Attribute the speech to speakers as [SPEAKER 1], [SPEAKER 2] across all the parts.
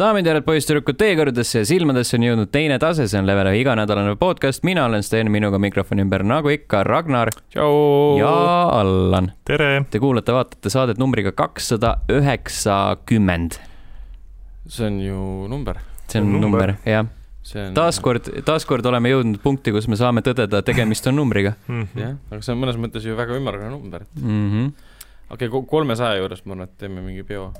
[SPEAKER 1] daamid ja härrad , poisssüdrukud , teie kõrgudesse ja silmadesse on jõudnud teine tase , see on Level ühe iganädalane podcast , mina olen Sten , minuga mikrofoni ümber , nagu ikka , Ragnar
[SPEAKER 2] tšau
[SPEAKER 1] ja . Allan .
[SPEAKER 3] tere ,
[SPEAKER 1] Te kuulate-vaatate saadet numbriga kakssada üheksakümmend .
[SPEAKER 2] see on ju number .
[SPEAKER 1] see on number ,
[SPEAKER 3] Number.
[SPEAKER 1] jah .
[SPEAKER 2] see on .
[SPEAKER 1] taaskord , taaskord oleme jõudnud punkti , kus me saame tõdeda , tegemist on numbriga Mhm.
[SPEAKER 2] jah , aga see on mõnes mõttes ju väga ümmargune number .
[SPEAKER 1] mm . -hmm.
[SPEAKER 2] okei okay, , kolmesaja juures ma arvan , et teeme mingi peo .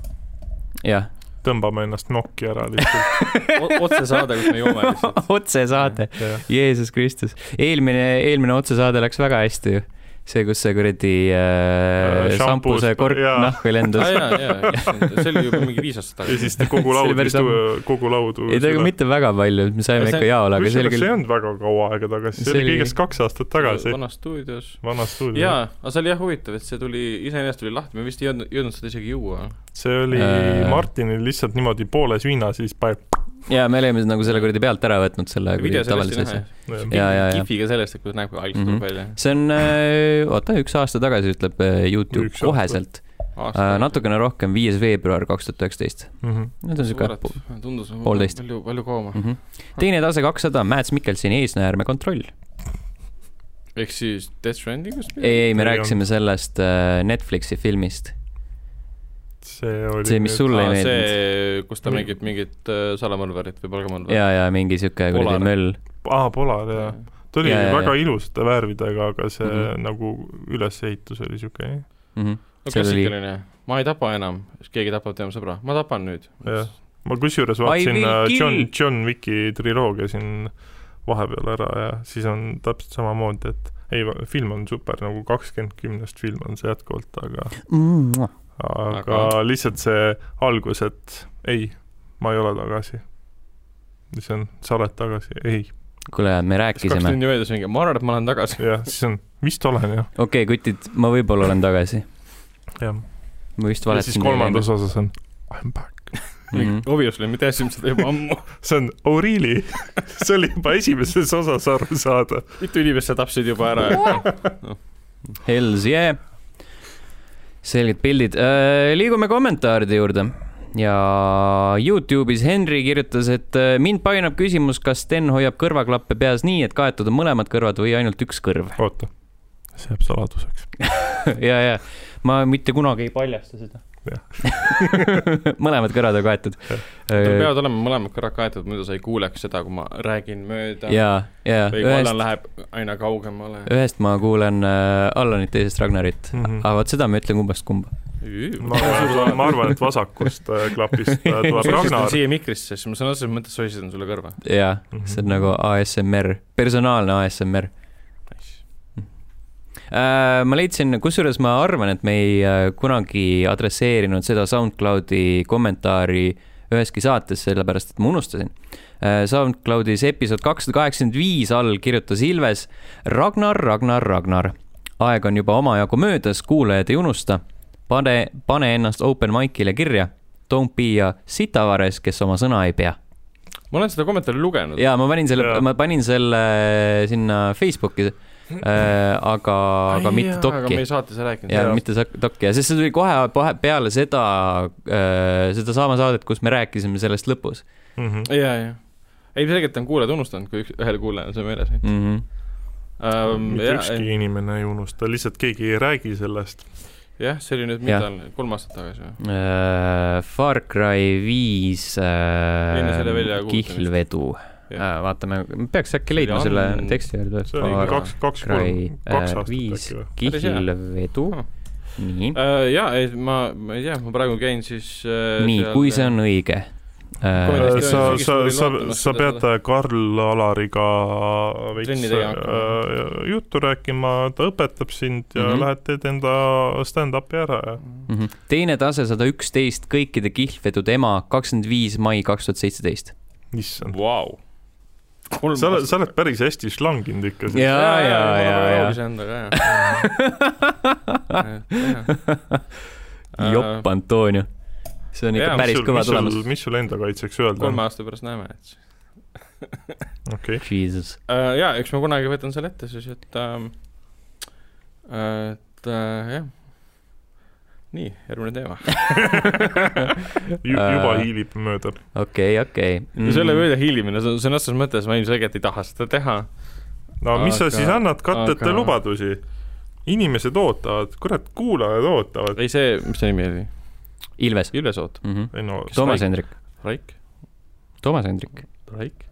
[SPEAKER 1] jah ,
[SPEAKER 3] tõmbame ennast nokki ära lihtsalt .
[SPEAKER 2] otsesaade , kus me joome lihtsalt .
[SPEAKER 1] otsesaade , Jeesus Kristus . eelmine , eelmine otsesaade läks väga hästi ju . see , kus see kuradi äh,
[SPEAKER 3] Äh, šampus-
[SPEAKER 1] šampuse kork
[SPEAKER 3] jaa.
[SPEAKER 1] nahku
[SPEAKER 2] aa
[SPEAKER 1] lendas .
[SPEAKER 2] Ah, jaa , jaa , see oli juba mingi viis aastat
[SPEAKER 3] ja
[SPEAKER 2] tagasi .
[SPEAKER 3] siis te kogu
[SPEAKER 1] See oli
[SPEAKER 3] laud
[SPEAKER 1] päris
[SPEAKER 3] istu
[SPEAKER 1] ammu. ,
[SPEAKER 3] kogu laud .
[SPEAKER 1] ei , ta ega mitte väga palju , me saime
[SPEAKER 2] Ja see-
[SPEAKER 1] ikka jaole , aga see oli
[SPEAKER 3] kusjuures see ei
[SPEAKER 1] küll ,
[SPEAKER 3] olnud väga kaua aega tagasi , see
[SPEAKER 1] See
[SPEAKER 3] oli
[SPEAKER 1] oli-
[SPEAKER 3] kõigest kaks aastat tagasi ,
[SPEAKER 2] vana stuudios .
[SPEAKER 3] vana stuudio .
[SPEAKER 2] jaa , aga see oli jah huvitav , et see tuli , iseenesest tuli lahti , me vist ei jõudnud , jõudnud seda isegi juua .
[SPEAKER 3] see oli
[SPEAKER 1] Äh.
[SPEAKER 3] Martinil lihtsalt niimoodi pooles viina , siis paneb .
[SPEAKER 1] jaa , me olime nagu selle kuradi pealt ära võtnud selle kuradi
[SPEAKER 2] video sellest
[SPEAKER 1] tavalise
[SPEAKER 2] ei
[SPEAKER 1] asja
[SPEAKER 2] näe ..
[SPEAKER 1] Jaa, jaa, jaa.
[SPEAKER 2] kifiga sellest , et kuidas näeb , kui alg
[SPEAKER 1] Mhm.
[SPEAKER 2] tuleb välja .
[SPEAKER 1] see on äh, , oota , üks aasta tagasi ütleb äh, Youtube
[SPEAKER 3] Üks aasta.
[SPEAKER 1] koheselt , Äh, natukene rohkem , viies veebruar kaks tuhat üheksateist .
[SPEAKER 3] Mhm.
[SPEAKER 1] Need on siuke po-
[SPEAKER 2] tundus
[SPEAKER 1] poolteist.
[SPEAKER 2] palju , palju kauem .
[SPEAKER 1] mhm. teine tase kakssada , Mäets Mikkelsoni eesnäärme kontroll .
[SPEAKER 2] ehk siis Death Strandingust ?
[SPEAKER 1] ei , ei , me
[SPEAKER 3] Ei
[SPEAKER 1] rääkisime sellest äh, Netflixi filmist ,
[SPEAKER 3] see oli .
[SPEAKER 1] see , mis sulle ei
[SPEAKER 2] Aa,
[SPEAKER 1] meeldinud .
[SPEAKER 2] see , kus ta
[SPEAKER 3] Mi-
[SPEAKER 2] mängib mingit äh, salamõlvarit või palgamõlvarit .
[SPEAKER 1] ja , ja mingi siuke
[SPEAKER 2] Polar.
[SPEAKER 1] kuradi möll .
[SPEAKER 3] aa , Polar jaa . ta oli
[SPEAKER 1] Jaa, jaa,
[SPEAKER 3] väga
[SPEAKER 1] jaa.
[SPEAKER 3] ilusate värvidega , aga see
[SPEAKER 1] Mhm.
[SPEAKER 3] nagu ülesehitus oli siuke
[SPEAKER 2] no
[SPEAKER 1] seal oli-
[SPEAKER 2] klassikaline , ma ei tapa enam , siis keegi tapab tema sõbra , ma tapan nüüd .
[SPEAKER 3] Jah. ma kusjuures
[SPEAKER 1] I
[SPEAKER 3] vaatasin
[SPEAKER 1] will
[SPEAKER 3] äh,
[SPEAKER 1] kill.
[SPEAKER 3] John , John Wicki triloogia siin vahepeal ära ja siis on täpselt samamoodi , et ei , film on super , nagu kakskümmend kümnest film on see jätkuvalt , aga , aga , aga
[SPEAKER 2] Aga-
[SPEAKER 3] lihtsalt see algus , et ei , ma ei ole tagasi . siis on , sa oled tagasi , ei ,
[SPEAKER 1] kuule , me
[SPEAKER 2] siis kaks
[SPEAKER 1] rääkisime ,
[SPEAKER 2] tundi möödas mingi , ma arvan , et ma olen tagasi .
[SPEAKER 3] jah , siis on , vist olen jah ,
[SPEAKER 1] okei okay, , kutid , ma võib-olla olen tagasi ,
[SPEAKER 3] jah .
[SPEAKER 1] ma vist
[SPEAKER 3] ja
[SPEAKER 1] valetasin .
[SPEAKER 3] siis
[SPEAKER 1] Mhm.
[SPEAKER 3] kolmandas osas on I m back .
[SPEAKER 2] Obviously , me teadsime seda juba ammu .
[SPEAKER 3] see on , oh really ? see oli juba esimeses osas aru saada .
[SPEAKER 2] mitu inimest sa tapsid juba ära .
[SPEAKER 1] Hells yeah . selged pildid , liigume kommentaaride juurde ja Youtube'is Henri kirjutas , et äh, mind painab küsimus , kas Sten hoiab kõrvaklappe peas nii , et kaetud on mõlemad kõrvad või ainult üks kõrv .
[SPEAKER 3] oota , see jääb saladuseks .
[SPEAKER 1] ja , ja ma mitte kunagi ei paljasta seda
[SPEAKER 3] Jah. .
[SPEAKER 1] mõlemad kõrvad on kaetud . Äh,
[SPEAKER 2] Teil peavad olema mõlemad korrad kaetud , muidu sa ei kuuleks seda , kui ma räägin mööda .
[SPEAKER 1] ja , ja
[SPEAKER 2] või kui Allan
[SPEAKER 1] ühest ,
[SPEAKER 2] läheb aina kaugemale .
[SPEAKER 1] ühest ma kuulen äh, Allanit , teisest Ragnarit mm .
[SPEAKER 3] Mhm.
[SPEAKER 1] -hmm. aga vot seda ma ütlen kummast kumba .
[SPEAKER 3] ma arvan , ma arvan , et vasakust äh, klapist äh,
[SPEAKER 2] ma
[SPEAKER 3] tuleb
[SPEAKER 2] sossitan
[SPEAKER 3] Ragnar .
[SPEAKER 2] siia mikrisse , siis ma sõna otseses mõttes sossitan sulle kõrva .
[SPEAKER 1] jaa ,
[SPEAKER 3] Mhm.
[SPEAKER 1] see on nagu ASMR , personaalne ASMR . Mhm. Äh, ma leidsin , kusjuures ma arvan , et me ei äh, kunagi adresseerinud seda SoundCloudi kommentaari üheski saates , sellepärast et ma unustasin . SoundCloudis episood kakssada kaheksakümmend viis all kirjutas Ilves Ragnar , Ragnar , Ragnar . aeg on juba omajagu möödas , kuulajad ei unusta . pane , pane ennast open mic'ile kirja . Don't be a sitavares , kes oma sõna ei pea .
[SPEAKER 2] ma olen seda kommentaari lugenud .
[SPEAKER 1] ja ma panin selle
[SPEAKER 3] Jaa. ,
[SPEAKER 1] ma panin selle sinna Facebooki , aga , aga mitte
[SPEAKER 2] aga
[SPEAKER 1] dokki
[SPEAKER 2] me ei saates ei rääkinud .
[SPEAKER 1] ja mitte sak- dokki ja siis see tuli kohe kohe peale seda , sedasama saadet , kus me rääkisime sellest lõpus
[SPEAKER 3] Mhm.
[SPEAKER 2] ja , ja , ei selgelt on kuulajad unustanud , kui üks , ühel kuulajal see meeles on
[SPEAKER 1] mm .
[SPEAKER 3] Mhm.
[SPEAKER 1] -hmm.
[SPEAKER 2] um, .
[SPEAKER 3] mitte
[SPEAKER 2] jah ,
[SPEAKER 3] ükski inimene ei unusta , lihtsalt keegi ei räägi sellest .
[SPEAKER 2] jah , see oli nüüd millal , kolm aastat tagasi või ?
[SPEAKER 1] Äh, Far Cry viis äh,
[SPEAKER 2] Enne selle väljakuulutamist.
[SPEAKER 1] kihlvedu ,
[SPEAKER 2] jah ,
[SPEAKER 1] vaatame , peaks äkki
[SPEAKER 2] See oli
[SPEAKER 1] leidma selle
[SPEAKER 2] ammu-
[SPEAKER 1] teksti juurde .
[SPEAKER 3] see oli
[SPEAKER 2] Aga-
[SPEAKER 3] kaks , kaks ,
[SPEAKER 1] Cry
[SPEAKER 3] kolm , kaks Hm.
[SPEAKER 1] äh,
[SPEAKER 3] aastat
[SPEAKER 1] viis
[SPEAKER 3] äkki või ?
[SPEAKER 1] kihlvedu
[SPEAKER 2] Ah. ,
[SPEAKER 1] nii ,
[SPEAKER 2] ja Äh, ei, ma , ma ei tea , ma praegu käin siis
[SPEAKER 3] Äh,
[SPEAKER 2] uh,
[SPEAKER 1] nii , kui see on õige .
[SPEAKER 2] Äh,
[SPEAKER 3] sa , sa , sa
[SPEAKER 2] Lootame ,
[SPEAKER 3] sa
[SPEAKER 2] seda-
[SPEAKER 3] pead äh, Karl Alariga veits
[SPEAKER 2] Trenni tegema hakkama.
[SPEAKER 3] äh, juttu rääkima , ta õpetab sind ja mm
[SPEAKER 1] Mhm.
[SPEAKER 3] -hmm. lähed teed enda stand-up'i ära ja
[SPEAKER 1] Mhm. teine tase sada üksteist , kõikide kihlvedude ema , kakskümmend viis mai kaks tuhat seitseteist .
[SPEAKER 3] issand .
[SPEAKER 2] Vau .
[SPEAKER 3] sa oled , sa oled päris hästi slanginud ikka .
[SPEAKER 1] Jaa, jaa, jaa, jaa.
[SPEAKER 2] endaga , jah .
[SPEAKER 1] jopp , Antonio . see on ikka
[SPEAKER 2] jaa,
[SPEAKER 1] ja, päris kõva tulemus .
[SPEAKER 3] mis sul enda kaitseks öelda on
[SPEAKER 2] Äh, kolme ? aasta pärast näeme , et siis
[SPEAKER 3] okei ,
[SPEAKER 1] Jesus .
[SPEAKER 2] uh, . jaa , eks ma kunagi võtan selle ähm, äh, ette siis , et uh, , et uh, jah . nii , järgmine teema .
[SPEAKER 3] juba hiilib mööda .
[SPEAKER 1] okei , okei . Mm.
[SPEAKER 2] ja selle mööda hiilimine , see on sõna otseses mõttes , ma ilmselgelt ei taha seda teha .
[SPEAKER 3] no mis sa
[SPEAKER 2] Aga-
[SPEAKER 3] siis annad katteta
[SPEAKER 2] aga-
[SPEAKER 3] lubadusi ? inimesed ootavad , kurat , kuulajad ootavad .
[SPEAKER 2] ei , see , mis see nimi oli ?
[SPEAKER 1] Ilves .
[SPEAKER 2] Ilves Oot .
[SPEAKER 3] ei no ,
[SPEAKER 1] Toomas Hendrik ,
[SPEAKER 2] Raik ,
[SPEAKER 1] Toomas Hendrik . Äh,
[SPEAKER 2] Raik ,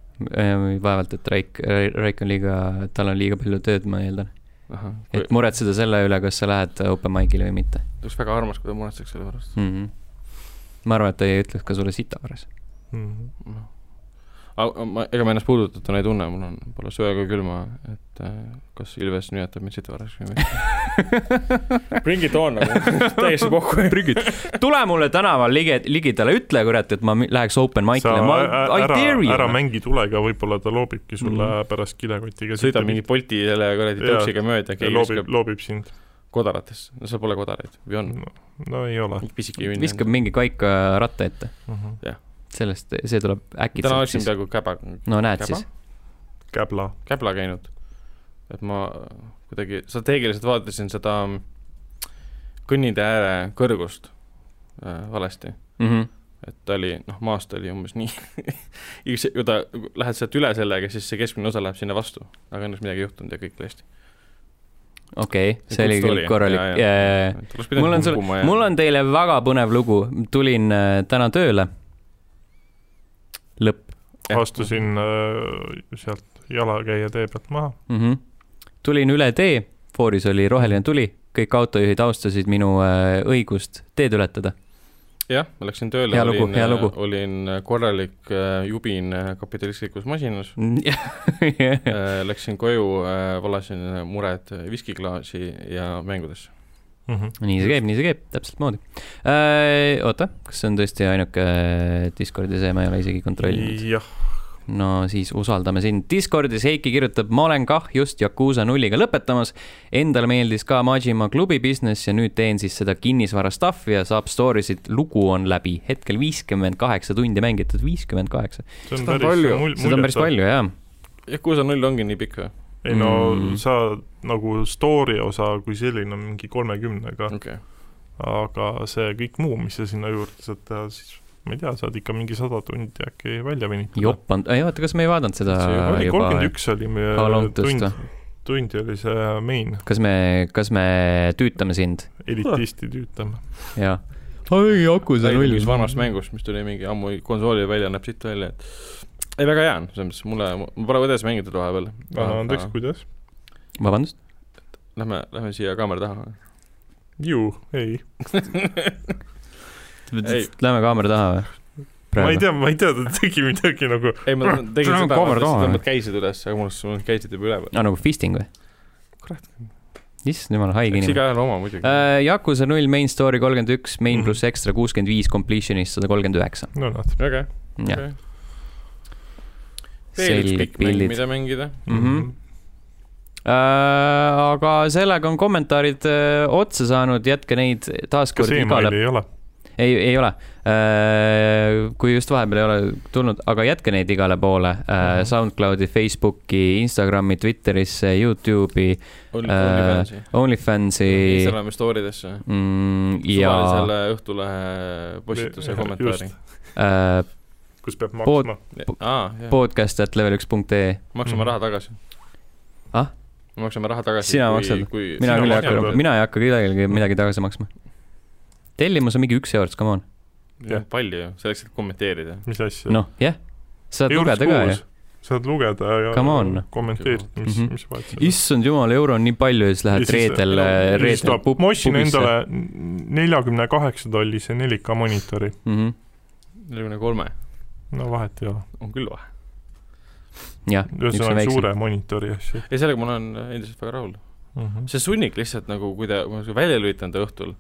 [SPEAKER 1] vaevalt , et Raik , Raik on liiga , tal on liiga palju tööd , ma eeldan .
[SPEAKER 2] ahah .
[SPEAKER 1] et muretseda selle üle , kas sa lähed open mic'ile või mitte
[SPEAKER 2] oleks väga armas , kui ta muretseks selle pärast .
[SPEAKER 1] mm . -hmm. ma arvan , et ta ei ütleks ka sulle sita pärast .
[SPEAKER 3] Mhm.
[SPEAKER 2] noh , aga ma , ega ma ennast puudutatuna ei tunne , mul on , pole söö ega külma , et äh, kas Ilves nüüd jätab mind siit varaks või mitte . Bring it on nagu , täiesti kokku .
[SPEAKER 1] prügid , tule mulle tänaval ligi , ligidale , ütle kurat , et ma mi- läheks open
[SPEAKER 3] sa
[SPEAKER 1] mic'ile , ma
[SPEAKER 3] ä- ,
[SPEAKER 1] I
[SPEAKER 3] ära
[SPEAKER 1] dare ,
[SPEAKER 3] ära
[SPEAKER 1] you .
[SPEAKER 3] mängi tulega , võib-olla ta loobibki sulle
[SPEAKER 1] Mhm.
[SPEAKER 3] mm. pärast kilekotiga .
[SPEAKER 2] sõidab mingi Bolti selle kuradi
[SPEAKER 3] Jaa.
[SPEAKER 2] tõuksiga mööda , keegi
[SPEAKER 3] loobib ,
[SPEAKER 2] viskab
[SPEAKER 3] loobib sind .
[SPEAKER 2] kodaratesse , no seal pole kodaraid või on ,
[SPEAKER 3] no ei ole . Mhm.
[SPEAKER 2] mingi pisike vinn .
[SPEAKER 1] viskab mingi kaika ratta ette , sellest , see tuleb
[SPEAKER 2] täna
[SPEAKER 1] äkitselt
[SPEAKER 2] läksin
[SPEAKER 1] siis .
[SPEAKER 2] peaaegu käba ,
[SPEAKER 1] no näed
[SPEAKER 2] käba?
[SPEAKER 1] siis ,
[SPEAKER 3] käbla .
[SPEAKER 2] käbla käinud . et ma kuidagi strateegiliselt vaatasin seda mm, kõnnitee ääre kõrgust äh, valesti .
[SPEAKER 1] Mhm.
[SPEAKER 2] et ta oli , noh , maast oli umbes nii . ja kui ta , lähed sealt üle sellega , siis see keskmine osa läheb sinna vastu . aga õnneks midagi ei juhtunud ja kõik oli hästi .
[SPEAKER 1] okei , see oli küll korralik . Eh, mul on sulle , mul on teile väga põnev lugu , tulin äh, täna tööle . lõpp
[SPEAKER 3] astusin
[SPEAKER 1] Mhm.
[SPEAKER 3] äh, sealt jalakäija tee pealt maha .
[SPEAKER 1] mm . -hmm. tulin üle tee , fooris oli roheline tuli , kõik autojuhid austasid minu äh, õigust teed ületada .
[SPEAKER 2] jah , ma läksin tööle ,
[SPEAKER 1] Hea lugu,
[SPEAKER 2] olin äh,
[SPEAKER 1] hea lugu. ,
[SPEAKER 2] olin korralik äh, jubin äh, kapitalistlikus masinas . Läksin koju , valasin äh, mured viskiklaasi ja mängudesse .
[SPEAKER 3] Mhm.
[SPEAKER 1] nii see käib , nii see käib , täpselt moodi . oota , kas see on tõesti ainuke äh, Discordi see , ma ei ole isegi kontrollinud .
[SPEAKER 3] jah ,
[SPEAKER 1] no siis usaldame sind . Discordis Heiki kirjutab , ma olen kah just Yakuusa nulliga lõpetamas . Endale meeldis ka Majima klubi business ja nüüd teen siis seda kinnisvara stuff'i ja saab story sid . lugu on läbi , hetkel viiskümmend kaheksa tundi mängitud , viiskümmend kaheksa .
[SPEAKER 3] see on
[SPEAKER 2] Seda on palju.
[SPEAKER 3] päris .
[SPEAKER 1] seda on päris . palju jah .
[SPEAKER 2] Yakuusa null ongi nii pikk või ?
[SPEAKER 3] ei no
[SPEAKER 1] Mm.
[SPEAKER 3] sa nagu story osa kui selline on mingi kolmekümnega ,
[SPEAKER 2] okei ,
[SPEAKER 3] aga see kõik muu , mis sa sinna juurde saad teha , siis ma ei tea , saad ikka mingi sada tundi äkki välja venitada .
[SPEAKER 1] jopp on , ei oota , kas me ei vaadanud seda
[SPEAKER 3] oli
[SPEAKER 1] äh, juba ?
[SPEAKER 3] kolmkümmend üks oli meie
[SPEAKER 1] Kalongtust
[SPEAKER 3] tund
[SPEAKER 1] või ?,
[SPEAKER 3] tundi oli see main ,
[SPEAKER 1] kas me , kas me tüütame sind ?
[SPEAKER 3] elitistid ütleme .
[SPEAKER 1] jah . oi , Yakuusa
[SPEAKER 2] mingis vanast mängust , mis tuli mingi ammu konsooli välja , näeb siit välja , et ei , väga hea on , selles mõttes mulle , ma pole edasi mängitud vahepeal .
[SPEAKER 3] andeks , kuidas ?
[SPEAKER 1] vabandust ?
[SPEAKER 2] Lähme , lähme siia kaamera taha .
[SPEAKER 3] ju , ei .
[SPEAKER 2] Ei.
[SPEAKER 1] Lähme kaamera taha või ?
[SPEAKER 3] ma ei tea , ma ei tea , ta tegi midagi nagu
[SPEAKER 2] ei , ma tegin
[SPEAKER 1] Tule
[SPEAKER 2] seda ,
[SPEAKER 1] kaamera taha.
[SPEAKER 2] tõmbad käisid üles , aga mul mul käisid juba üleval .
[SPEAKER 1] aa , nagu fisting või ?
[SPEAKER 2] kurat ,
[SPEAKER 1] issand jumal , haige
[SPEAKER 2] eks
[SPEAKER 1] inimene .
[SPEAKER 2] igaühel oma muidugi .
[SPEAKER 1] Uh, Yakuza null , main story kolmkümmend üks , main
[SPEAKER 3] Mhm.
[SPEAKER 1] pluss ekstra kuuskümmend viis , completion'ist sada kolmkümmend üheksa .
[SPEAKER 3] no noh. nad
[SPEAKER 2] väga hea ,
[SPEAKER 1] jah ,
[SPEAKER 2] väga hea . veel üks
[SPEAKER 1] selged
[SPEAKER 2] pikk mäng ,
[SPEAKER 3] Äh,
[SPEAKER 1] pildid .
[SPEAKER 2] mida mängida .
[SPEAKER 3] Mm-hmm.
[SPEAKER 1] Mhm. Äh, aga sellega on kommentaarid uh, otsa saanud , jätke neid
[SPEAKER 3] kas
[SPEAKER 1] taaskord igale
[SPEAKER 3] emaili ei ole ?
[SPEAKER 1] ei , ei ole . kui just vahepeal ei ole tulnud , aga jätke neid igale poole mm . -hmm.
[SPEAKER 3] Mhm.
[SPEAKER 1] SoundCloudi , Facebooki , Instagrami , Twitterisse , Youtube'i ,
[SPEAKER 2] Only
[SPEAKER 1] Äh,
[SPEAKER 2] Fansi .
[SPEAKER 1] OnlyFansi
[SPEAKER 2] Instagrami story desse .
[SPEAKER 1] mm, ja
[SPEAKER 2] suvalisele Õhtulehe postituse
[SPEAKER 3] Just.
[SPEAKER 2] kommentaari .
[SPEAKER 1] äh,
[SPEAKER 3] kus peab
[SPEAKER 1] Pood-
[SPEAKER 3] maksma ?
[SPEAKER 2] aa , jah ,
[SPEAKER 1] podcast.level1.ee .
[SPEAKER 2] maksame
[SPEAKER 3] Mhm.
[SPEAKER 2] raha tagasi .
[SPEAKER 1] Ah? ?
[SPEAKER 2] maksame raha tagasi .
[SPEAKER 1] Sina maksad.
[SPEAKER 2] kui
[SPEAKER 1] mina
[SPEAKER 3] Sina
[SPEAKER 1] küll ei
[SPEAKER 3] maksad
[SPEAKER 1] hakka ,
[SPEAKER 3] või?
[SPEAKER 1] mina ei hakka kellelegi midagi tagasi maksma . tellimus on mingi üks eurot , come on .
[SPEAKER 2] jah , palju ju , selleks , et kommenteerida .
[SPEAKER 3] mis asja ?
[SPEAKER 1] noh , jah , saad lugeda ka ju ..
[SPEAKER 3] saad lugeda ja
[SPEAKER 1] Come on.
[SPEAKER 3] kommenteerida , mis
[SPEAKER 1] Mhm. ,
[SPEAKER 3] mis vahet seal on .
[SPEAKER 1] issand jumal , euro on nii palju ja siis lähed reedel , reedel pub-
[SPEAKER 3] ma ostsin
[SPEAKER 1] pubisse.
[SPEAKER 3] endale neljakümne kaheksa tollise 4K monitori ,
[SPEAKER 1] Mhm,
[SPEAKER 2] neljakümne kolme
[SPEAKER 3] no vahet ei ole .
[SPEAKER 2] on küll vahe .
[SPEAKER 1] jah , üks on
[SPEAKER 3] ühesõnaga
[SPEAKER 1] väiksem .
[SPEAKER 3] suure monitori asju
[SPEAKER 2] ei , sellega ma olen endiselt väga rahul .
[SPEAKER 3] mm .
[SPEAKER 1] Mhm.
[SPEAKER 3] -hmm.
[SPEAKER 2] see sunnik lihtsalt nagu , kui ta , kui ma seda välja lülitan ta õhtul ,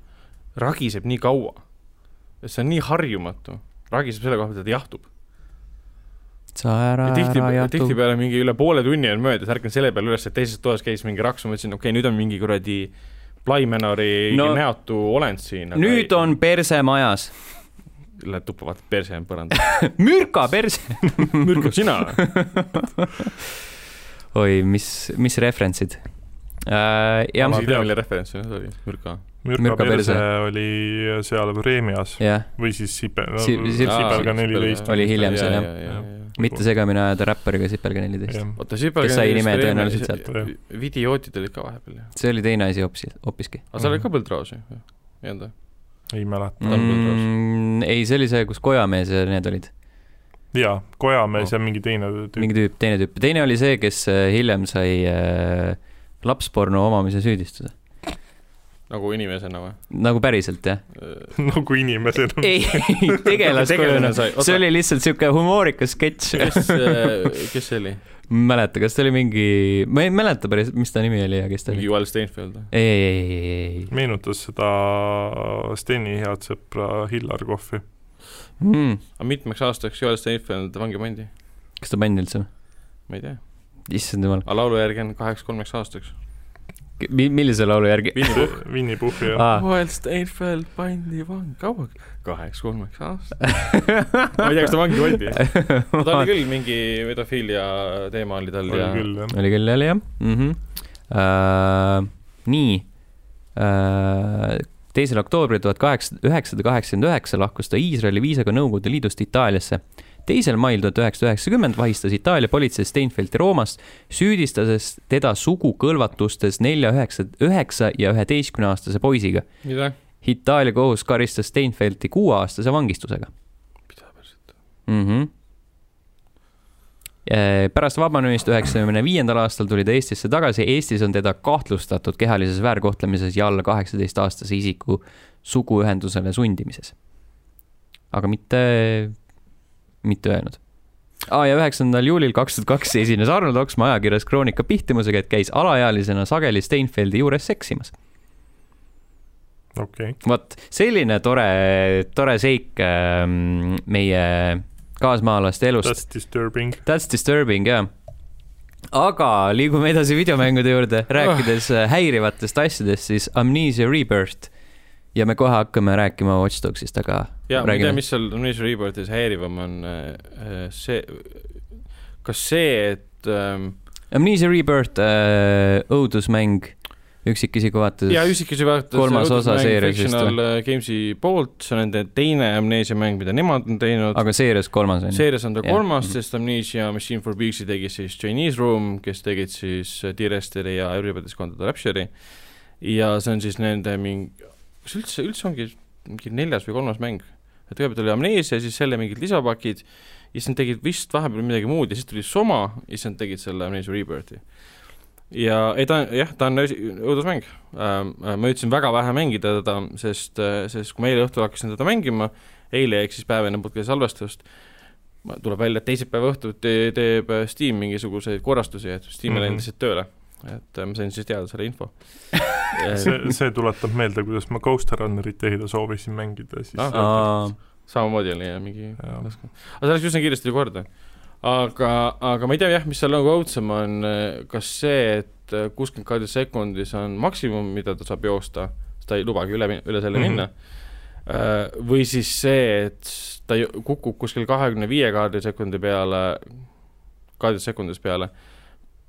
[SPEAKER 2] ragiseb nii kaua . see on nii harjumatu , ragiseb selle koha pealt , et jahtub .
[SPEAKER 1] sa ära , ära
[SPEAKER 2] tihti ,
[SPEAKER 1] jahtu .
[SPEAKER 2] tihtipeale mingi üle poole tunni on möödas , ärkan selle peale üles , et teises toas käis mingi raks , ma mõtlesin , okei okay, , nüüd on mingi kuradi Plaimenori no,
[SPEAKER 1] No-
[SPEAKER 2] näotu olend siin .
[SPEAKER 1] nüüd on perse majas .
[SPEAKER 2] Lähed tuppa , vaatad perse on põrandal .
[SPEAKER 1] mürka perse .
[SPEAKER 2] mürkab sina või ?
[SPEAKER 1] oi , mis , mis referentsid äh, ? jah ,
[SPEAKER 2] ma ei tea , mille referents see nüüd oli , mürka .
[SPEAKER 3] mürka
[SPEAKER 1] Mürka perse.
[SPEAKER 3] perse oli seal Vremjas
[SPEAKER 1] jah ,
[SPEAKER 3] või siis Sipel no, ,
[SPEAKER 1] Si- si-
[SPEAKER 3] Sipelga neliteist .
[SPEAKER 1] Oli hiljem seal, jah.
[SPEAKER 3] Jah.
[SPEAKER 1] mitte segamini ajada räppariga Sipelga neliteist .
[SPEAKER 2] oota , Sipelga
[SPEAKER 1] Kes sai nime tõenäoliselt sealt.
[SPEAKER 2] sealt . Vidiootid olid ka vahepeal ju .
[SPEAKER 1] see oli teine asi hoopis , hoopiski
[SPEAKER 2] aga seal oli
[SPEAKER 3] Mhm.
[SPEAKER 2] ka Põldraus ju , ei olnud või ?
[SPEAKER 3] ei mäleta .
[SPEAKER 1] mm, . ei , see oli see , kus kojamees ja need olid ,
[SPEAKER 3] jaa , Kojamees ja mingi teine tüüp .
[SPEAKER 1] mingi tüüp , teine tüüp , teine oli see , kes äh, hiljem sai äh, lapsporno omamise süüdistuse ,
[SPEAKER 2] nagu inimesena või ?
[SPEAKER 1] nagu päriselt jah .
[SPEAKER 3] nagu inimesed on .
[SPEAKER 1] ei , tegelaskujuna ,
[SPEAKER 2] sai ,
[SPEAKER 1] see oli lihtsalt siuke humoorikas sketš .
[SPEAKER 2] kes , kes see oli ?
[SPEAKER 1] ma ei mäleta , kas ta oli mingi , ma ei mäleta päris , mis ta nimi oli ja kes ta
[SPEAKER 2] mingi
[SPEAKER 1] oli .
[SPEAKER 2] Joel Steinfeld või ?
[SPEAKER 1] ei , ei , ei , ei , ei
[SPEAKER 3] meenutas seda Steni head sõpra Hillar Kohvi .
[SPEAKER 1] mm. .
[SPEAKER 2] aga mitmeks aastaks Joel Steinfeld vangi pandi ?
[SPEAKER 1] kas ta pandi üldse ?
[SPEAKER 2] ma ei tea ,
[SPEAKER 1] issand jumal ,
[SPEAKER 2] aga laulu järgi on kaheks-kolmeks aastaks .
[SPEAKER 1] millise laulu järgi ?
[SPEAKER 3] Winny Puhhi ja
[SPEAKER 1] Ah.
[SPEAKER 2] Joel Steinfeld pandi vangi , kaua ? kaheks-kolmeks aastaks . ma ei tea , kas ta vangi pandi . ta oli küll mingi pedofiilia teema oli tal
[SPEAKER 3] oli
[SPEAKER 2] ja
[SPEAKER 3] küll jah .
[SPEAKER 1] oli küll jälle jah mm . -hmm. Uh, nii uh, , teisel oktoobril tuhat kaheksa , üheksasada kaheksakümmend üheksa lahkus ta Iisraeli viisaga Nõukogude Liidust Itaaliasse . teisel mail tuhat üheksasada üheksakümmend vahistas Itaalia politsei Steinfeldti Roomast , süüdistades teda sugukõlvatustes nelja , üheksa , üheksa ja üheteistkümne aastase poisiga .
[SPEAKER 2] mida ?
[SPEAKER 1] Itaalia kohus karistas Steinfeldti kuueaastase vangistusega .
[SPEAKER 2] mida päriselt ?
[SPEAKER 1] mm . -hmm. Äh, pärast vabanemist üheksakümne viiendal aastal tuli ta Eestisse tagasi , Eestis on teda kahtlustatud kehalises väärkohtlemises ja alla kaheksateistaastase isiku suguühendusele sundimises . aga mitte , mitte öelnud . Ah, ja üheksandal juulil kaks tuhat kaks esines Arnold Oksmaa ajakirjas Kroonika pihtimusega , et käis alaealisena sageli Steinfeldi juures seksimas .
[SPEAKER 3] okei okay. ,
[SPEAKER 1] vot selline tore , tore seik ähm, meie kaasmaalaste elust .
[SPEAKER 3] that's disturbing .
[SPEAKER 1] That's disturbing jah . aga liigume edasi videomängude juurde ,
[SPEAKER 2] Ah.
[SPEAKER 1] rääkides äh, häirivatest asjadest , siis Amnesia Rebirth . ja me kohe hakkame rääkima Watch Dogsist , aga
[SPEAKER 2] ja ma ei tea ,
[SPEAKER 1] räägime .
[SPEAKER 2] mis seal News Reportis häirivam on äh, see , kas see , et ähm,
[SPEAKER 1] Amnesia Rebirth äh, , õudusmäng üksikisiku vaates .
[SPEAKER 2] ja üksikus juba
[SPEAKER 1] kolmas osa seeriast vist
[SPEAKER 2] Fictional äh, Games'i poolt , see on nende teine amneesia mäng , mida nemad on teinud .
[SPEAKER 1] aga seerias kolmas on ju ?
[SPEAKER 2] seerias on ta
[SPEAKER 1] jah.
[SPEAKER 2] kolmas
[SPEAKER 1] Mhm. ,
[SPEAKER 2] sest Amnesia Machine for Pigs'i tegi siis Chinese Room , kes tegid siis D-Resteri ja Everybody's Gone to the Rapture'i ja see on siis nende mingi , kas üldse , üldse ongi mingi neljas või kolmas mäng ? et kõigepealt oli Amnesia , siis selle mingid lisapakid ja siis nad tegid vist vahepeal midagi muud ja siis tuli Soma ja siis nad tegid selle Amnesia Rebirth'i . ja ei ta , jah , ta on öösi- õudusmäng ähm, . ma jõudsin väga vähe mängida teda , sest , sest kui ma eile õhtul hakkasin teda mängima , eile ehk siis päev enne podcast'i salvestust , ma- tuleb välja , et teisipäeva õhtul te, teeb äh, Steam mingisuguseid korrastusi , et Steam ei läinud
[SPEAKER 3] Mhm.
[SPEAKER 2] lihtsalt tööle . et äh, ma sain siis teada selle info
[SPEAKER 3] see , see tuletab meelde , kuidas ma Ghost Runnerit eile soovisin mängida , siis
[SPEAKER 2] Ah. samamoodi oli jah , mingi ,
[SPEAKER 3] Jaa.
[SPEAKER 2] aga see läks üsna kiiresti korda . aga , aga ma ei tea jah , mis seal nagu õudsem on , kas see , et kuuskümmend kaheksa sekundis on maksimum , mida ta saab joosta , ta ei lubagi üle , üle selle mm
[SPEAKER 3] Mhm.
[SPEAKER 2] -hmm. minna , või siis see , et ta ju- kukub kuskil kahekümne viie kaardisekundi peale , kaardissekundis peale ,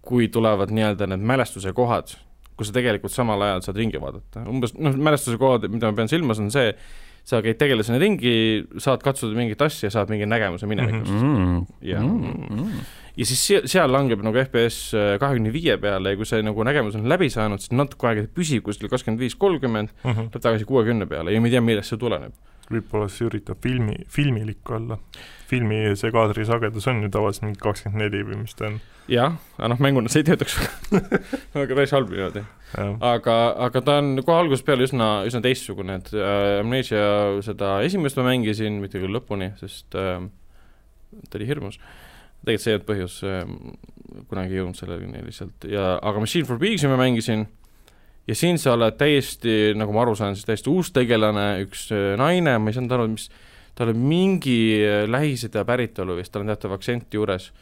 [SPEAKER 2] kui tulevad nii-öelda need mälestuse kohad , kus sa tegelikult samal ajal saad ringi vaadata , umbes noh , mälestuse kohad , mida ma pean silmas , on see , sa käid tegelasena ringi , saad katsuda mingit asja , saad mingi nägemuse minevikust mm .
[SPEAKER 1] Mm-hmm.
[SPEAKER 2] Jaa. -hmm. ja siis se- seal langeb nagu FPS kahekümne viie peale ja kui see nagu nägemus on läbi saanud , siis natuke aega püsib kuskil kakskümmend viis , kolmkümmend ,
[SPEAKER 3] Mhm.
[SPEAKER 2] tuleb tagasi kuuekümne peale ja ma ei tea , millest see tuleneb .
[SPEAKER 3] võib-olla see üritab filmi , filmilik olla . filmi see kaadrisagedus on ju tavaliselt mingi kakskümmend neli või mis ta on .
[SPEAKER 2] jah , aga noh , mänguna see ei töötaks väga päris halb niimoodi . aga , aga ta on kohe algusest peale üsna , üsna teistsugune , et äh, Amnesia seda esimest ma mängisin , mitte küll lõpuni , sest äh, ta oli hirmus . tegelikult see ei olnud põhjus äh, , kunagi ei jõudnud selleni lihtsalt ja , aga Machine for Pigs'i ma mängisin ja siin sa oled täiesti , nagu ma aru saan , siis täiesti uus tegelane , üks äh, naine , ma ei saanud aru , mis , tal on mingi äh, Lähis-Ida päritolu vist , tal on teatav aktsent juures .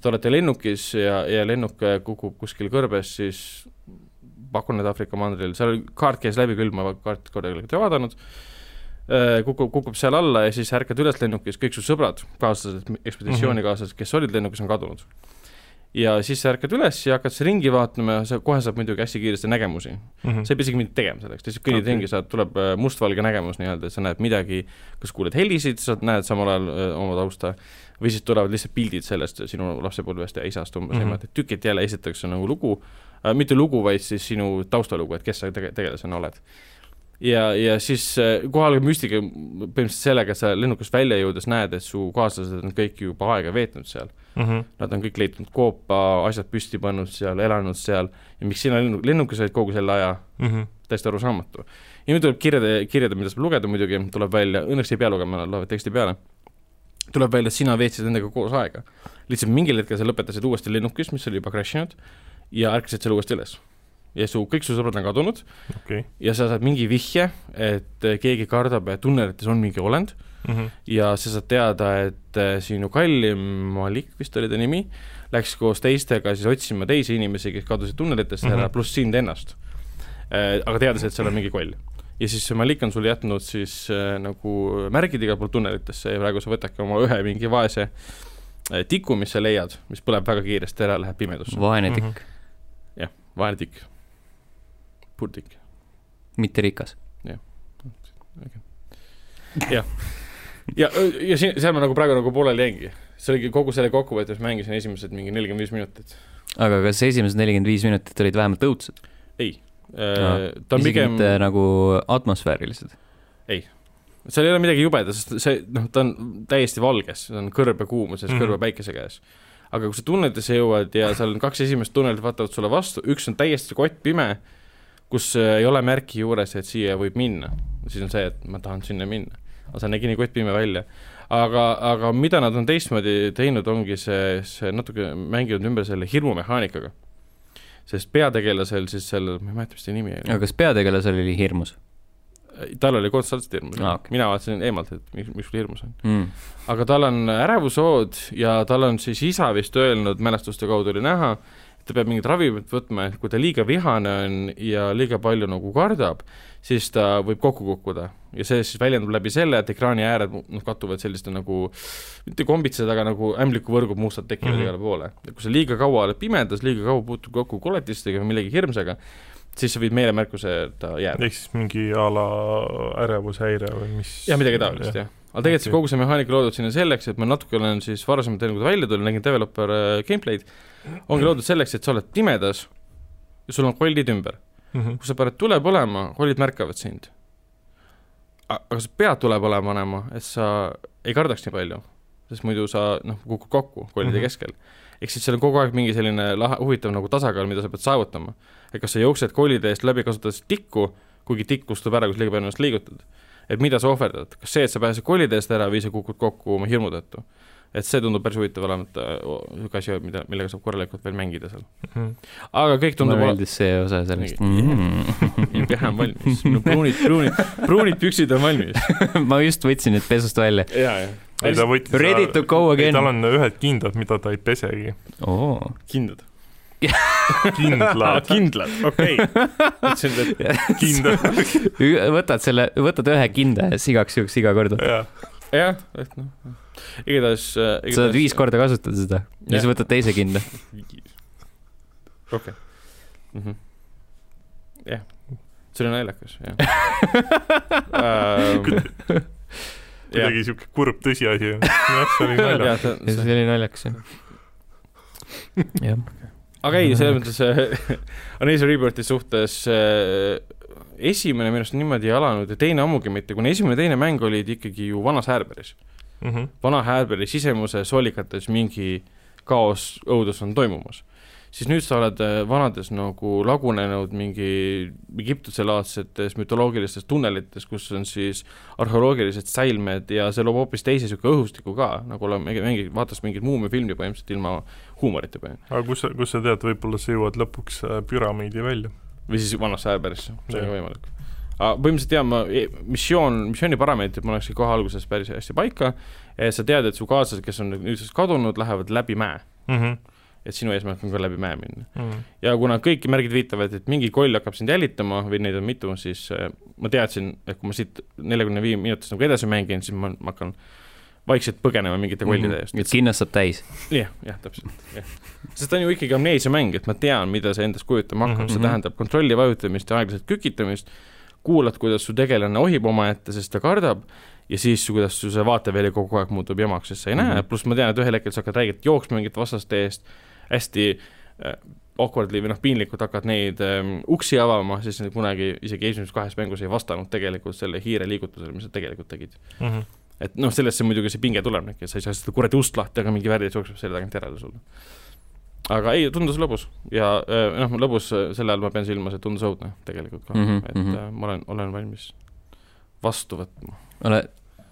[SPEAKER 2] Te olete lennukis ja , ja lennuk äh, kukub kuskil kõrbes , siis pakun , et Aafrika mandril , seal oli- kaart käis läbi küll , ma kaarti korralikult ei vaadanud , kukub , kukub seal alla ja siis ärkad üles lennukis , kõik su sõbrad , kaaslased , ekspeditsioonikaaslased , kes olid lennukis , on kadunud . ja siis sa ärkad üles ja hakkad seal ringi vaatama ja sa kohe saad muidugi hästi kiiresti nägemusi
[SPEAKER 3] Mhm.
[SPEAKER 2] sa Mm. ei pea isegi midagi tegema selleks, lihtsalt kõnnid
[SPEAKER 3] Okei.
[SPEAKER 2] okay. ringi , saad , tuleb äh, mustvalge nägemus nii-öelda , sa näed midagi , kas kuuled helisid , sa näed samal ajal äh, oma tausta või siis tulevad lihtsalt pildid sellest sinu lapsepõlvest ja isast umbes mm
[SPEAKER 3] Mhm.
[SPEAKER 2] -hmm. niimoodi , tükilt jälle esitatakse nagu lugu äh, , mitte lugu , vaid siis sinu taustalugu , et kes sa tege- , tegelasena oled . ja , ja siis äh, kohal on müstika põhimõtteliselt sellega , et sa lennukist välja jõudes näed , et su kaaslased on kõik juba aega veetnud seal .
[SPEAKER 3] Mhm.
[SPEAKER 2] Nad on kõik leidnud koopa , asjad püsti pannud seal , elanud seal ja miks sina lennu- lennukis olid kogu selle aja ,
[SPEAKER 3] Mhm.
[SPEAKER 2] täiesti arusaamatu . ja nüüd tuleb kirjade , kirjade , mida saab lugeda muidugi , tuleb välja , õnneks ei pea lugema , nad loevad teksti peale , tuleb välja , et sina veetsid nendega koos aega . lihtsalt mingil hetkel sa lõpetasid uuesti lennukis , mis oli juba crash inud ja ärkasid seal uuesti üles . ja su , kõik su sõbrad on kadunud
[SPEAKER 3] okei .
[SPEAKER 2] ja sa saad mingi vihje , et keegi kardab , et tunnelites on mingi olend
[SPEAKER 3] Mhm.
[SPEAKER 2] ja sa saad teada , et äh, sinu kallim Malik vist oli ta nimi , läks koos teistega siis otsima teisi inimesi , kes kadusid tunnelitest ära mm
[SPEAKER 3] Mhm.
[SPEAKER 2] -hmm. , pluss sind ennast . aga teades , et seal on mingi koll . ja siis see Malik on sulle jätnud siis äh, nagu märgid igalt poolt tunnelitesse ja praegu sa võtadki oma ühe mingi vaese äh, tiku , mis sa leiad , mis põleb väga kiiresti ära , läheb pimedusse .
[SPEAKER 1] vaene
[SPEAKER 3] Mhm.
[SPEAKER 1] tikk ,
[SPEAKER 2] vaene tikk . purtikk ,
[SPEAKER 1] mitte rikas .
[SPEAKER 2] jah . ja , ja siin , seal ma nagu praegu nagu pooleli jäingi . see oligi kogu selle kokkuvõttes mängisin esimesed mingi nelikümmend viis minutit .
[SPEAKER 1] aga kas esimesed nelikümmend viis minutit olid vähemalt õudsed ? Aa,
[SPEAKER 2] Äh, ta on
[SPEAKER 1] isegi
[SPEAKER 2] pigem ,
[SPEAKER 1] mitte nagu atmosfäärilised .
[SPEAKER 2] seal ei ole midagi jubeda , sest see , noh , ta on täiesti valges , see on kõrbekuumuses mm
[SPEAKER 3] Mhm.
[SPEAKER 2] -hmm. , kõrbepäikese käes . aga kui sa tunnelitesse jõuad ja seal on kaks esimest tunnelit vaatavad sulle vastu , üks on täiesti kottpime , kus äh, ei ole märki juures , et siia võib minna , siis on see , et ma tahan sinna minna . aga see nägi nii kottpime välja . aga , aga mida nad on teistmoodi teinud , ongi see , see natuke mänginud ümber selle hirmumehaanikaga . sest peategelasel siis sellel , ma ei mäleta , mis ta nimi oli
[SPEAKER 1] aga . kas peategelasel oli hirmus
[SPEAKER 2] Äh, tal oli konstantselt hirmus
[SPEAKER 1] Aa, okei. ,
[SPEAKER 2] mina vaatasin eemalt , et miks , miks sul hirmus on .
[SPEAKER 1] mm. ?
[SPEAKER 2] aga tal on ärevushood ja tal on siis isa vist öelnud , mälestuste kaudu oli näha , et ta peab mingit ravimit võtma , et kui ta liiga vihane on ja liiga palju nagu kardab , siis ta võib kokku kukkuda . ja see siis väljendub läbi selle , et ekraani ääred mu- noh , kattuvad selliste nagu , mitte kombitsed , aga nagu ämblikuvõrgud mustad tekivad mm
[SPEAKER 3] Mhm.
[SPEAKER 2] -hmm. igale poole . ja kui sa liiga kaua oled pimedas , liiga kaua puutud kokku koletistega või millegi hirmsaga , siis sa võid meelemärkuse , et ta jääb .
[SPEAKER 3] ehk siis mingi a la ärevushäire või mis .
[SPEAKER 2] jah , midagi taolist , jah . aga tegelikult see
[SPEAKER 3] Okei.
[SPEAKER 2] kogu see mehaanika loodud sinna selleks , et ma natuke olen siis varasemalt enne , kui ta välja tuli , nägin developer äh, gameplay'd , ongi loodud selleks , et sa oled pimedas ja sul on kollid ümber .
[SPEAKER 3] jah .
[SPEAKER 2] kui sa paned tule põlema , kollid märkavad sind . aga sa pead tule põlema panema , et sa ei kardaks nii palju , sest muidu sa noh , kukud kokku kollide mm
[SPEAKER 3] Mhm.
[SPEAKER 2] -hmm. keskel . ehk siis seal on kogu aeg mingi selline lahe , huvitav nagu tasakaal , mida sa pead saavutama . et kas sa jooksed kollide eest läbi , kasutades tikku , kuigi tikk kustub ära , kui sa liiga palju ennast liigutad . et mida sa ohverdad , kas see , et sa pääsed kollide eest ära või sa kukud kokku oma hirmu tõttu . et see tundub päris huvitav olevat äh, o- niisugune asi , mida , millega saab korralikult veel mängida seal .
[SPEAKER 3] Mhm.
[SPEAKER 2] aga kõik
[SPEAKER 1] mulle
[SPEAKER 2] tundub
[SPEAKER 1] meeldis see osa sellest
[SPEAKER 2] ja
[SPEAKER 1] mm. .
[SPEAKER 2] keha on valmis , minu pruunid , pruunid , pruunid püksid on valmis .
[SPEAKER 1] ma just võtsin need pesust välja .
[SPEAKER 2] ja , ja .
[SPEAKER 3] ei , ta võttis .
[SPEAKER 1] Ready to go again.
[SPEAKER 3] tal on ühed kindad , mida ta ei pesegi .
[SPEAKER 1] oo ,
[SPEAKER 2] kindlad .
[SPEAKER 3] kindlad ,
[SPEAKER 2] kindlad , okei okay. . mõtlesin , et
[SPEAKER 3] kindad ,
[SPEAKER 1] võtad selle , võtad ühe kinda ja siis igaks juhuks iga kord .
[SPEAKER 3] jah .
[SPEAKER 2] jah , et noh , igatahes .
[SPEAKER 1] sa saad viis . korda kasutada seda ja siis
[SPEAKER 2] Jah.
[SPEAKER 1] võtad teise kinda .
[SPEAKER 2] okei . Mhm. jah , see oli naljakas , jah um, .
[SPEAKER 3] kuidagi siuke kurb tõsiasi on . jah , see oli naljakas .
[SPEAKER 1] ja siis oli naljakas jah . jah ,
[SPEAKER 2] aga ei , selles mõttes äh, Amnesia Rebirthi suhtes äh, esimene minu arust niimoodi ei alanud ja teine ammugi mitte , kuna esimene ja teine mäng olid ikkagi ju vanas häärberis .
[SPEAKER 3] Mhm.
[SPEAKER 2] vana häälberi sisemuse soolikates mingi kaos õudus on toimumas , siis nüüd sa oled äh, vanades nagu lagunenud mingi Egiptuselaadsetes mütoloogilistes tunnelites , kus on siis arheoloogilised säilmed ja see loob hoopis teise niisugune õhustiku ka , nagu oleme mingi , vaatas mingit muumiafilmi põhimõtteliselt ilma huumorita põhimõtteliselt
[SPEAKER 3] aga kus sa , kus sa tead , võib-olla sa jõuad lõpuks äh, püramiidi välja .
[SPEAKER 2] või siis vanasse häälberisse , see on
[SPEAKER 3] Jah.
[SPEAKER 2] ka võimalik . aga põhimõtteliselt jaa , ma , missioon , missiooni parameetrid pannakse kohe alguses päris hästi paika , sa tead , et su kaaslased , kes on nüüdseks kadunud , lähevad läbi mäe
[SPEAKER 3] Mhm,
[SPEAKER 2] et sinu eesmärk on ka läbi mäe minna . ja kuna kõik märgid viitavad , et mingi koll hakkab sind jälitama või neid on mitu , siis äh, ma teadsin , et kui ma siit neljakümne viie minutist nagu edasi mängin , siis ma, ma hakkan vaikselt põgenema mingite kollide eest .
[SPEAKER 1] et kinnast saab täis .
[SPEAKER 2] jah , jah , täpselt , jah . sest ta on ju ikkagi amneesiamäng , et ma tean , mida see endast kujutama hakkab mm , -hmm. see
[SPEAKER 1] Mhm.
[SPEAKER 2] tähendab kontrolli vajutamist ja aeglaselt kükitamist , kuulad , kuidas su tegelane ohib omaette , sest ta kardab , ja siis , kuidas su see vaateväli kogu aeg muutub jamaks , sest sa ei mm -hmm.
[SPEAKER 1] Mhm.
[SPEAKER 2] näe , pluss ma tean , et ühel hetkel sa hakkad räigelt jooksma mingite vastaste eest , hästi äh, awkwardly või noh , piinlikult hakkad neid ähm, uksi avama , siis nad kunagi isegi esimeses kahes mängus ei vastanud tegelikult selle hiire liigutusele , mis sa tegelikult tegid .
[SPEAKER 3] mm .
[SPEAKER 2] et noh , sellesse muidugi see pinge tulenebki , sa ei saa seda kuradi ust lahti , aga mingi värdjas jookseb selle tagant järele sulle . aga ei , tundus lõbus ja äh, noh , lõbus äh, selle all ma pean silmas , et tundus õudne tegelikult ka mm ,
[SPEAKER 1] Mhm,
[SPEAKER 2] -hmm. et
[SPEAKER 1] mhm.
[SPEAKER 2] äh, ma olen , olen valmis vastu võtma .
[SPEAKER 1] ole ,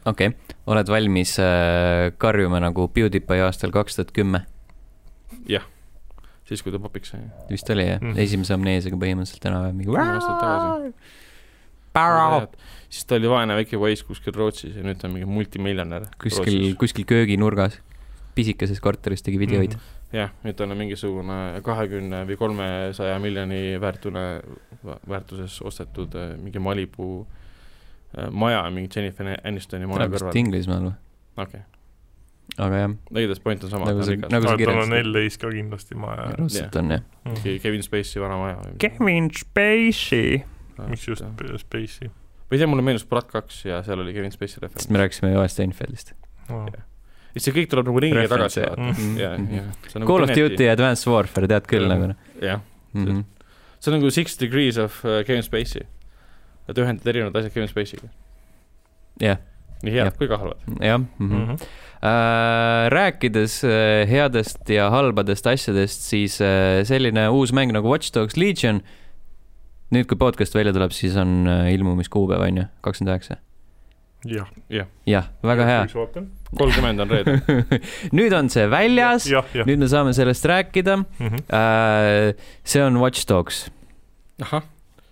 [SPEAKER 1] okei okay. , oled valmis äh, karjuma nagu PewDiePie aastal kaks tuhat kümme ,
[SPEAKER 2] siis , kui ta popiks sai .
[SPEAKER 1] vist oli jah
[SPEAKER 3] Mhm.
[SPEAKER 1] mm. , esimese amneesiaga põhimõtteliselt enam-vähem
[SPEAKER 2] Kümme aastat
[SPEAKER 1] mingi
[SPEAKER 2] tagasi. . siis ta oli vaene väike poiss kuskil Rootsis ja nüüd ta on mingi multimiljonär .
[SPEAKER 1] kuskil ,. kuskil kööginurgas , pisikeses korteris tegi videoid mm. .
[SPEAKER 2] jah , nüüd tal on mingisugune kahekümne või kolmesaja miljoni väärtune , väärtuses ostetud äh, mingi Malibu äh, maja , mingi Jennifer Anistoni maja
[SPEAKER 1] täna vist
[SPEAKER 2] kõrval .
[SPEAKER 1] Inglismaal või ,
[SPEAKER 2] okei ,
[SPEAKER 1] aga jah ,
[SPEAKER 2] igatahes point on sama
[SPEAKER 1] Nagu see-
[SPEAKER 2] nagu... ,
[SPEAKER 1] nagu- sa
[SPEAKER 3] aga tal on
[SPEAKER 1] kirjeldasid.
[SPEAKER 3] LA-s ka kindlasti
[SPEAKER 2] Äh,
[SPEAKER 3] Mhm. maja .
[SPEAKER 1] raudselt on jah .
[SPEAKER 2] Kevin Spacey vana maja või midagi.
[SPEAKER 4] Kevin Spacey .
[SPEAKER 3] mis just
[SPEAKER 2] ma
[SPEAKER 3] Space'i
[SPEAKER 2] ei tea , mulle meenus Brat kaks ja seal oli Kevin Spacey
[SPEAKER 1] sest
[SPEAKER 2] referents
[SPEAKER 1] me rääkisime ju Einfeldist .
[SPEAKER 3] no. .
[SPEAKER 2] ja see kõik tuleb nagu ringiga
[SPEAKER 1] Reference,
[SPEAKER 2] tagasi
[SPEAKER 1] jah.
[SPEAKER 2] vaata
[SPEAKER 3] Mhm.
[SPEAKER 2] ja , ja see on nagu
[SPEAKER 1] Call of Duty ja Advanced Warfare , tead küll
[SPEAKER 2] Mhm.
[SPEAKER 1] nagu noh
[SPEAKER 2] jah ,
[SPEAKER 1] mm -hmm. .
[SPEAKER 2] see on nagu Six Degrees of äh, Kevin Spacey et ühendad erinevad asjad Kevin Spacey'ga
[SPEAKER 1] Jah.
[SPEAKER 2] nii head
[SPEAKER 1] Jah.
[SPEAKER 2] kui ka halvad
[SPEAKER 1] jah mm
[SPEAKER 2] Mhm.
[SPEAKER 1] -hmm. . Äh, rääkides äh, headest ja halbadest asjadest , siis äh, selline uus mäng nagu Watch Dogs Legion . nüüd , kui podcast välja tuleb , siis on äh, ilmumiskuupäev on ju , kakskümmend üheksa .
[SPEAKER 3] jah .
[SPEAKER 1] jah , väga hea .
[SPEAKER 2] kolmkümmend on reede
[SPEAKER 1] nüüd on see väljas ,
[SPEAKER 3] jah , jah . Mhm.
[SPEAKER 1] nüüd me saame sellest rääkida äh, . see on Watch Dogs ,
[SPEAKER 2] ahah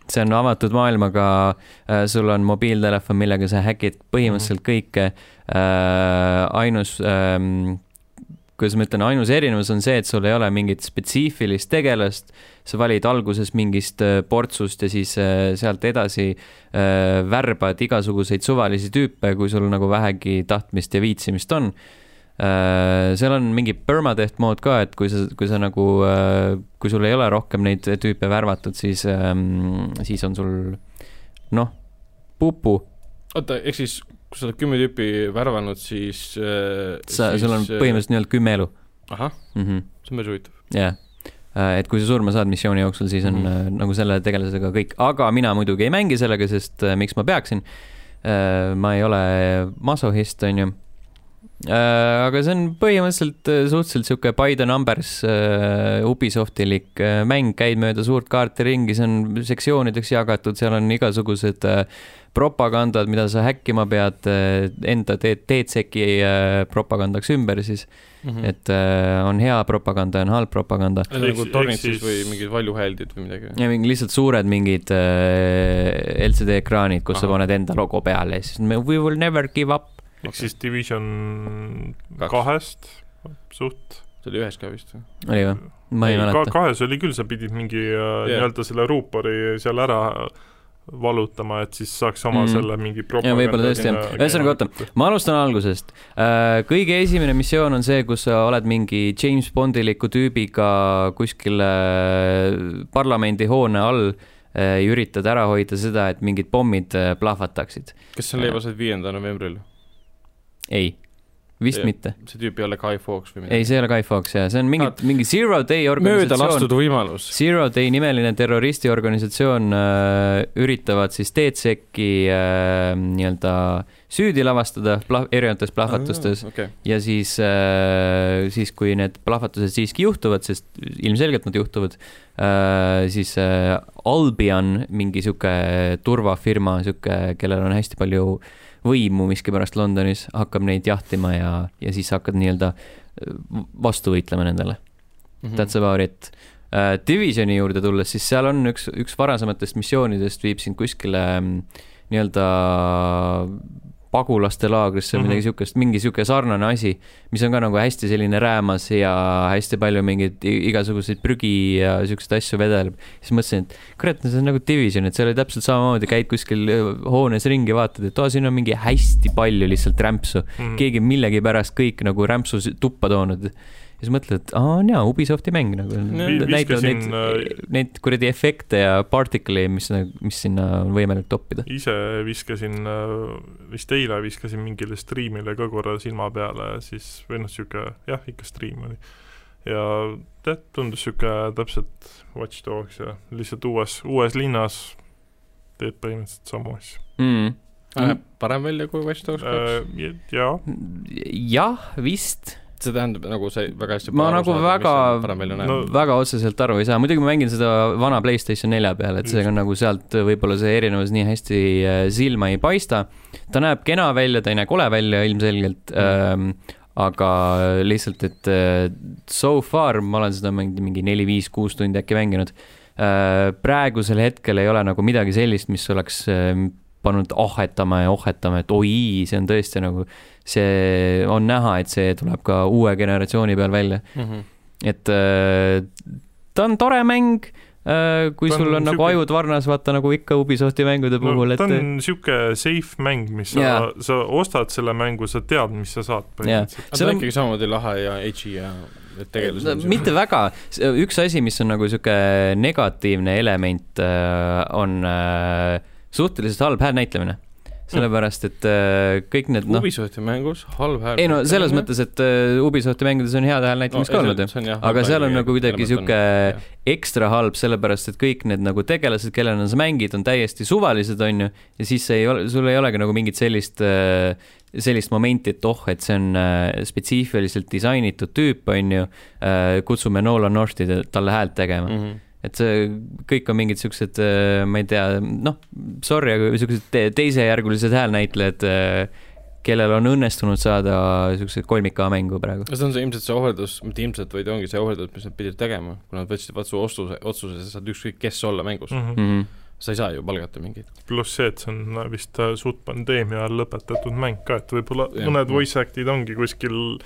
[SPEAKER 1] see on avatud maailmaga äh, , sul on mobiiltelefon , millega sa häkid põhimõtteliselt kõike äh, . ainus ähm, , kuidas ma ütlen , ainus erinevus on see , et sul ei ole mingit spetsiifilist tegelast , sa valid alguses mingist äh, portsust ja siis äh, sealt edasi äh, värbad igasuguseid suvalisi tüüpe , kui sul nagu vähegi tahtmist ja viitsimist on . Uh, seal on mingi permadeath mood ka , et kui sa , kui sa nagu uh, , kui sul ei ole rohkem neid tüüpe värvatud , siis um, , siis on sul noh , pupu ,
[SPEAKER 2] oota , ehk siis kui sa oled kümme tüüpi värvanud , siis äh,
[SPEAKER 1] sa ,
[SPEAKER 2] siis,
[SPEAKER 1] sul on
[SPEAKER 2] äh,
[SPEAKER 1] põhimõtteliselt nii-öelda kümme elu
[SPEAKER 2] ahah ,
[SPEAKER 1] mm . -hmm
[SPEAKER 2] see on päris huvitav
[SPEAKER 1] jah , et kui sa surma saad missiooni jooksul , siis on
[SPEAKER 2] Mhm.
[SPEAKER 1] mm. nagu selle tegelasega kõik , aga mina muidugi ei mängi sellega , sest äh, miks ma peaksin . ma ei ole masohhist , onju . aga see on põhimõtteliselt äh, suhteliselt sihuke by the numbers äh, Ubisoftilik äh, mäng , käid mööda suurt kaarti ringi , see on sektsioonideks jagatud , seal on igasugused äh, propagandad , mida sa häkkima pead , enda teed , teed seki äh, propagandaks ümber siis ,
[SPEAKER 2] mm . -hmm.
[SPEAKER 1] et äh, on hea propaganda ja on halb propaganda .
[SPEAKER 2] Need on
[SPEAKER 3] Eks-
[SPEAKER 2] nagu tornid
[SPEAKER 3] eks
[SPEAKER 2] siis
[SPEAKER 3] siis-
[SPEAKER 2] või mingid valjuhääldid või midagi või ?
[SPEAKER 1] ja mingi lihtsalt suured mingid äh, LCD ekraanid , kus Aha. sa
[SPEAKER 2] Ahah.
[SPEAKER 1] paned enda logo peale ja siis me we will never give up .
[SPEAKER 3] ehk siis Division
[SPEAKER 2] Kaks.
[SPEAKER 3] kahest suht .
[SPEAKER 2] see oli ühes ka vist või ?
[SPEAKER 1] oli või ? ma ei mäleta .
[SPEAKER 3] kahes oli küll , sa pidid mingi yeah. nii-öelda selle ruupori seal ära valutama , et siis saaks oma
[SPEAKER 1] Mhm.
[SPEAKER 3] mm. selle mingi
[SPEAKER 1] ja võib-olla tõesti jah , ühesõnaga oota , ma alustan algusest . kõige esimene missioon on see , kus sa oled mingi James Bondiliku tüübiga kuskil äh, parlamendihoone all äh, ja üritad ära hoida seda , et mingid pommid äh, plahvataksid .
[SPEAKER 2] kas see on leibas viiendal novembril ?
[SPEAKER 1] ei , vist
[SPEAKER 2] Jah.
[SPEAKER 1] ja. mitte .
[SPEAKER 2] see tüüp ei ole Guy Fawkes või
[SPEAKER 1] ei ,
[SPEAKER 2] midagi ?
[SPEAKER 1] see ei ole Guy Fawkes ja see on mingi , mingi Zero Day
[SPEAKER 2] mööda
[SPEAKER 1] organisatsioon .
[SPEAKER 2] lastud võimalus .
[SPEAKER 1] Zero Day nimeline terroristiorganisatsioon äh, üritavad siis DCEC-i äh, nii-öelda süüdi lavastada plah- , erinevates plahvatustes .
[SPEAKER 2] Ah, okei ,
[SPEAKER 1] ja siis äh, , siis kui need plahvatused siiski juhtuvad , sest ilmselgelt nad juhtuvad äh, , siis äh, Albion , mingi sihuke turvafirma , sihuke , kellel on hästi palju võimu miskipärast Londonis , hakkab neid jahtima ja , ja siis hakkad nii-öelda äh, vastu võitlema nendele .
[SPEAKER 2] Mhm.
[SPEAKER 1] That's . about it . Divisioni juurde tulles , siis seal on üks , üks varasematest missioonidest viib sind kuskile ähm, nii-öelda pagulaste laagrisse või mm -hmm. midagi siukest, mingi siuke sarnane asi, mis on ka nagu hästi selline räämas ja hästi palju mingeid i- igasuguseid prügi ja siukseid asju vedeleb. siis mõtlesin, et kurat, no see on nagu Division, et seal oli täpselt samamoodi, käid kuskil öö, hoones ringi, vaatad, et aa, siin on mingi hästi palju lihtsalt rämpsu
[SPEAKER 3] mm.
[SPEAKER 1] keegi on millegipärast kõik nagu rämpsu si- tuppa toonud . ja siis mõtled, et aa on jaa , Ubisofti mäng nagu
[SPEAKER 2] No,
[SPEAKER 1] Nad
[SPEAKER 3] viska
[SPEAKER 1] näitavad neid
[SPEAKER 3] sinna- ,
[SPEAKER 1] neid kuradi efekte ja particle'i , mis , mis sinna on võimalik toppida .
[SPEAKER 3] ise viskasin , vist eile viskasin mingile striimile ka korra silma peale , siis või noh , sihuke jah , ikka striim oli . ja tead , tundus sihuke täpselt Watch Dogs ja lihtsalt uues , uues linnas teed põhimõtteliselt samu asju .
[SPEAKER 1] Mm.
[SPEAKER 2] läheb parem välja kui Watch Dogs kaks .
[SPEAKER 3] ja, ja
[SPEAKER 1] jah , vist ,
[SPEAKER 2] see tähendab nagu sa ei- väga hästi .
[SPEAKER 1] Ma nagu väga-
[SPEAKER 2] parem välja
[SPEAKER 3] no
[SPEAKER 2] näeb .
[SPEAKER 1] väga otseselt aru ei saa , muidugi ma mängin seda vana Playstation nelja peal , et seega nagu sealt võib-olla see erinevus nii hästi äh, silma ei paista . ta näeb kena välja , ta ei näe kole välja ilmselgelt ähm, , aga lihtsalt , et äh, so far ma olen seda mingi , mingi neli-viis-kuus tundi äkki mänginud . praegusel hetkel ei ole nagu midagi sellist , mis oleks äh, pannud ahhetama ja ohhetama , et oi , see on tõesti nagu , see on näha , et see tuleb ka uue generatsiooni peal välja .
[SPEAKER 2] Mhm.
[SPEAKER 1] et äh, ta on tore mäng , kui
[SPEAKER 3] Ta on
[SPEAKER 1] sul on, nagu
[SPEAKER 3] siuke-
[SPEAKER 1] ajud varnas , vaata nagu ikka Ubisofti mängude puhul
[SPEAKER 3] no,
[SPEAKER 1] no, , et
[SPEAKER 3] ta
[SPEAKER 1] äh, on...
[SPEAKER 3] on niisugune safe mäng , mis sa
[SPEAKER 1] Jaa.
[SPEAKER 3] yeah. , sa ostad selle mängu , sa tead , mis sa saad
[SPEAKER 2] aga
[SPEAKER 3] põhimõtteliselt
[SPEAKER 1] Seal
[SPEAKER 2] ta
[SPEAKER 1] on-
[SPEAKER 2] on ikkagi samamoodi lahe ja edgy ja et tegelased on
[SPEAKER 1] mitte väga , üks asi , mis on nagu sihuke negatiivne element , on äh, suhteliselt halb häälnäitlemine . sellepärast , et äh, kõik need
[SPEAKER 2] siuksed-
[SPEAKER 1] noh ,
[SPEAKER 2] Ubisofti mängus halb hääl .
[SPEAKER 1] ei no selles mõttes , et äh, Ubisofti mängudes on head häälnäitlemist no, ka olnud ju . aga seal on nagu kuidagi sihuke ekstra halb , sellepärast et kõik need nagu tegelased , kellena sa mängid , on täiesti suvalised , on ju , ja siis see ei ole , sul ei olegi nagu mingit sellist , sellist momenti , et oh , et see on äh, spetsiifiliselt disainitud tüüp , on ju , kutsume Nolan Northi te- talle häält
[SPEAKER 2] Mm.
[SPEAKER 1] tegema .
[SPEAKER 2] Mhm.
[SPEAKER 1] et see kõik on mingid siuksed , ma ei tea , noh , sorry , aga siuksed te teisejärgulised häälnäitlejad , kellel on õnnestunud saada siukse kolmika mängu praegu .
[SPEAKER 2] no see on see ilmselt see ohverdus , mitte ilmselt , vaid ongi see ohverdus , mis nad pidid tegema , kui nad võtsid vastu otsuse , otsuse , sa saad ükskõik kes olla mängus .
[SPEAKER 3] mm . -hmm.
[SPEAKER 1] Mm -hmm.
[SPEAKER 2] sa ei saa ju palgata mingit .
[SPEAKER 3] pluss see , et see on vist äh, suht pandeemia ajal lõpetatud mäng ka , et võib-olla
[SPEAKER 2] Jah.
[SPEAKER 3] yeah. mõned voice act'id ongi kuskil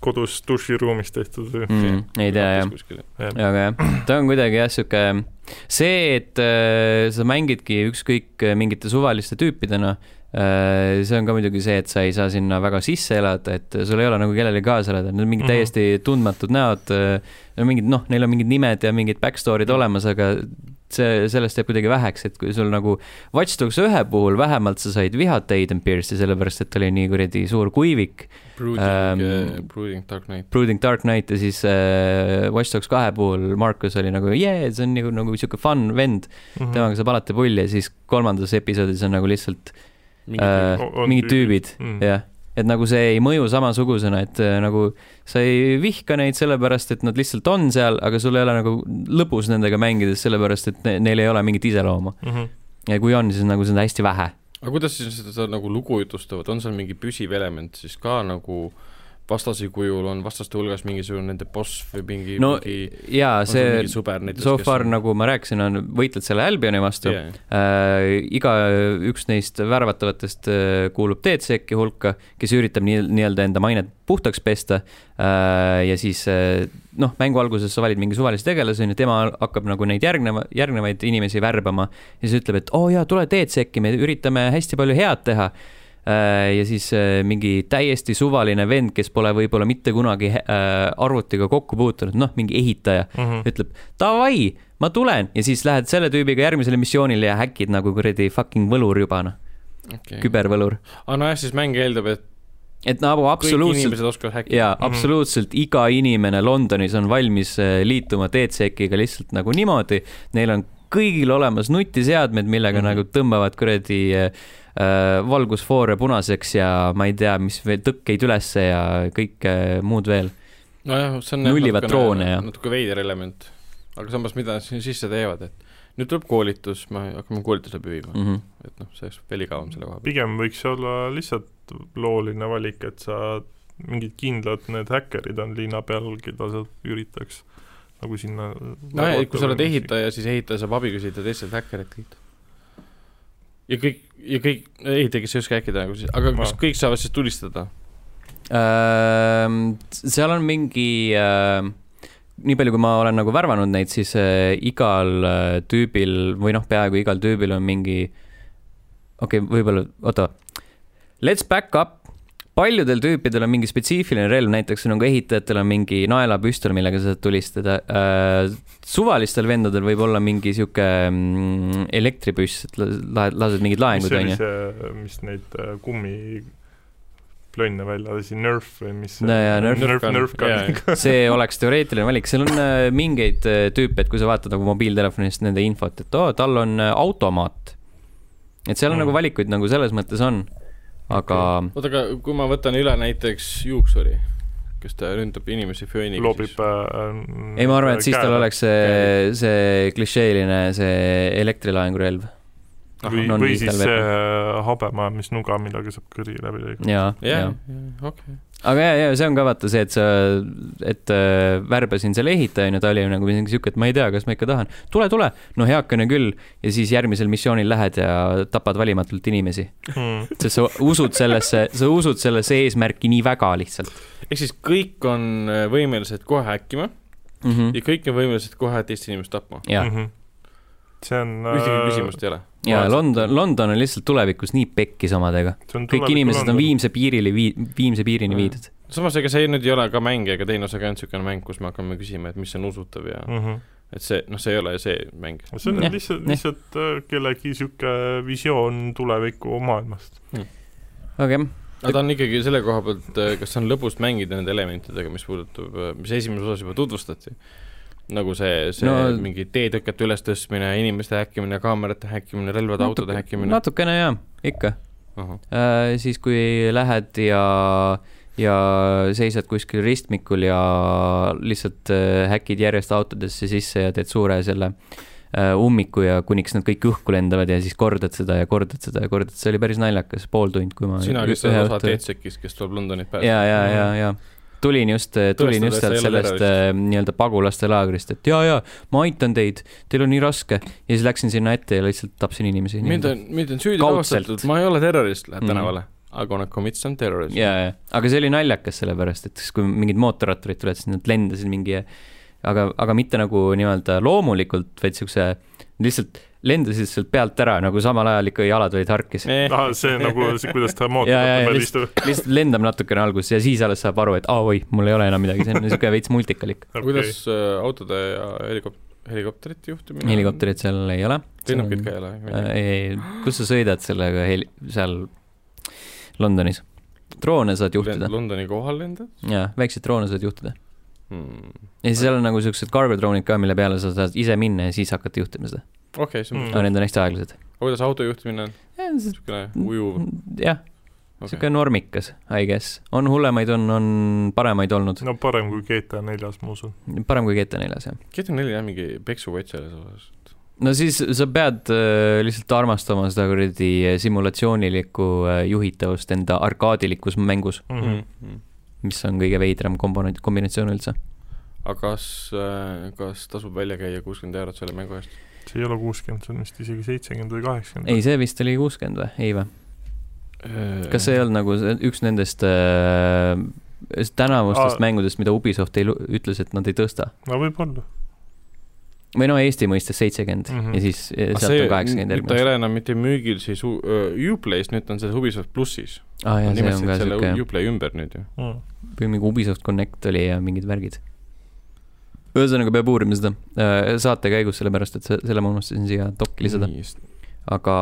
[SPEAKER 3] kodus duširuumis tehtud või
[SPEAKER 1] Mm, ei tea jah .
[SPEAKER 3] jah.
[SPEAKER 1] aga jah , ta on kuidagi jah , sihuke see , et äh, sa mängidki ükskõik äh, mingite suvaliste tüüpidena äh, , see on ka muidugi see , et sa ei saa sinna väga sisse elada , et sul ei ole nagu kellelegi kaasa elada , need on mingid
[SPEAKER 3] Mhm.
[SPEAKER 1] mm -hmm. täiesti tundmatud näod , mingid noh , neil on mingid nimed ja mingid backstory'd olemas , aga see , sellest jääb kuidagi väheks , et kui sul nagu Watch Dogs ühe puhul vähemalt sa said vihata Aiden Pierce'i , sellepärast et ta oli nii kuradi suur kuivik ,
[SPEAKER 2] Brooding
[SPEAKER 1] Ähm,
[SPEAKER 2] um, , Brooding Dark Knight .
[SPEAKER 1] Brooding Dark Knight ja siis äh, Watch Dogs kahe puhul Markus oli nagu jee yeah, , see on nagu , nagu sihuke fun vend ,
[SPEAKER 3] Mhm.
[SPEAKER 1] temaga saab alati pulli ja siis kolmandas episoodis on nagu lihtsalt äh,
[SPEAKER 3] tüübid. On- on
[SPEAKER 1] mingid tüübid ,
[SPEAKER 2] Mhm.
[SPEAKER 3] mm.
[SPEAKER 1] jah . et nagu see ei mõju samasugusena , et äh, nagu sa ei vihka neid sellepärast , et nad lihtsalt on seal , aga sul ei ole nagu lõbus nendega mängides , sellepärast et ne neil ei ole mingit iseloomu .
[SPEAKER 3] Mm -hmm.
[SPEAKER 1] ja kui on , siis nagu seda on hästi vähe .
[SPEAKER 2] aga kuidas siis seda, seda nagu lugu jutustavad , on seal mingi püsiv element siis ka nagu vastase kujul on vastaste hulgas mingisugune nende boss või mingi
[SPEAKER 1] no
[SPEAKER 2] mingi,
[SPEAKER 1] jaa ,
[SPEAKER 2] on sul
[SPEAKER 1] see
[SPEAKER 2] mingi sõber näiteks
[SPEAKER 1] so far , nagu ma rääkisin , on , võitled selle Albioni vastu
[SPEAKER 2] yeah.
[SPEAKER 1] äh, igaüks neist värvatavatest äh, kuulub DCEC-i hulka , kes üritab nii- , nii-öelda enda mainet puhtaks pesta äh, ja siis äh, noh , mängu alguses sa valid mingi suvalise tegelase , on ju , tema hakkab nagu neid järgneva , järgnevaid inimesi värbama ja siis ütleb , et oo oh, jaa , tule DCEC-i , me üritame hästi palju head teha Äh, ja siis äh, mingi täiesti suvaline vend , kes pole võib-olla mitte kunagi äh, arvutiga kokku puutunud , noh , mingi ehitaja ,
[SPEAKER 3] Mm -hmm.
[SPEAKER 1] ütleb davai , ma tulen ja siis lähed selle tüübiga järgmisele missioonile ja häkid nagu kuradi fucking võlur juba noh ,
[SPEAKER 2] okay. küber .
[SPEAKER 1] kübervõlur .
[SPEAKER 2] aa Ah, nojah , siis mäng eeldab , et
[SPEAKER 1] et nagu
[SPEAKER 2] kõik
[SPEAKER 1] absoluutselt
[SPEAKER 2] inimesed oskavad häkkida .
[SPEAKER 1] ja
[SPEAKER 3] Mhm.
[SPEAKER 1] absoluutselt iga inimene Londonis on valmis äh, liituma DCEC-iga lihtsalt nagu niimoodi , neil on kõigil olemas nutiseadmed , millega mm
[SPEAKER 3] Mhm.
[SPEAKER 1] -hmm. nagu tõmbavad kuradi äh, äh, valgusfoore punaseks ja ma ei tea , mis veel tõkkeid ülesse ja kõike muud veel .
[SPEAKER 2] nojah , see on
[SPEAKER 1] Nullivad
[SPEAKER 2] natukene-
[SPEAKER 1] troone ja-
[SPEAKER 2] natuke veider element , aga samas , mida nad sinna sisse teevad , et nüüd tuleb koolitus , me hakkame koolitust läbi viima
[SPEAKER 1] Mhm.
[SPEAKER 2] mm. , et noh , see oleks veel igavam selle koha peal .
[SPEAKER 3] pigem võiks olla lihtsalt looline valik , et sa mingid kindlad need häkkerid on linna peal , keda sa üritaks nagu sinna
[SPEAKER 2] nojah , et kui sa oled ehitaja , siis ehitaja saab abi küsida teistelt häkkeritelt . ja kõik , ja kõik , ei tea , kes ei oska äkki teha , aga kas
[SPEAKER 3] Ma-
[SPEAKER 2] kõik saavad siis tulistada ?
[SPEAKER 1] Ähm, seal on mingi , nii palju , kui ma olen nagu värvanud neid , siis äh, igal äh, tüübil või noh , peaaegu igal tüübil on mingi , okei okay, , võib-olla , oota . Let's back up , paljudel tüüpidel on mingi spetsiifiline relv , näiteks nagu ehitajatel on mingi naelapüstol , millega sa saad tulistada äh, . suvalistel vendadel võib olla mingi sihuke mm, elektripüss , et la- la- lased mingid
[SPEAKER 3] mis
[SPEAKER 1] laengud ,
[SPEAKER 3] oli
[SPEAKER 1] onju .
[SPEAKER 3] see , mis neid äh, kummiplönne välja lasi , Nerf või mis see
[SPEAKER 1] No jaa, Nerf
[SPEAKER 3] Nerf ,
[SPEAKER 2] gun.
[SPEAKER 3] Nerf
[SPEAKER 2] Jaa,
[SPEAKER 3] gun .
[SPEAKER 2] jaa.
[SPEAKER 1] see oleks teoreetiline valik , seal on äh, mingeid äh, tüüpe , et kui sa vaatad nagu mobiiltelefonist nende infot , et oo , tal on äh, automaat . et seal on
[SPEAKER 3] Mm.
[SPEAKER 1] mm. nagu valikuid nagu selles mõttes on , aga
[SPEAKER 2] oota , aga kui ma võtan üle näiteks juuksuri , kes ta ründab inimesi fööniga ,
[SPEAKER 3] loobib
[SPEAKER 2] siis
[SPEAKER 3] äh,
[SPEAKER 1] ei , ma arvan , et siis tal
[SPEAKER 3] käega.
[SPEAKER 1] oleks see , see klišeeline , see elektrilaengurelv
[SPEAKER 3] või ,
[SPEAKER 1] Ahah,
[SPEAKER 3] või
[SPEAKER 1] non-lethal
[SPEAKER 3] siis
[SPEAKER 1] weapon.
[SPEAKER 3] see äh, habemajandmisnuga , millega saab kõri läbi lõigata .
[SPEAKER 1] ja , ja
[SPEAKER 2] jah , okei .
[SPEAKER 1] aga ja , ja see on ka vaata see , et sa , et äh, värbasin selle ehitaja onju , ta oli nagu mingi siuke , et ma ei tea , kas ma ikka tahan . tule , tule , no heakene küll ja siis järgmisel missioonil lähed ja tapad valimatult inimesi .
[SPEAKER 3] Mm.
[SPEAKER 1] sest sa usud sellesse , sa usud sellesse eesmärki nii väga lihtsalt
[SPEAKER 2] ehk siis kõik on äh, võimelised kohe häkkima
[SPEAKER 1] mm .
[SPEAKER 2] ja
[SPEAKER 1] -hmm.
[SPEAKER 2] kõik on võimelised kohe teist inimest tapma .
[SPEAKER 1] ja ,
[SPEAKER 3] Mhm. see on äh,
[SPEAKER 2] ühtegi küsimust ei ole .
[SPEAKER 1] ja London , London on lihtsalt tulevikus nii pekkis omadega . kõik inimesed on . Viimse piirile vii- , Viimse piirini
[SPEAKER 2] Jaa.
[SPEAKER 1] viidud .
[SPEAKER 2] samas , ega see nüüd ei ole ka mäng ega teine osa ka ainult niisugune mäng , kus me hakkame küsima , et mis on usutav ja
[SPEAKER 3] Mm -hmm.
[SPEAKER 2] et see , noh , see ei ole ju see mäng .
[SPEAKER 3] see on
[SPEAKER 1] Jah,
[SPEAKER 3] lihtsalt ,
[SPEAKER 1] jah.
[SPEAKER 3] lihtsalt äh, kellegi sihuke visioon tuleviku maailmast .
[SPEAKER 1] aga jah ,
[SPEAKER 2] aga ta on ikkagi selle koha pealt , kas on lõbus mängida nende elementidega , mis puudutab , mis esimeses osas juba tutvustati , nagu see , see no,
[SPEAKER 1] No-
[SPEAKER 2] mingi teetõkete ülestõstmine , inimeste häkkimine , kaamerate häkkimine , relvade , autode häkkimine .
[SPEAKER 1] natukene jaa , ikka . Äh, siis , kui lähed ja , ja seisad kuskil ristmikul ja lihtsalt äh, häkid järjest autodesse sisse ja teed suure selle äh, ummiku ja kuniks nad kõik õhku lendavad ja siis kordad seda ja kordad seda ja kordad , see oli päris naljakas pool tundi , kui ma
[SPEAKER 2] sina ,
[SPEAKER 1] ü-
[SPEAKER 2] kes
[SPEAKER 1] ühe
[SPEAKER 2] sa oled osa
[SPEAKER 1] õhtu-
[SPEAKER 2] Teetsekist , kes tuleb Londonit päästma .
[SPEAKER 1] ja , ja , ja ,
[SPEAKER 2] Mm.
[SPEAKER 1] ja tulin just , tulin
[SPEAKER 2] Tõestada,
[SPEAKER 1] just
[SPEAKER 2] et sa
[SPEAKER 1] sealt
[SPEAKER 2] ei ole
[SPEAKER 1] sellest äh, nii-öelda pagulaste laagrist , et ja , ja ma aitan teid , teil on nii raske ja siis läksin sinna ette ja lihtsalt tapsin inimesi .
[SPEAKER 2] mind on , mind on süüdi
[SPEAKER 1] Kaudselt.
[SPEAKER 2] tavastatud , ma ei ole terrorist , lähed
[SPEAKER 1] Mhm.
[SPEAKER 2] tänavale . I gonna commit some terrorism .
[SPEAKER 1] ja , ja , aga see oli naljakas , sellepärast et siis , kui mingid mootorratturid tulid , siis nad lendasid mingi , aga , aga mitte nagu nii-öelda loomulikult , vaid siukse , lihtsalt lendasid sealt pealt ära , nagu samal ajal ikka jalad olid harkis .
[SPEAKER 3] ah , see nagu , kuidas ta
[SPEAKER 1] Jaa, jaa,
[SPEAKER 3] mootorit peal
[SPEAKER 1] lihtsalt-
[SPEAKER 3] istub .
[SPEAKER 1] lihtsalt lendab natukene alguses ja siis alles saab aru , et aa oi , mul ei ole enam midagi , see on niisugune veits multikalik .
[SPEAKER 2] kuidas äh, autode ja helikop- , helikopterite juhtimine ?
[SPEAKER 1] helikopterit seal ei ole .
[SPEAKER 2] lennukid ka ei ole
[SPEAKER 1] Äh, . ei , kus sa sõidad sellega heli- , seal Londonis ? droone saad juhtida ,
[SPEAKER 2] Londoni kohal lendad
[SPEAKER 1] jaa , väikseid droone saad juhtida .
[SPEAKER 2] hmm. ?
[SPEAKER 1] ja siis seal on nagu siuksed cargo droonid ka , mille peale sa saad ise minna ja siis hakata juhtima seda .
[SPEAKER 2] okei okay, , see on
[SPEAKER 3] Mm.
[SPEAKER 1] aga need on hästi aeglased .
[SPEAKER 2] aga kuidas auto juhtimine on , niisugune ujuv
[SPEAKER 1] mm,
[SPEAKER 2] okay. ?
[SPEAKER 1] jah , siuke normikas , I guess . on hullemaid , on , on paremaid olnud .
[SPEAKER 3] no parem kui GTA neljas , ma usun .
[SPEAKER 1] parem kui GTA neljas , jah .
[SPEAKER 2] GTA neli jah , mingi peksuvõtt selles osas .
[SPEAKER 1] no siis sa pead äh, lihtsalt armastama seda kuradi äh, simulatsioonilikku äh, juhitavust enda arkaadilikus mängus ,
[SPEAKER 3] Mhm.
[SPEAKER 1] Mhm. mis on kõige veidram komponent , kombinatsioon üldse .
[SPEAKER 2] aga kas , kas tasub välja käia kuuskümmend eurot selle mängu eest ?
[SPEAKER 3] see ei ole kuuskümmend , see on vist isegi seitsekümmend või kaheksakümmend .
[SPEAKER 1] ei , see vist oli kuuskümmend või , ei või ? kas see ei ? olnud nagu see- üks nendest äh, s- tänavustest
[SPEAKER 3] Aa.
[SPEAKER 1] Aa. mängudest , mida Ubisoft ei, lu- ütles , et nad ei tõsta ?
[SPEAKER 3] no võib-olla .
[SPEAKER 1] või no Eesti mõistes seitsekümmend
[SPEAKER 3] Mhm.
[SPEAKER 1] ja siis eh, sealt
[SPEAKER 2] Mm-hmm. see
[SPEAKER 1] on , kaheksakümmend
[SPEAKER 2] nüüd ta ei
[SPEAKER 1] järgmine .
[SPEAKER 2] ole enam mitte müügil siis U- öö, Uplay's , nüüd ta on see Ubisoft plussis .
[SPEAKER 1] aa jaa , Ah, see on
[SPEAKER 2] nimetasid
[SPEAKER 1] ka
[SPEAKER 2] selle
[SPEAKER 1] siuke
[SPEAKER 2] U- , Uplay ümber nüüd ju .
[SPEAKER 3] Mm.
[SPEAKER 1] või mingi Ubisoft Connect oli ja mingid värgid . ühesõnaga peab uurima seda äh, saate käigus , sellepärast et se- selle ma unustasin siia dokki lisada . aga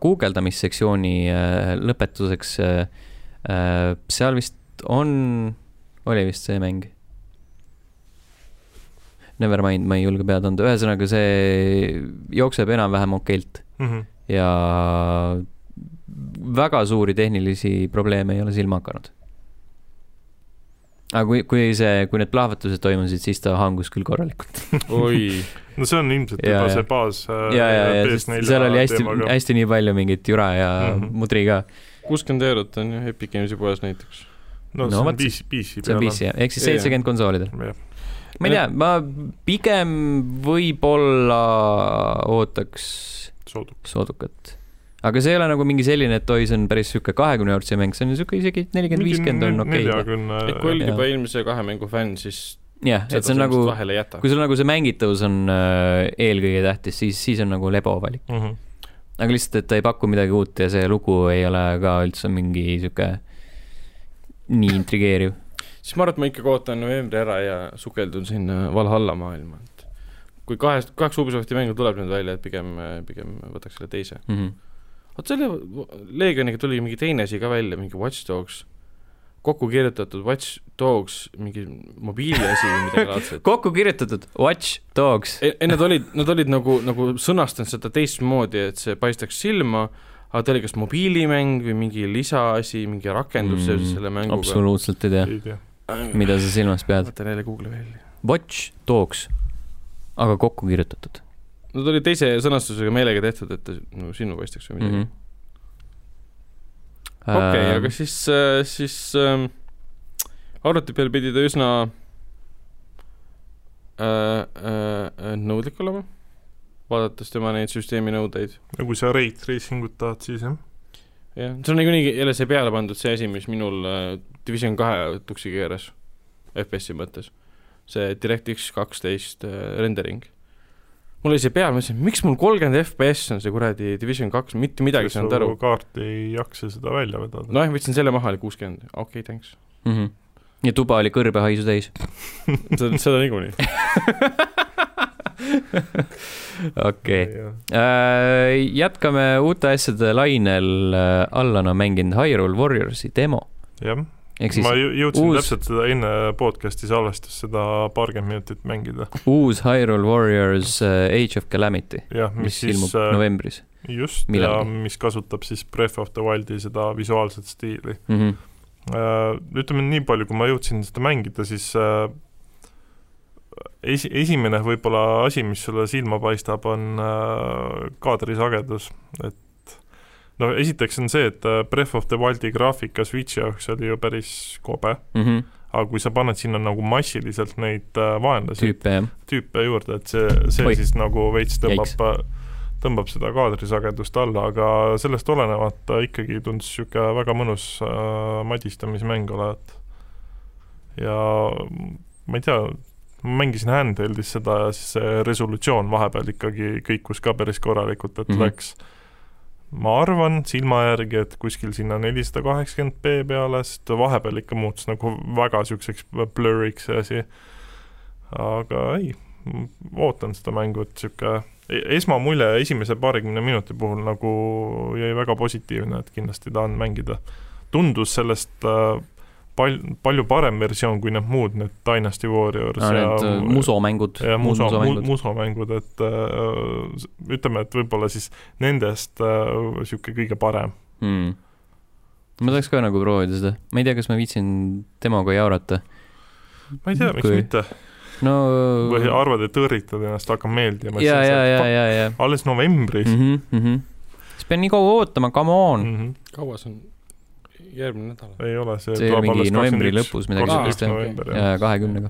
[SPEAKER 1] guugeldamissektsiooni äh, lõpetuseks äh, äh, seal vist on , oli vist see mäng ? Never mind , ma ei julge pead anda , ühesõnaga see jookseb enam-vähem okeilt
[SPEAKER 3] Mhm.
[SPEAKER 1] ja väga suuri tehnilisi probleeme ei ole silma hakanud . aga kui , kui see , kui need plahvatused toimusid , siis ta hangus küll korralikult .
[SPEAKER 2] oi ,
[SPEAKER 3] no see on ilmselt
[SPEAKER 1] Jaa,
[SPEAKER 3] juba
[SPEAKER 1] jaa.
[SPEAKER 3] see baas . äh,
[SPEAKER 1] ja , ja , ja sest seal oli hästi , hästi nii palju mingit jura ja
[SPEAKER 3] Mhm.
[SPEAKER 1] mm. mudri ka .
[SPEAKER 2] kuuskümmend eurot on ju Epic Games'i poes näiteks .
[SPEAKER 3] no
[SPEAKER 1] no
[SPEAKER 3] see on
[SPEAKER 1] vot
[SPEAKER 3] PC , PC
[SPEAKER 1] see on
[SPEAKER 3] peal .
[SPEAKER 1] PC jah , ehk siis
[SPEAKER 2] Jaa.
[SPEAKER 1] seitsekümmend konsoolidel .
[SPEAKER 3] jah .
[SPEAKER 1] ma ei tea , ma pigem võib-olla ootaks
[SPEAKER 3] sooduk .
[SPEAKER 1] soodukat . aga see ei ole nagu mingi selline , et oi , see on päris sihuke kahekümne eurtse mäng , see on sihuke isegi nelikümmend , viiskümmend on okei . noh.
[SPEAKER 3] neljakümne
[SPEAKER 2] et kui olid
[SPEAKER 1] Jah.
[SPEAKER 2] juba eelmise kahe mängu fänn , siis
[SPEAKER 1] jah , et
[SPEAKER 2] seda
[SPEAKER 1] see on nagu ,
[SPEAKER 2] vahele ei jäta .
[SPEAKER 1] kui sul nagu see mängitavus on äh, eelkõige tähtis , siis , siis on nagu lebo valik .
[SPEAKER 3] mm . -hmm.
[SPEAKER 1] aga lihtsalt , et ta ei paku midagi uut ja see lugu ei ole ka üldse mingi sihuke nii intrigeeriv .
[SPEAKER 2] siis ma arvan , et ma ikkagi ootan novembri ära ja sukeldun sinna Valhalla maailma , et kui kahest , kaks Ubisofti mängu tuleb nüüd välja , et pigem , pigem võtaks selle teise .
[SPEAKER 1] Mm -hmm.
[SPEAKER 2] vot selle Leegioniga tuli mingi teine asi ka välja , mingi Watch Dogs , kokku kirjutatud Watch Dogs , mingi mobiiliasi või midagi laadset .
[SPEAKER 1] kokku kirjutatud Watch Dogs .
[SPEAKER 2] ei , ei nad olid , nad olid nagu , nagu sõnastanud seda teistmoodi , et see paistaks silma , aga ta oli kas mobiilimäng või mingi lisaasi , mingi rakendus mm,
[SPEAKER 1] Mm,
[SPEAKER 2] selle mänguga .
[SPEAKER 1] absoluutselt ei tea ,
[SPEAKER 3] ei tea .
[SPEAKER 1] mida sa silmas pead .
[SPEAKER 2] võtan jälle Google'i välja .
[SPEAKER 1] Watch Dogs , aga kokku kirjutatud
[SPEAKER 2] Nad olid teise sõnastusega meelega tehtud , et ta nagu sinna paistaks või
[SPEAKER 1] mm .
[SPEAKER 2] midagi
[SPEAKER 1] -hmm.
[SPEAKER 2] mm . okei -hmm. , aga
[SPEAKER 1] Ähm,
[SPEAKER 2] siis , siis ähm, arvuti peal pidi ta üsna äh, äh, nõudlik olema , vaadates tema neid süsteemi nõudeid .
[SPEAKER 3] no kui sa rate racing ut tahad , siis jah .
[SPEAKER 2] jah , see on niikuinii jälle see peale pandud see asi , mis minul äh, Division kahe tuksi keeras , FPS-i mõttes . see DirectX kaksteist äh, rendering . mul oli see peal , ma mõtlesin , miks mul kolmkümmend FPS on see kuradi Division kaks , mitte midagi ei saanud aru .
[SPEAKER 3] kaart ei jaksa seda välja vedada .
[SPEAKER 2] nojah , võtsin selle maha , oli kuuskümmend , okei okay, , thanks .
[SPEAKER 1] mm . -hmm. ja tuba oli kõrbehaisu täis .
[SPEAKER 2] seda , seda niikuinii .
[SPEAKER 1] okei , Äh, jätkame uute asjade lainel . Allan on mänginud Hyrule Warriorsi demo
[SPEAKER 3] jah ,
[SPEAKER 1] ehk siis
[SPEAKER 3] ma jõ- jõudsin
[SPEAKER 1] uus-
[SPEAKER 3] uus... täpselt seda enne podcast'i salvestust seda paarkümmend minutit mängida .
[SPEAKER 1] uus Hyrule Warriors äh, Age of Calamity ,
[SPEAKER 3] jah ,
[SPEAKER 1] mis
[SPEAKER 3] mis
[SPEAKER 1] ilmub
[SPEAKER 3] siis äh,
[SPEAKER 1] novembris
[SPEAKER 3] just
[SPEAKER 1] millalgi.
[SPEAKER 3] ja mis kasutab siis Breath of the Wildi seda visuaalset stiili .
[SPEAKER 1] mm . -hmm.
[SPEAKER 3] Äh, ütleme nii palju , kui ma jõudsin seda mängida , siis äh, esi , esimene võib-olla asi , mis sulle silma paistab , on äh, kaadrisagedus , et no esiteks on see , et äh, Breath of the Wildi graafika Switchi jaoks oli ju päris kobe ,
[SPEAKER 1] Mm -hmm.
[SPEAKER 3] aga kui sa paned sinna nagu massiliselt neid äh, vaenlasi ,
[SPEAKER 1] tüüpe jah ,
[SPEAKER 3] tüüpe juurde , et see , see
[SPEAKER 1] Oi.
[SPEAKER 3] Oi. siis nagu veits
[SPEAKER 1] Jaiks.
[SPEAKER 3] tõmbab , tõmbab seda kaadrisagedust alla , aga sellest olenemata ikkagi tundus niisugune väga mõnus äh, madistamismäng olevat . ja ma ei tea , ma mängisin handheld'is seda ja siis see resolutsioon vahepeal ikkagi kõikus ka päris korralikult , et mm
[SPEAKER 1] Mhm.
[SPEAKER 3] -hmm. läks ma arvan silma järgi , et kuskil sinna nelisada kaheksakümmend B peale , sest ta vahepeal ikka muutus nagu väga niisuguseks blur'iks see asi . aga ei , ootan seda mängu , et niisugune esmamulje esimese paarikümne minuti puhul nagu jäi väga positiivne , et kindlasti tahan mängida . tundus sellest äh, pal- , palju parem versioon kui need muud , need Dynasty Warriors
[SPEAKER 1] need äh, musomängud .
[SPEAKER 3] ja muso , musomängud , et äh, s- ütleme , et võib-olla siis nendest niisugune äh, kõige parem .
[SPEAKER 1] mm. . ma tahaks ka nagu proovida seda , ma ei tea , kas ma viitsin demoga jaurata .
[SPEAKER 3] ma ei tea , miks
[SPEAKER 1] Kui-
[SPEAKER 3] Kui... mitte ,
[SPEAKER 1] no .
[SPEAKER 3] või arvad , et õrritad ennast , hakkab meeldima .
[SPEAKER 1] Äh. ja , ja , ja , ja , ja .
[SPEAKER 3] alles novembris mm .
[SPEAKER 1] Mhm, siis pean nii kaua ootama , come on .
[SPEAKER 3] -hmm.
[SPEAKER 2] kaua see on ? järgmine nädal .
[SPEAKER 3] ei ole , see
[SPEAKER 1] see oli mingi novembri lõpus midagi
[SPEAKER 2] Aa,
[SPEAKER 1] sellist jah ,
[SPEAKER 3] november jah .
[SPEAKER 1] Äh, kahekümnega .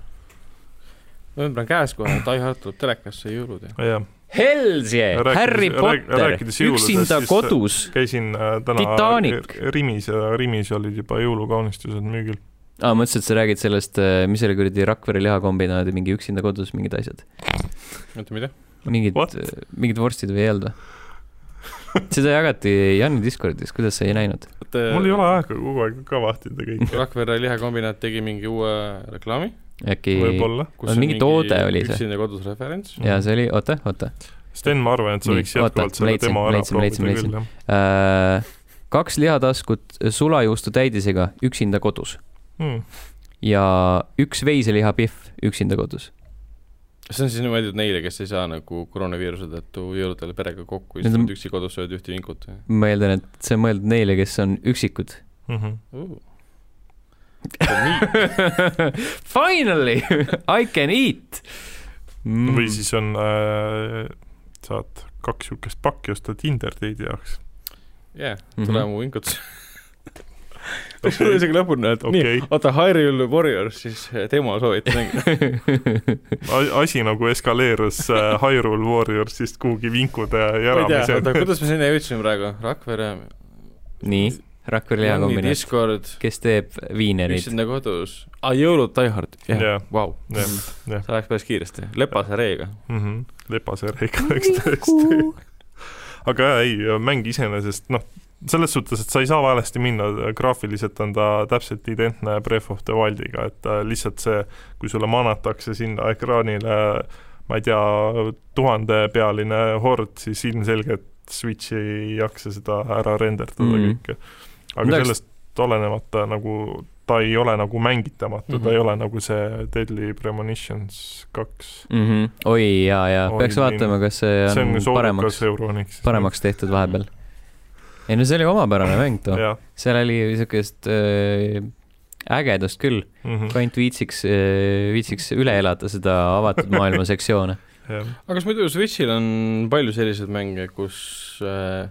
[SPEAKER 2] november on käes kohe , Die Hard tuleb telekasse jõulude .
[SPEAKER 3] jah ,
[SPEAKER 1] Hells yeah ,
[SPEAKER 3] Rääkides-
[SPEAKER 1] Harry
[SPEAKER 3] rääk-
[SPEAKER 1] Potter ,
[SPEAKER 3] rääkides jõuludest,
[SPEAKER 1] üksinda
[SPEAKER 3] siis-
[SPEAKER 1] kodus .
[SPEAKER 3] käisin äh, täna
[SPEAKER 1] Titanic.
[SPEAKER 3] Rimis ja Rimis olid juba jõulukaunistused müügil .
[SPEAKER 1] aa , mõtlesin , et sa räägid sellest , mis oli kuradi Rakvere lihakombinaadi mingi üksinda kodus mingid asjad .
[SPEAKER 2] oota , mida ?
[SPEAKER 1] mingid äh,
[SPEAKER 3] What? ,
[SPEAKER 1] mingid vorstid või ei olnud või ? seda jagati Janni Discordis , kuidas sa ei näinud ?
[SPEAKER 2] Äh.
[SPEAKER 3] mul ei ole aega kogu aeg ka vahtida kõike ,
[SPEAKER 2] Rakvere lihakombinaat tegi mingi uue reklaami ,
[SPEAKER 1] äkki ,
[SPEAKER 3] võib-olla .
[SPEAKER 1] No
[SPEAKER 2] kus on
[SPEAKER 1] mingi toode oli see.
[SPEAKER 2] üksinda kodus referents .
[SPEAKER 1] jaa , see oli , oota , oota
[SPEAKER 3] Sten , ma arvan , et sa
[SPEAKER 1] Nii,
[SPEAKER 3] võiks
[SPEAKER 1] oota,
[SPEAKER 3] jätkuvalt selle
[SPEAKER 1] leidsin,
[SPEAKER 3] demo ära
[SPEAKER 1] leidsin, leidsin,
[SPEAKER 3] proovida
[SPEAKER 1] leidsin.
[SPEAKER 3] küll , jah .
[SPEAKER 1] äh, . kaks lihataskut sulajuustu täidisega üksinda kodus
[SPEAKER 3] Hmm.
[SPEAKER 1] ja üks veiselihapihv üksinda kodus .
[SPEAKER 2] see on siis mõeldud neile , kes ei saa nagu koroonaviiruse tõttu jõuludel perega kokku ja
[SPEAKER 1] Need
[SPEAKER 2] siis
[SPEAKER 1] on-
[SPEAKER 2] nad üksi kodus söövad ühte vinkut .
[SPEAKER 1] ma eeldan , et see on mõeldud neile , kes on üksikud .
[SPEAKER 3] Mm -hmm.
[SPEAKER 1] Finally I can eat mm.
[SPEAKER 3] või . siis on äh, , saad kaks niisugust pakki osta Tinder date'i jaoks .
[SPEAKER 2] jah ,
[SPEAKER 1] Mhm.
[SPEAKER 2] tule mu vinkut . peaks okay. isegi lõpuni öelda okay. , nii ,
[SPEAKER 3] okei ,
[SPEAKER 2] oota , Hyrule Warriors siis eh, demo soovitan mängida .
[SPEAKER 3] asi nagu eskaleerus äh, Hyrule Warriorsist kuhugi vinkude
[SPEAKER 2] ma ei tea , oota ,
[SPEAKER 3] järamiseni .
[SPEAKER 2] kuidas me sinna jõudsime praegu , Rakvere .
[SPEAKER 1] nii , Rakvere hea kombinaat ,
[SPEAKER 2] Discord ,
[SPEAKER 1] kes teeb viinereid .
[SPEAKER 2] üksinda kodus . aa , jõulud Die Hard , jah
[SPEAKER 3] Jah. ,
[SPEAKER 2] vau .
[SPEAKER 1] Mm.
[SPEAKER 3] jah , jah ,
[SPEAKER 2] see läks päris kiiresti , lepase reega .
[SPEAKER 3] Mhm. lepaseeriga läks tõesti . aga jaa , ei , mäng iseenesest noh , selles suhtes , et sa ei saa valesti minna , graafiliselt on ta täpselt identne Breath of the Wildiga , et äh, lihtsalt see , kui sulle manatakse sinna ekraanile ma ei tea , tuhandepealine hord , siis ilmselgelt Switch ei jaksa seda ära renderdada
[SPEAKER 1] Mhm.
[SPEAKER 3] mm. kõike .
[SPEAKER 1] No
[SPEAKER 3] aga
[SPEAKER 1] eks-
[SPEAKER 3] sellest olenemata nagu ta ei ole nagu mängitamatu mm , -hmm.
[SPEAKER 2] Mhm.
[SPEAKER 3] ta ei ole nagu see Deadly Premonitions kaks .
[SPEAKER 1] mm . -hmm. oi ja , ja
[SPEAKER 3] Oi,
[SPEAKER 1] peaks vaatama , kas see on,
[SPEAKER 3] see on soodukas
[SPEAKER 1] paremaks ,
[SPEAKER 3] Euroniks .
[SPEAKER 1] paremaks tehtud vahepeal . ei no see oli omapärane mäng too ,
[SPEAKER 3] jah
[SPEAKER 1] seal oli siukest äh, ägedust küll ,
[SPEAKER 3] mm -hmm. ,
[SPEAKER 1] kui ainult viitsiks äh, , viitsiks üle elada seda avatud maailma sektsioone .
[SPEAKER 3] jah ,
[SPEAKER 2] aga kas muidu Switchil on palju selliseid mänge , kus äh,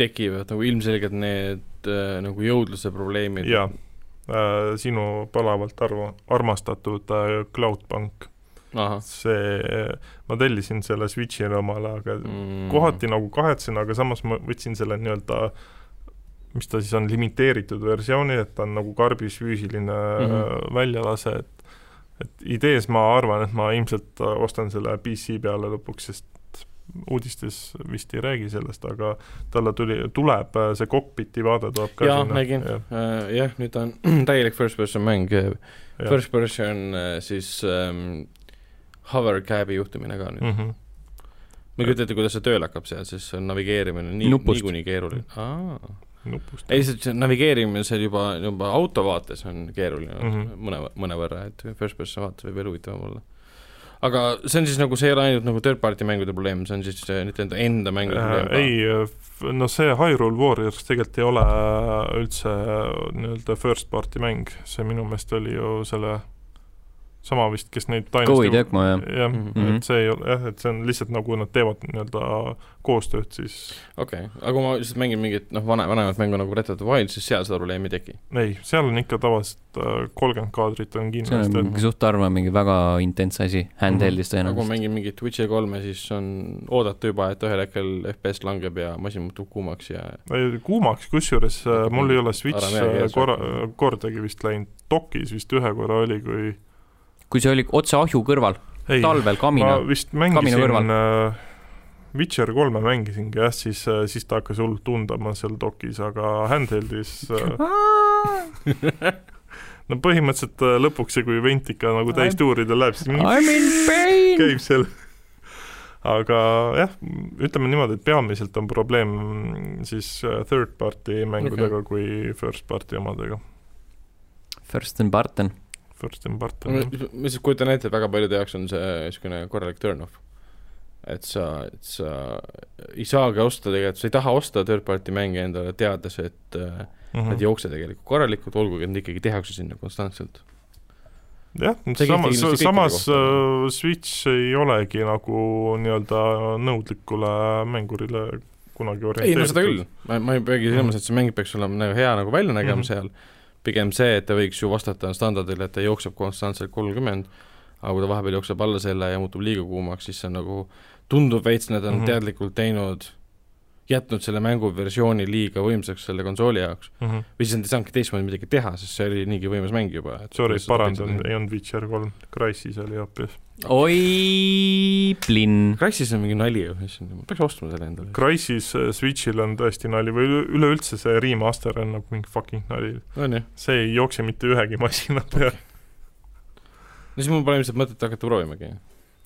[SPEAKER 2] tekivad nagu ilmselgelt need äh, nagu jõudluse probleemid ?
[SPEAKER 3] jaa . Äh, sinu palavalt arvu , armastatud äh, Cloudbank ,
[SPEAKER 2] ahah
[SPEAKER 3] see , ma tellisin selle Switch'ile omale , aga mm.
[SPEAKER 2] mm.
[SPEAKER 3] kohati nagu kahetsen , aga samas ma võtsin selle nii-öelda mis ta siis on , limiteeritud versiooni , et ta on nagu karbis füüsiline mm
[SPEAKER 2] Mhm.
[SPEAKER 3] -hmm. väljalase , et et idees ma arvan , et ma ilmselt äh, ostan selle PC peale lõpuks , sest uudistes vist ei räägi sellest , aga talle tuli , tuleb äh, see kokpiti vaade tuleb ka
[SPEAKER 2] jaa , nägin , Äh, jah , nüüd ta on täielik first person mäng , first person äh, siis ähm, hover cab'i juhtimine ka nüüd .
[SPEAKER 3] mm . -hmm.
[SPEAKER 2] ma ei kujuta ette , kuidas see tööle hakkab seal , sest see on navigeerimine nii ,
[SPEAKER 1] Nupust.
[SPEAKER 2] niikuinii keeruline . aa ,
[SPEAKER 3] nupust .
[SPEAKER 2] ei lihtsalt see navigeerimine seal juba , juba auto vaates on keeruline mm -hmm.
[SPEAKER 3] Mhm.
[SPEAKER 2] mõne , mõnevõrra , et first person vaates võib veel huvitavam olla . aga see on siis nagu , see ei ole ainult nagu third party mängude probleem , see on siis äh, Nintendo enda mängude probleem ka ?
[SPEAKER 3] Äh, ei , no see Hyrule Warriors tegelikult ei ole üldse nii-öelda first party mäng , see minu meelest oli ju selle sama vist , kes neid
[SPEAKER 1] Go-i
[SPEAKER 3] Dynasty
[SPEAKER 1] Tecmo jah ,
[SPEAKER 3] jah mm ,
[SPEAKER 2] Mhm.
[SPEAKER 3] -hmm. et see ei ole jah , et see on lihtsalt nagu nad teevad nii-öelda koostööd siis ,
[SPEAKER 2] okei okay. , aga kui ma lihtsalt mängin mingit noh , vana , vanemat mängu nagu Breath of the Wild , siis seal seda probleemi ei teki .
[SPEAKER 3] ei , seal on ikka tavaliselt äh, kolmkümmend kaadrit on Mhm.
[SPEAKER 1] see on
[SPEAKER 3] kindlasti ,
[SPEAKER 1] mingi suht harva mingi väga intense asi , handheld'is
[SPEAKER 2] aga kui ma
[SPEAKER 1] tõenäoliselt .
[SPEAKER 2] mängin mingit Witcher kolme , siis on oodata juba , et ühel hetkel FPS langeb ja masin muutub kuumaks ja
[SPEAKER 3] et kuumaks , kusjuures äh, mul ei ole Switch
[SPEAKER 2] Ära mine
[SPEAKER 3] äh,
[SPEAKER 2] keeles
[SPEAKER 3] korra
[SPEAKER 2] rääkima. ,
[SPEAKER 3] kordagi vist läinud , dokis vist ühe korra oli , kui
[SPEAKER 1] kui see oli otse ahju kõrval ,
[SPEAKER 3] ei ,
[SPEAKER 1] talvel kamina
[SPEAKER 3] ma vist
[SPEAKER 1] Kamina kõrval.
[SPEAKER 3] mängisin äh, Witcher kolme mängisingi jah , siis , siis ta hakkas hullult tundma seal dokis , aga handheld'is äh, no põhimõtteliselt äh, lõpuks see , kui vent ikka nagu täistuuridel läheb , siis mingi
[SPEAKER 1] I'm in pain .
[SPEAKER 3] käib seal . aga jah , ütleme niimoodi , et peamiselt on probleem siis äh, third party mängudega okay. kui first party omadega .
[SPEAKER 1] First and Barton ,
[SPEAKER 3] First and part
[SPEAKER 2] ma
[SPEAKER 3] on
[SPEAKER 2] ma lihtsalt kujutan ette , et väga paljude jaoks on see niisugune korralik turn-off . et sa , et sa ei saagi osta tegelikult , sa ei taha osta third-party mänge endale , teades , et äh, nad ei
[SPEAKER 3] jah ,
[SPEAKER 2] jookse tegelikult korralikult , olgugi et nad ikkagi tehakse sinna konstantselt . See
[SPEAKER 3] samas
[SPEAKER 2] kindlasti , kõikide
[SPEAKER 3] samas
[SPEAKER 2] kohta.
[SPEAKER 3] äh, Switch ei olegi nagu nii-öelda nõudlikule mängurile kunagi
[SPEAKER 2] ei no seda küll Mhm.
[SPEAKER 3] orienteeritud .,
[SPEAKER 2] ma , ma ei peagi silmas , et see mäng peaks olema nagu hea nagu välja nägema mm
[SPEAKER 3] Mhm.
[SPEAKER 2] -hmm. seal , pigem see , et ta võiks ju vastata standardile , et ta jookseb konstantselt kolmkümmend , aga kui ta vahepeal jookseb alla selle ja muutub liiga kuumaks , siis see on nagu , tundub veits , nad on mm
[SPEAKER 3] Mhm.
[SPEAKER 2] -hmm. teadlikult teinud , jätnud selle mänguversiooni liiga võimsaks selle konsooli jaoks
[SPEAKER 3] Mm -hmm.
[SPEAKER 2] või siis nad ei saanudki teistmoodi midagi teha , sest see oli niigi võimas mäng juba .
[SPEAKER 3] Sorry , parandan , ei olnud Witcher kolm , Crysis oli hoopis .
[SPEAKER 1] oi , plinn .
[SPEAKER 2] Crysis on mingi nali ju , issand , ma peaks ostma selle endale .
[SPEAKER 3] Crysis äh, Switchil on tõesti nali või üle- üleüldse see remaster on nagu mingi fucking nali .
[SPEAKER 2] on ju ,
[SPEAKER 3] see ei jookse mitte ühegi masina peale .
[SPEAKER 1] Äh,
[SPEAKER 2] no siis mul pole lihtsalt mõtet hakata proovimagi
[SPEAKER 1] no, .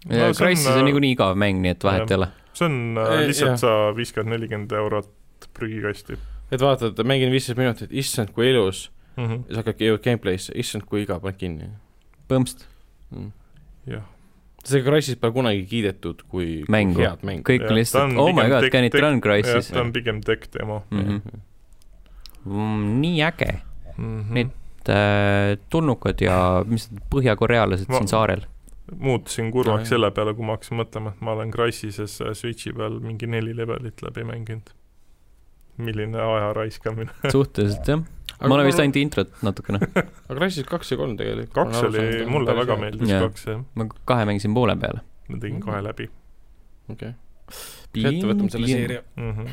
[SPEAKER 3] No see on,
[SPEAKER 1] Crysis on, on
[SPEAKER 3] äh,
[SPEAKER 1] niikuinii igav mäng , nii et vahet ei ole .
[SPEAKER 3] see on
[SPEAKER 2] Ei,
[SPEAKER 3] äh,
[SPEAKER 2] jah.
[SPEAKER 3] lihtsalt sa viskad nelikümmend eurot prügikasti
[SPEAKER 2] et vaatad , mängin viisteist minutit , issand kui ilus ,
[SPEAKER 3] mm .
[SPEAKER 1] Mhm.
[SPEAKER 3] -hmm.
[SPEAKER 2] siis hakkadki jõudma gameplay'sse , issand kui igav , panen kinni
[SPEAKER 1] põmst ,
[SPEAKER 2] mm. .
[SPEAKER 3] jah ,
[SPEAKER 2] see Crysis pole kunagi kiidetud kui kui
[SPEAKER 1] Mängu.
[SPEAKER 2] head mäng .
[SPEAKER 1] kõik
[SPEAKER 3] Jah,
[SPEAKER 1] on lihtsalt
[SPEAKER 3] ta , on
[SPEAKER 1] oh my
[SPEAKER 3] pigem
[SPEAKER 1] god ,
[SPEAKER 3] tek-
[SPEAKER 1] can it
[SPEAKER 3] tek-
[SPEAKER 1] run Crysis ?
[SPEAKER 3] ta on pigem tech demo
[SPEAKER 1] Mhm. nii äge ,
[SPEAKER 3] mm . -hmm.
[SPEAKER 1] Nii. et äh, tulnukad ja mis need põhjakorealased
[SPEAKER 3] Ma-
[SPEAKER 1] siin saarel .
[SPEAKER 3] muutusin
[SPEAKER 2] Ah, jah.
[SPEAKER 3] kurvaks selle peale , kui ma hakkasin mõtlema , et ma olen Crysises äh, Switchi peal mingi neli levelit läbi mänginud . milline aja raiskamine .
[SPEAKER 1] suhteliselt jah , ma olen vist ainult introt natukene ,
[SPEAKER 2] aga Crysis kaks ja kolm tegelikult .
[SPEAKER 3] kaks oli , mulle väga meeldis
[SPEAKER 1] Jaa.
[SPEAKER 3] kaks jah ,
[SPEAKER 1] ma kahe mängisin poole peale .
[SPEAKER 3] ma
[SPEAKER 1] Mm.
[SPEAKER 3] tegin kahe läbi
[SPEAKER 2] okei , siis ette võtame selle seeria .
[SPEAKER 3] mm . -hmm.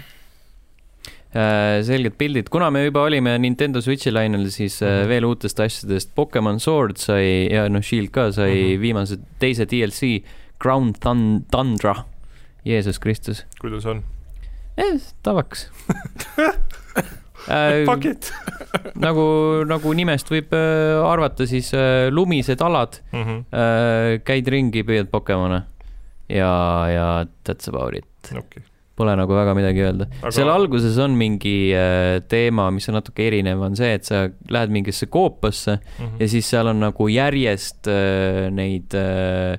[SPEAKER 1] Äh, selged pildid , kuna me juba olime Nintendo Switchi lainel , siis äh,
[SPEAKER 3] Mhm.
[SPEAKER 1] veel uutest asjadest , Pokemon Sword sai ja noh , Shield ka sai mm -hmm.
[SPEAKER 3] Mhm.
[SPEAKER 1] viimase teise DLC , Crown Thun- , Tundra , Jeesus Kristus ,
[SPEAKER 3] kuidas on ?
[SPEAKER 1] tavaks äh, .
[SPEAKER 3] pakett
[SPEAKER 1] nagu , nagu nimest võib äh, arvata , siis äh, lumised alad
[SPEAKER 3] mm . -hmm.
[SPEAKER 1] äh, , käid ringi , püüad Pokemone ja , ja that's about it .
[SPEAKER 3] okei okay. ,
[SPEAKER 1] Pole nagu väga midagi öelda aga... .
[SPEAKER 3] Aga-
[SPEAKER 1] seal alguses on mingi äh, teema , mis on natuke erinev , on see , et sa lähed mingisse koopasse
[SPEAKER 3] mm
[SPEAKER 1] ja siis seal on nagu järjest äh, neid äh, ,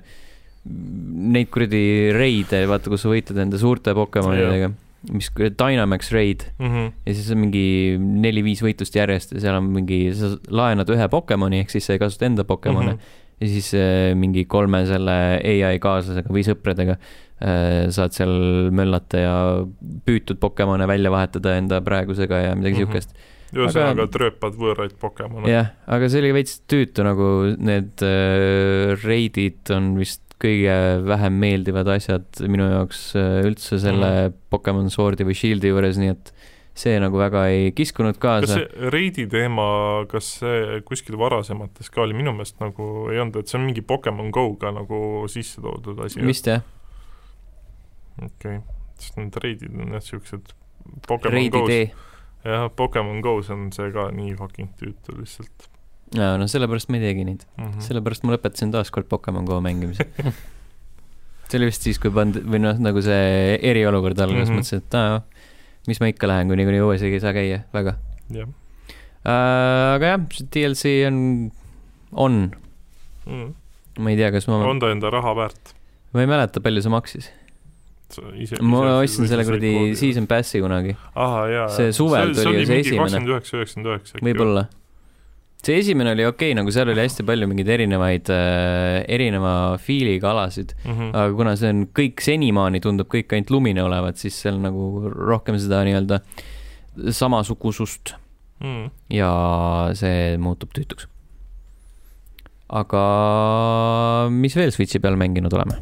[SPEAKER 1] neid kuradi reide , vaata , kus sa võitled nende suurte Pokemonidega , mis kuradi Dynamax raid
[SPEAKER 3] -hmm.
[SPEAKER 1] ja siis on mingi neli-viis võitlust järjest ja seal on mingi , sa laenad ühe Pokemoni , ehk siis sa ei kasuta enda Pokemone mm .
[SPEAKER 3] Mhm.
[SPEAKER 1] -hmm. ja siis äh, mingi kolme selle ai kaaslasega või sõpradega äh, saad seal möllata ja püütud Pokemone välja vahetada enda praegusega ja midagi mm
[SPEAKER 3] Mhm.
[SPEAKER 1] -hmm. siukest .
[SPEAKER 3] ühesõnaga
[SPEAKER 1] Aga-
[SPEAKER 3] aga... trööpad võõraid Pokemone .
[SPEAKER 1] jah , aga see oli veits tüütu , nagu need äh, reidid on vist kõige vähem meeldivad asjad minu jaoks äh, üldse selle mm
[SPEAKER 3] Mhm.
[SPEAKER 1] -hmm. Pokemon Swordi või Shieldi juures , nii et see nagu väga ei kiskunud
[SPEAKER 3] kas
[SPEAKER 1] kaasa .
[SPEAKER 3] see reidi teema , kas see kuskil varasemates ka oli , minu meelest nagu ei olnud , et see on mingi Pokemon Go-ga nagu sisse toodud asi .
[SPEAKER 1] vist jah ?
[SPEAKER 3] okei okay. , sest need reidid on jah , siuksed Pokemon
[SPEAKER 1] reidi
[SPEAKER 3] Go-s ,
[SPEAKER 1] tee .
[SPEAKER 3] jah , Pokemon Go-s on see ka nii fucking tüütu lihtsalt
[SPEAKER 1] jaa , no sellepärast ma ei teegi neid ,
[SPEAKER 3] mm . -hmm.
[SPEAKER 1] sellepärast ma lõpetasin taaskord Pokemon Go mängimise . see oli vist siis , kui pand- , või noh , nagu see eriolukord algas mm ,
[SPEAKER 3] Mhm.
[SPEAKER 1] -hmm. mõtlesin , et aa , mis ma ikka lähen , kui niikuinii õues ei saa käia , väga
[SPEAKER 3] jah
[SPEAKER 1] äh, . aga jah , see DLC on , on ,
[SPEAKER 3] mm. .
[SPEAKER 1] ma ei tea , kas ma ,
[SPEAKER 3] on ta enda raha väärt ?
[SPEAKER 1] ma ei mäleta , palju see maksis . ma ostsin selle kuradi . Season Passi kunagi ,
[SPEAKER 3] ahah , jaa .
[SPEAKER 1] see suvel tuli ju see esimene.
[SPEAKER 3] kakskümmend üheksa , üheksakümmend üheksa .
[SPEAKER 1] võib-olla . see esimene oli okei okay, , nagu seal oli hästi palju mingeid erinevaid äh, , erineva fiiliga alasid .
[SPEAKER 3] mm .
[SPEAKER 1] aga kuna see on kõik senimaani tundub kõik ainult lumine olevat , siis seal nagu rohkem seda nii-öelda samasugusust
[SPEAKER 3] -hmm.
[SPEAKER 1] ja see muutub tüütuks . aga mis veel Switchi peal mänginud oleme ?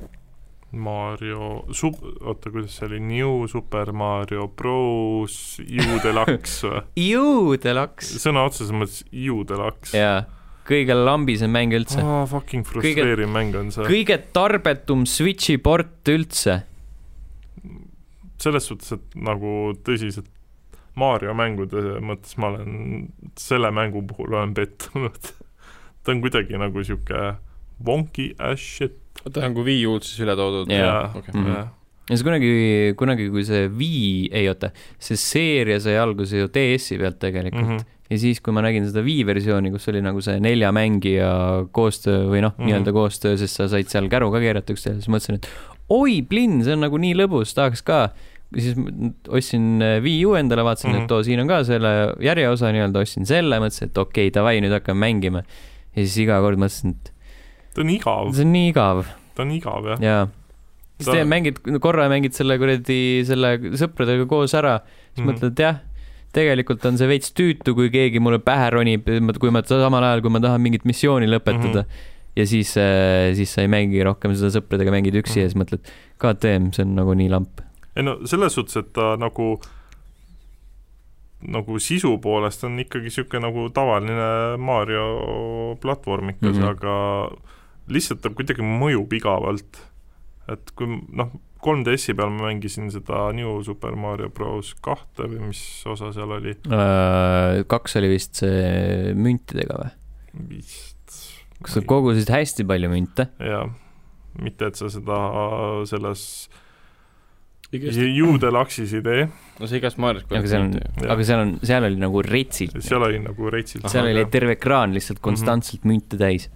[SPEAKER 3] Mario , sub- , oota , kuidas see oli , New Super Mario Bros U Deluxe või ?
[SPEAKER 1] jõudelaks .
[SPEAKER 3] sõna otseses mõttes U Deluxe .
[SPEAKER 1] jaa , kõige lambisem mäng üldse .
[SPEAKER 3] aa , fucking frustreeriv Kõige... mäng on see .
[SPEAKER 1] kõige tarbetum Switchi port üldse .
[SPEAKER 3] selles suhtes , et nagu tõsiselt Mario mängude mõttes ma olen , selle mängu puhul olen pettunud . ta on kuidagi nagu sihuke wonky as shit
[SPEAKER 2] oota , see on kui Wii U-d siis üle toodud .
[SPEAKER 1] Jaa.
[SPEAKER 2] okei ,
[SPEAKER 1] Mhm.
[SPEAKER 3] jah.
[SPEAKER 1] ja see kunagi , kunagi , kui see Wii , ei oota , see seeria sai alguse ju DS-i pealt tegelikult
[SPEAKER 3] Mhm.
[SPEAKER 1] mm . -hmm ja siis , kui ma nägin seda Wii versiooni , kus oli nagu see nelja mängija koostöö või noh mm. ,
[SPEAKER 3] Mhm.
[SPEAKER 1] nii-öelda koostöö , sest sa said seal käru ka keerata üksteisele , siis mõtlesin , et oi , plinn , see on nagu nii lõbus , tahaks ka . siis m- ostsin äh, Wii U endale , vaatasin mm , -hmm.
[SPEAKER 3] Mhm.
[SPEAKER 1] et oo , siin on ka selle järjeosa nii-öelda , ostsin selle , mõtlesin , et okei okay, , davai , nüüd hakkame mängima . ja siis iga kord mõtlesin , et
[SPEAKER 3] ta on igav ,
[SPEAKER 1] see on nii igav
[SPEAKER 3] ta on igav jah .
[SPEAKER 1] ja siis
[SPEAKER 3] Ta-
[SPEAKER 1] teed , mängid , korra mängid selle kuradi , selle sõpradega koos ära , siis
[SPEAKER 3] Mhm.
[SPEAKER 1] mm. mõtled , jah , tegelikult on see veits tüütu , kui keegi mulle pähe ronib , kui ma samal ajal , kui ma tahan mingit missiooni lõpetada
[SPEAKER 3] Mhm.
[SPEAKER 1] mm . -hmm. ja siis , siis sa ei mängi rohkem seda sõpradega , mängid üksi mm.
[SPEAKER 3] Mhm.
[SPEAKER 1] ja siis mõtled , KTM , see on nagu nii lamp .
[SPEAKER 3] ei no selles suhtes , et ta nagu , nagu sisu poolest on ikkagi niisugune nagu tavaline Mario platvormikas mm ,
[SPEAKER 1] Mhm.
[SPEAKER 3] -hmm. aga lihtsalt ta kuidagi mõjub igavalt . et kui m- noh , 3DS-i peal ma mängisin seda New Super Mario Bros kahte või mis osa seal oli ,
[SPEAKER 1] Äh, kaks oli vist see müntidega või ?
[SPEAKER 3] vist
[SPEAKER 1] kus sa
[SPEAKER 3] Ei.
[SPEAKER 1] kogusid hästi palju münte .
[SPEAKER 3] jah , mitte et sa seda selles
[SPEAKER 2] okei .
[SPEAKER 3] juudelaksis ei tee ,
[SPEAKER 2] no see igas Marios
[SPEAKER 1] aga seal on ,
[SPEAKER 3] Jah.
[SPEAKER 1] aga seal on , seal oli nagu retsilt .
[SPEAKER 3] seal oli nagu reitsilt Mhm.
[SPEAKER 1] seal oli terve ekraan lihtsalt konstantselt münte täis .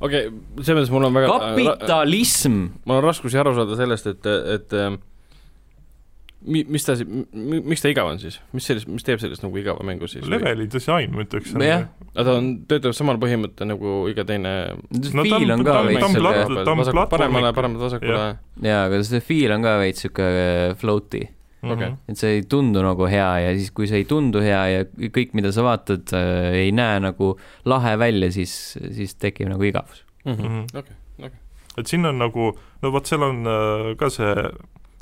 [SPEAKER 2] okei , selles mõttes mul on väga
[SPEAKER 1] kapitalism
[SPEAKER 2] mul on raskusi aru saada sellest , et , et ähm, mi- , mis ta , miks ta igav on siis , mis sellest , mis teeb sellest nagu igava mängu siis ?
[SPEAKER 3] leveli disain , ma ütleks .
[SPEAKER 1] Jah.
[SPEAKER 2] aga ta on , töötab samal põhimõttel nagu iga teine
[SPEAKER 1] see
[SPEAKER 3] No ta on-
[SPEAKER 1] fiil on ka
[SPEAKER 3] ta on-
[SPEAKER 1] veits
[SPEAKER 3] ta on
[SPEAKER 1] siuke
[SPEAKER 3] plat- , ta on
[SPEAKER 2] vasak
[SPEAKER 3] platvormik.
[SPEAKER 2] paremale , paremale vasakule
[SPEAKER 3] Jah.
[SPEAKER 1] jaa , aga see fiil on ka veits siuke float'i .
[SPEAKER 3] Mhm.
[SPEAKER 2] Okei.
[SPEAKER 1] äh, et see ei tundu nagu hea ja siis , kui see ei tundu hea ja kõik , mida sa vaatad , ei näe nagu lahe välja , siis , siis tekib nagu igavus .
[SPEAKER 3] Mhm.
[SPEAKER 2] okei , okei .
[SPEAKER 3] et siin on nagu , no vot seal on äh, ka see ,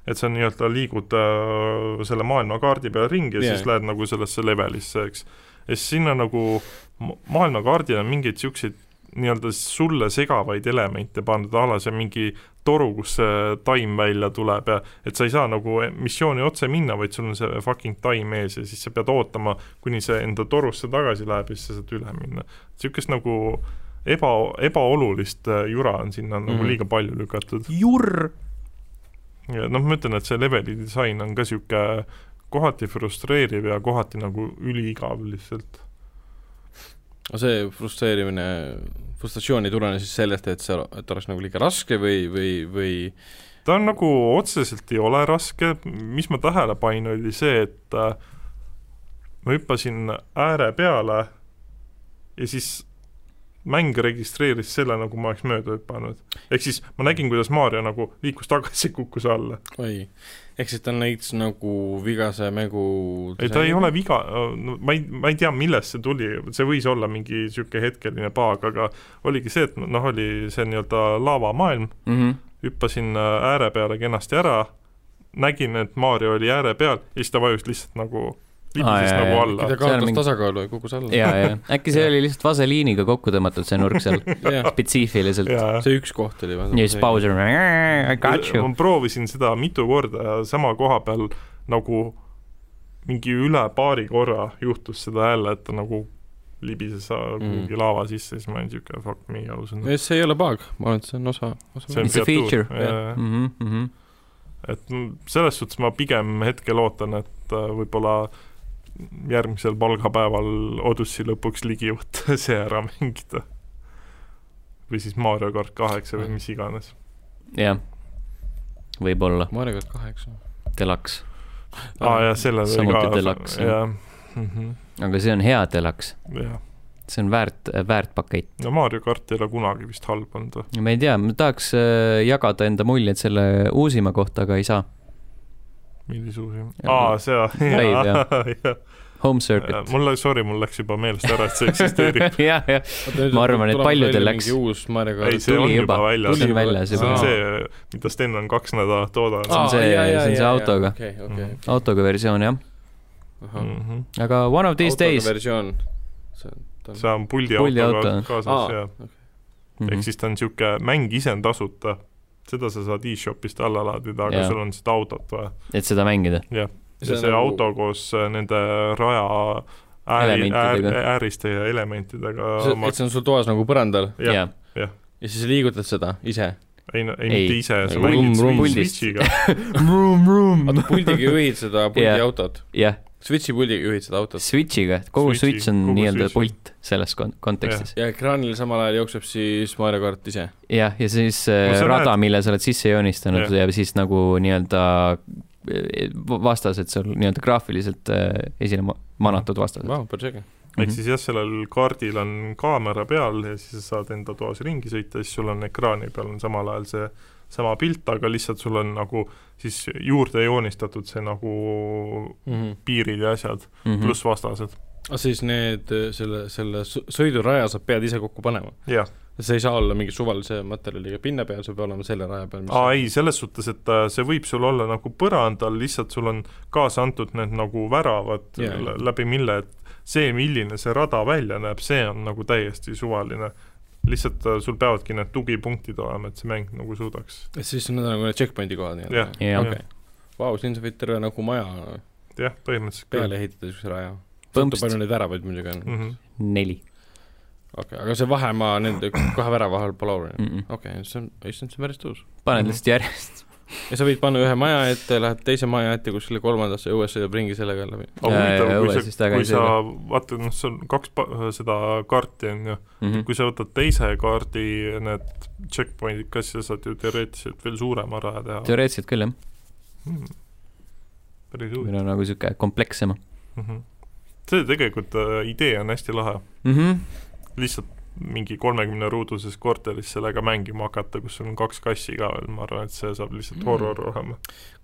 [SPEAKER 3] et sa nii-öelda liigud äh, selle maailmakaardi peal ringi ja yeah. siis
[SPEAKER 2] Jaa.
[SPEAKER 3] lähed nagu sellesse levelisse , eks . ja siis sinna nagu ma- maailmakaardil on mingeid siukseid nii-öelda sulle segavaid elemente pandud , a la see mingi toru , kus see taim välja tuleb ja et sa ei saa nagu missiooni otse minna , vaid sul on see fucking taim ees ja siis sa pead ootama , kuni see enda torusse tagasi läheb ja siis sa saad üle minna . niisugust nagu eba , ebaolulist äh, jura on sinna mm -hmm. nagu
[SPEAKER 2] Mhm.
[SPEAKER 3] liiga palju lükatud .
[SPEAKER 1] jurr .
[SPEAKER 3] ja noh , ma ütlen , et see leveli disain on ka niisugune kohati frustreeriv ja kohati nagu üliigav lihtsalt .
[SPEAKER 2] aga see frustreerimine , frustratsioon ei tulene siis sellest , et see , et oleks nagu liiga raske või , või , või
[SPEAKER 3] ta on nagu otseselt ei ole raske , mis ma tähele panin , oli see , et äh, ma hüppasin ääre peale ja siis mäng registreeris selle , nagu ma oleks mööda hüpanud . ehk siis ma nägin , kuidas Maarja nagu liikus tagasi ja kukkus alla .
[SPEAKER 2] oi , ehk siis ta on näiteks nagu vigase mängu
[SPEAKER 3] ei , ta ei ole viga , no ma ei , ma ei tea , millest see tuli , see võis olla mingi niisugune hetkeline paag , aga oligi see , et noh , oli see nii-öelda laavamaailm ,
[SPEAKER 1] Mhm.
[SPEAKER 3] hüppasin äh, ääre peale kenasti ära , nägin , et Mario oli ääre peal ja siis ta vajus lihtsalt nagu , libises
[SPEAKER 1] Aa, jaa,
[SPEAKER 3] nagu
[SPEAKER 1] jaa.
[SPEAKER 3] alla
[SPEAKER 2] ta .
[SPEAKER 1] See on
[SPEAKER 2] kaotas
[SPEAKER 1] mingi-
[SPEAKER 2] mingi... tasakaalu ja kukkus alla .
[SPEAKER 1] ja , ja äkki see oli lihtsalt vaseliiniga kokku tõmmatud , see nurk seal
[SPEAKER 2] jah ,
[SPEAKER 1] spetsiifiliselt . ja
[SPEAKER 3] ja
[SPEAKER 2] see üks koht oli .
[SPEAKER 1] siis Bowser , I got you .
[SPEAKER 3] ma proovisin seda mitu korda ja sama koha peal nagu mingi üle paari korra juhtus seda jälle , et ta nagu libises äh,
[SPEAKER 1] Mm.
[SPEAKER 3] kuhugi laava sisse , siis ma olin siuke fuck me ausalt .
[SPEAKER 2] see ei ole bug , ma arvan , et see on osa , osa
[SPEAKER 1] on-
[SPEAKER 2] mängust .
[SPEAKER 1] It's a feature. Mhm,
[SPEAKER 3] et m- selles suhtes ma pigem hetkel ootan , et äh, võib-olla järgmisel palgapäeval Odussi lõpuks ligi võtta , see ära mängida . või siis Mario kart kaheksa või mis iganes .
[SPEAKER 1] jah , võib-olla ,
[SPEAKER 2] Mario kart kaheksa .
[SPEAKER 1] delaks ,
[SPEAKER 3] aa ah, jaa , sellel oli
[SPEAKER 1] Samuti
[SPEAKER 3] ka
[SPEAKER 1] deluxe, jah.
[SPEAKER 3] jah mm -hmm. ,
[SPEAKER 1] aga see on hea delaks ,
[SPEAKER 3] jah .
[SPEAKER 1] see on väärt , väärt pakett .
[SPEAKER 3] no Mario kart ei ole kunagi vist halb olnud või ?
[SPEAKER 1] ma ei tea , ma tahaks äh, jagada enda muljeid selle uusima kohta , aga ei saa .
[SPEAKER 3] millise uusi ?
[SPEAKER 1] Jah.
[SPEAKER 3] aa , see ,
[SPEAKER 1] Rave, jah.
[SPEAKER 3] jaa ,
[SPEAKER 1] Home circuit .
[SPEAKER 3] mul , sorry , mul läks juba meelest ära , et see eksisteerib .
[SPEAKER 1] jah , jah , Ma arvan, et paljudel läks.
[SPEAKER 2] uus Mario
[SPEAKER 3] ei ,
[SPEAKER 2] kart .
[SPEAKER 3] see
[SPEAKER 1] tuli
[SPEAKER 3] on
[SPEAKER 1] juba,
[SPEAKER 3] juba väljas .
[SPEAKER 1] see on
[SPEAKER 2] tuli
[SPEAKER 1] väljas
[SPEAKER 3] see
[SPEAKER 1] juba
[SPEAKER 3] on
[SPEAKER 2] Aa.
[SPEAKER 3] see , mida Sten on kaks nädalat oodanud
[SPEAKER 1] Aa.
[SPEAKER 3] ah. .
[SPEAKER 1] see- see on see autoga.
[SPEAKER 2] okei , okei
[SPEAKER 3] Mhm. .
[SPEAKER 1] autoga versioon jah ,
[SPEAKER 3] Mm -hmm.
[SPEAKER 1] aga Uh, one of these days .
[SPEAKER 2] versioon . see on , ta
[SPEAKER 3] see
[SPEAKER 2] on ,
[SPEAKER 3] on puldiautoga
[SPEAKER 1] Puldiauto. Mhm.
[SPEAKER 3] kaasas
[SPEAKER 2] Aa.
[SPEAKER 3] ah. ja ehk siis ta on niisugune mäng ise on tasuta , seda sa saad e-shopist alla laadida , aga
[SPEAKER 1] Jaa.
[SPEAKER 3] yeah. sul on seda autot vaja .
[SPEAKER 1] et seda mängida .
[SPEAKER 3] ja
[SPEAKER 2] See
[SPEAKER 3] see,
[SPEAKER 2] on
[SPEAKER 3] see
[SPEAKER 2] nagu-
[SPEAKER 3] nagu... auto koos nende raja ääri , äär,
[SPEAKER 1] Elementidega.
[SPEAKER 3] ääriste ja elementidega
[SPEAKER 2] see ,
[SPEAKER 3] oma
[SPEAKER 2] et , see on sul toas nagu põrandal
[SPEAKER 3] Jah.
[SPEAKER 1] jah ,
[SPEAKER 2] ja siis liigutad seda ise .
[SPEAKER 3] ei , ei
[SPEAKER 1] ei.
[SPEAKER 3] mitte ise , sa
[SPEAKER 2] Rumm, rumm.
[SPEAKER 3] mängid Switch-
[SPEAKER 1] Puldist.
[SPEAKER 3] Switchiga .
[SPEAKER 2] vaata puldiga juhid seda
[SPEAKER 1] Jah.
[SPEAKER 2] puldiautot ,
[SPEAKER 1] jah ,
[SPEAKER 2] Switchi puldiga juhid seda autot
[SPEAKER 1] Switch'iga , kogu
[SPEAKER 3] Switchi-
[SPEAKER 1] Switch on
[SPEAKER 3] kogu
[SPEAKER 1] nii-öelda
[SPEAKER 3] Switchi.
[SPEAKER 1] pult selles kon- kontekstis .
[SPEAKER 2] ja ekraanil samal ajal jookseb siis Mario kart ise .
[SPEAKER 1] jah , ja siis äh,
[SPEAKER 3] No sa
[SPEAKER 1] rada ,
[SPEAKER 3] näed-
[SPEAKER 1] mille sa oled sisse joonistanud ja,
[SPEAKER 3] Jah.
[SPEAKER 1] ja siis nagu nii-öelda äh, vastased sul nii-öelda graafiliselt äh, esile ma- manatud vastased
[SPEAKER 2] Vau , päris äge .
[SPEAKER 1] Mhm.
[SPEAKER 3] ehk siis jah , sellel kaardil on kaamera peal ja siis sa saad enda toas ringi sõita , siis sul on ekraani peal on samal ajal see sama pilt , aga lihtsalt sul on nagu siis juurde joonistatud see nagu piirid ja asjad mm. ,
[SPEAKER 1] mm .
[SPEAKER 3] pluss vastased .
[SPEAKER 2] aga Mhm. Ah, siis need , selle , selle sõ- sõiduraja sa pead ise kokku panema .
[SPEAKER 3] jah ,
[SPEAKER 2] see ei saa olla mingi suvalise materjaliga pinna peal , see peab olema selle raja peal .
[SPEAKER 3] aa ei , selles suhtes , et äh, see võib sul olla nagu põrandal , lihtsalt sul on kaasa antud need nagu väravad
[SPEAKER 2] Jaa.
[SPEAKER 3] yeah. , läbi mille , et see , milline see rada välja näeb , see on nagu täiesti suvaline . lihtsalt äh, sul peavadki need tugipunktid olema , et see mäng nagu suudaks
[SPEAKER 2] Et siis need on nagu need checkpoint'i kohad
[SPEAKER 3] Jah.
[SPEAKER 2] nii-öelda .
[SPEAKER 1] Jah.
[SPEAKER 2] okei . Vau , siin sa võid terve nagu maja
[SPEAKER 3] jah , põhimõtteliselt küll
[SPEAKER 2] peale ehitada , siukse raja .
[SPEAKER 1] Põmpst.
[SPEAKER 2] sõltub palju neid väravaid muidugi on .
[SPEAKER 3] mm . -hmm.
[SPEAKER 1] Mhm. neli
[SPEAKER 2] okei , aga see vahemaa nende kahe värava vahel pole oluline .
[SPEAKER 1] mm . -mm.
[SPEAKER 2] okei , see on , issand , see on päris tõus .
[SPEAKER 1] paned
[SPEAKER 3] Mhm.
[SPEAKER 1] lihtsalt järjest .
[SPEAKER 2] ja sa võid panna ühe maja ette , lähed teise maja ette , kuskile kolmandasse ja uues sõidab ringi sellega läbi .
[SPEAKER 3] aga
[SPEAKER 1] Jaa, jaa,
[SPEAKER 3] huvitav ,
[SPEAKER 1] õue
[SPEAKER 3] kui
[SPEAKER 1] siis
[SPEAKER 3] sa , kui
[SPEAKER 1] tagasi
[SPEAKER 3] sa vaata , noh , sul on kaks pa- seda kaarti , on ju ,
[SPEAKER 1] Mhm.
[SPEAKER 3] kui sa võtad teise kaardi need checkpoint'id ka , siis sa saad ju teoreetiliselt veel suurema raja teha .
[SPEAKER 1] teoreetiliselt küll jah ,
[SPEAKER 3] päris
[SPEAKER 1] meil
[SPEAKER 3] huvitav
[SPEAKER 1] on nagu sihuke komplekssema
[SPEAKER 3] mm . -hmm. see tegelikult äh, idee on hästi lahe ,
[SPEAKER 1] mm . -hmm.
[SPEAKER 3] lihtsalt mingi kolmekümne ruuduses korteris sellega mängima hakata , kus sul on kaks kassi ka veel , ma arvan , et see saab lihtsalt
[SPEAKER 1] Mm.
[SPEAKER 3] horror olema .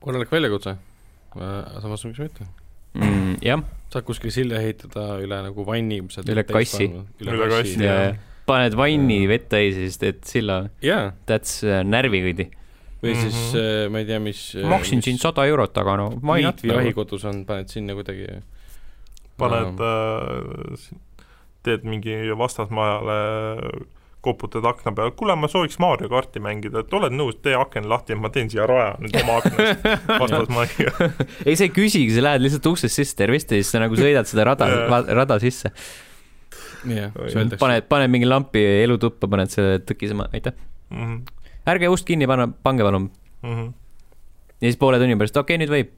[SPEAKER 2] korralik väljakutse . samas miks mitte ,
[SPEAKER 1] mm, . jah ,
[SPEAKER 2] saad kuskil silja ehitada üle nagu vanni , mis sa
[SPEAKER 1] Üle kassi.
[SPEAKER 3] Üle
[SPEAKER 2] üle
[SPEAKER 3] kassi,
[SPEAKER 2] kassi
[SPEAKER 1] ja
[SPEAKER 3] Jaa. ,
[SPEAKER 1] ja paned vanni vett täis ja siis teed silla ,
[SPEAKER 2] jaa ,
[SPEAKER 1] that's uh, närvikõdi .
[SPEAKER 2] või siis mm
[SPEAKER 3] Mhm.
[SPEAKER 2] -hmm. ma ei tea , mis
[SPEAKER 1] maksin sind sada eurot , aga no ma ei
[SPEAKER 2] Liitvi jahikodus on , paned sinna kuidagi
[SPEAKER 3] paned äh, , teed mingi vastasmajale , koputad akna peale , kuule , ma sooviks Mario karti mängida , et oled nõus , tee aken lahti , ma teen siia raja nüüd oma aknast vastasmajja .
[SPEAKER 1] ei , sa ei küsigi , sa lähed lihtsalt uksest sisse , tervist , ja siis sa nagu sõidad seda rada
[SPEAKER 3] Jaa. ,
[SPEAKER 1] rada sisse .
[SPEAKER 2] jah ,
[SPEAKER 3] Oi.
[SPEAKER 2] siis öeldakse ,
[SPEAKER 1] paned , paned mingi lampi elutuppa , paned selle tõkisema , aitäh .
[SPEAKER 3] Mhm,
[SPEAKER 1] ärge ust kinni pane , pange palun . ja siis poole tunni pärast , okei okay, , nüüd võib .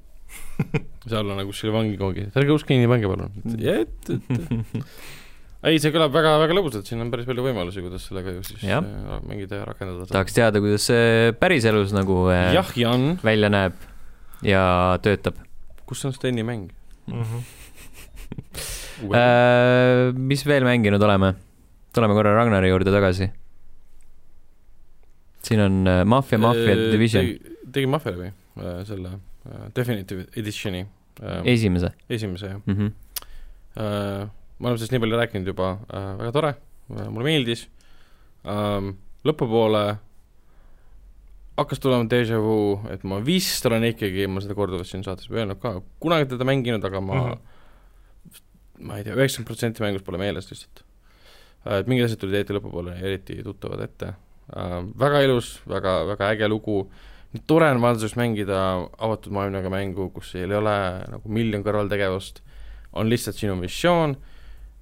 [SPEAKER 2] seal on nagu kuskil vangikoogi , ärge usk kinni , pange palun .
[SPEAKER 1] Mm.
[SPEAKER 2] et , et ei , see kõlab väga-väga lõbusalt , siin on päris palju võimalusi , kuidas sellega ju siis
[SPEAKER 1] Jah.
[SPEAKER 2] äh, mängida ja rakendada .
[SPEAKER 1] tahaks teada , kuidas see päriselus nagu äh,
[SPEAKER 2] jah , Jan ,
[SPEAKER 1] välja näeb ja töötab .
[SPEAKER 2] kus on Steni mäng ?
[SPEAKER 3] mhm,
[SPEAKER 1] Äh, mis veel mänginud oleme ? tuleme korra Ragnari juurde tagasi . siin on äh, Mafia , Mafia Division ,.
[SPEAKER 2] tegin Mafia läbi äh, selle äh, Definitive Editioni äh,
[SPEAKER 1] esimese
[SPEAKER 2] esimese jah
[SPEAKER 1] mm . -hmm.
[SPEAKER 2] äh, . me oleme sellest nii palju rääkinud juba äh, , väga tore äh, , mulle meeldis ähm, . lõpupoole hakkas tulema déjà vu , et ma vist olen ikkagi , ma seda korduvalt siin saates juba öelnud ka , kunagi teda mänginud , aga ma mm , -hmm. ma ei tea , üheksakümmend protsenti mängust pole meeles lihtsalt äh, . et mingid asjad tulid eriti lõpupoole eriti tuttavad ette äh, . väga ilus , väga , väga äge lugu nii tore on valduseks mängida avatud maailmaga mängu , kus seal ei ole nagu miljon kõrvaltegevust , on lihtsalt sinu missioon ,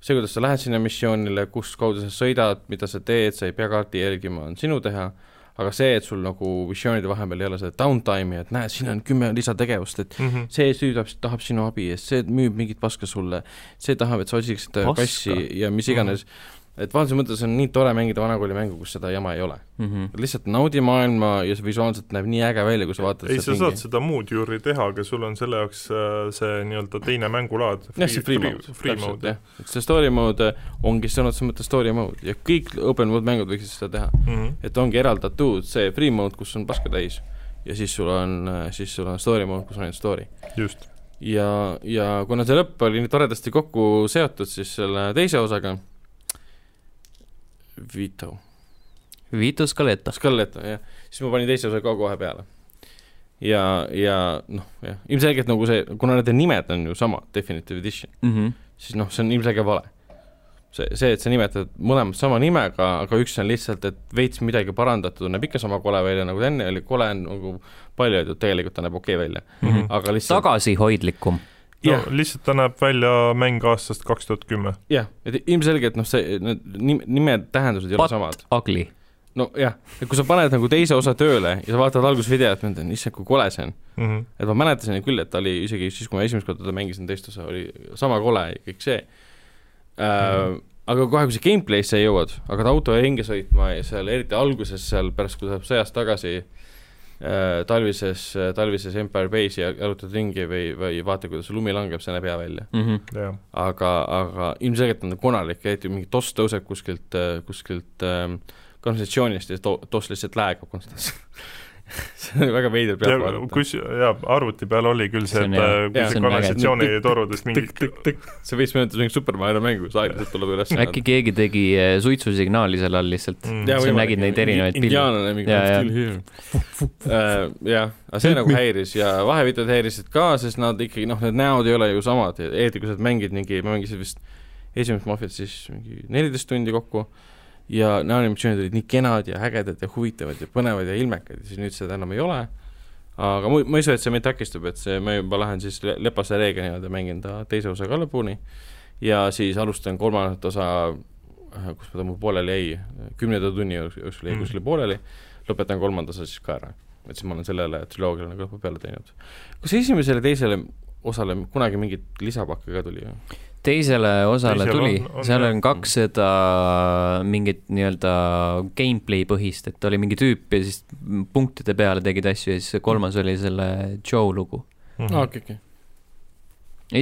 [SPEAKER 2] see , kuidas sa lähed sinna missioonile , kus kaudu sa sõidad , mida sa teed , sa ei pea kaarti jälgima , on sinu teha , aga see , et sul nagu missioonide vahepeal ei ole seda downtime'i , et näed , siin on kümme lisategevust , et
[SPEAKER 3] mhm.
[SPEAKER 2] see süüdab , tahab sinu abi ja see müüb mingit paska sulle , see tahab , et sa otsiksid äh,
[SPEAKER 1] Paska?
[SPEAKER 2] kassi ja mis iganes , et valduse mõttes on nii tore mängida vanakooli mängu , kus seda jama ei ole .
[SPEAKER 1] Mm -hmm.
[SPEAKER 2] lihtsalt naudi maailma ja see visuaalselt näeb nii äge välja , kui sa vaatad
[SPEAKER 3] ei , sa saad seda muud juuri teha , aga sul on selle jaoks äh, see nii-öelda teine mängulaad .
[SPEAKER 2] jah , see free mode ,
[SPEAKER 3] free mode ,
[SPEAKER 2] jah . et see story mode äh, ongi sõna otseses mõttes story mode ja kõik open world mängud võiksid seda teha .
[SPEAKER 3] jah . Mhm,
[SPEAKER 2] et ongi eraldatud see free mode , kus on paska täis ja siis sul on , siis sul on story mode , kus on ainult story .
[SPEAKER 3] just .
[SPEAKER 2] ja , ja kuna see lõpp oli nii toredasti kokku seotud , siis selle teise osaga , Vito ,
[SPEAKER 1] Vito Scaletta .
[SPEAKER 2] Scaletta , jah , siis ma panin teise osa ka kohe peale . ja , ja noh , jah , ilmselgelt nagu see , kuna nende nimed on ju samad , Definitive Edition ,
[SPEAKER 1] Mm -hmm.
[SPEAKER 2] siis noh , see on ilmselge vale . see , see , et sa nimetad mõlemad sama nimega , aga üks on lihtsalt , et veits midagi parandatud , näeb ikka sama kole välja , nagu ta enne oli , kole on nagu palju öeldud , tegelikult ta näeb okei okay välja ,
[SPEAKER 1] mm -hmm.
[SPEAKER 2] aga lihtsalt
[SPEAKER 1] tagasihoidlikum .
[SPEAKER 3] no
[SPEAKER 2] jah ,
[SPEAKER 3] lihtsalt ta näeb välja mäng aastast kaks tuhat kümme .
[SPEAKER 2] jah , et ilmselgelt noh , see , need nim- , nimed , tähendused ei
[SPEAKER 1] Pat-
[SPEAKER 2] ole samad .
[SPEAKER 1] Ugly .
[SPEAKER 2] nojah , et kui sa paned nagu teise osa tööle ja sa vaatad algusvideot , mõtled , issand , kui kole see on .
[SPEAKER 3] Mhm,
[SPEAKER 2] et ma mäletasin ju küll , et ta oli isegi siis , kui ma esimest korda teda mängisin , teist osa oli sama kole ja kõik see äh, . aga kohe , kui sa gameplay'sse jõuad , hakkad auto ringi sõitma ja seal eriti alguses seal pärast , kui tuleb sõjast tagasi äh, talvises , talvises Empire Base'i ja jalutad ringi või , või vaata , kuidas lumi langeb , see näeb hea välja .
[SPEAKER 1] Mm -hmm.
[SPEAKER 3] jah ,
[SPEAKER 2] aga , aga ilmselgelt on ta konarlik , eriti mingi toss tõuseb kuskilt , kuskilt äh, konversatsioonist ja to- , toss lihtsalt läägab konstantselt . see on väga veider pealt
[SPEAKER 3] ja kus , jaa , arvuti peal oli küll see ,
[SPEAKER 1] See on
[SPEAKER 3] et
[SPEAKER 1] hea.
[SPEAKER 3] äh, kui
[SPEAKER 2] Jaa,
[SPEAKER 1] see
[SPEAKER 3] see
[SPEAKER 1] on äge.
[SPEAKER 3] kanalisatsioonitorudest mingi
[SPEAKER 2] tõkk-tõkk-tõkk , see võis meenutada mingit Super Mario mängu , kus aeglaselt tuleb üles .
[SPEAKER 1] äkki keegi tegi äh, suitsusignaali seal all lihtsalt .
[SPEAKER 3] Mm.
[SPEAKER 1] Jaa, sa nägid neid erinevaid pilte.
[SPEAKER 2] indiaanlane mingi
[SPEAKER 1] Jaa, jaa.
[SPEAKER 2] still here . Äh, jah , aga see nagu häiris ja vahevideod häirisid ka , sest nad ikkagi noh , need näod ei ole ju samad , eriti kui sa mängid mingi , ma mängisin vist esimest Mafiat siis mingi neliteist tundi kokku ja näoanimatsioonid olid nii kenad ja ägedad ja huvitavad ja põnevad ja ilmekad ja siis nüüd seda enam ei ole . aga mu- ma ei usu , et see mind takistab , et see , ma juba lähen siis le- lepase reega nii-öelda mängin ta teise osa ka lõpuni ja siis alustan kolmandat osa , kus ta mul pooleli jäi , kümnenda tunni jook- jooksul jäi
[SPEAKER 3] Mm.
[SPEAKER 2] kuskil pooleli , lõpetan kolmanda osa siis ka ära . et siis ma olen sellele triloogiale nagu lõpu peale teinud . kas esimesele , teisele osale kunagi mingit lisapakke ka tuli või ?
[SPEAKER 1] teisele osale
[SPEAKER 3] Teisel
[SPEAKER 1] tuli
[SPEAKER 3] on- , on
[SPEAKER 1] seal
[SPEAKER 3] jah.
[SPEAKER 1] on kaks seda mingit nii-öelda gameplay põhist , et oli mingi tüüp ja siis punktide peale tegid asju ja siis see kolmas oli selle Joe lugu .
[SPEAKER 3] Mhm.
[SPEAKER 2] aa , okei , okei .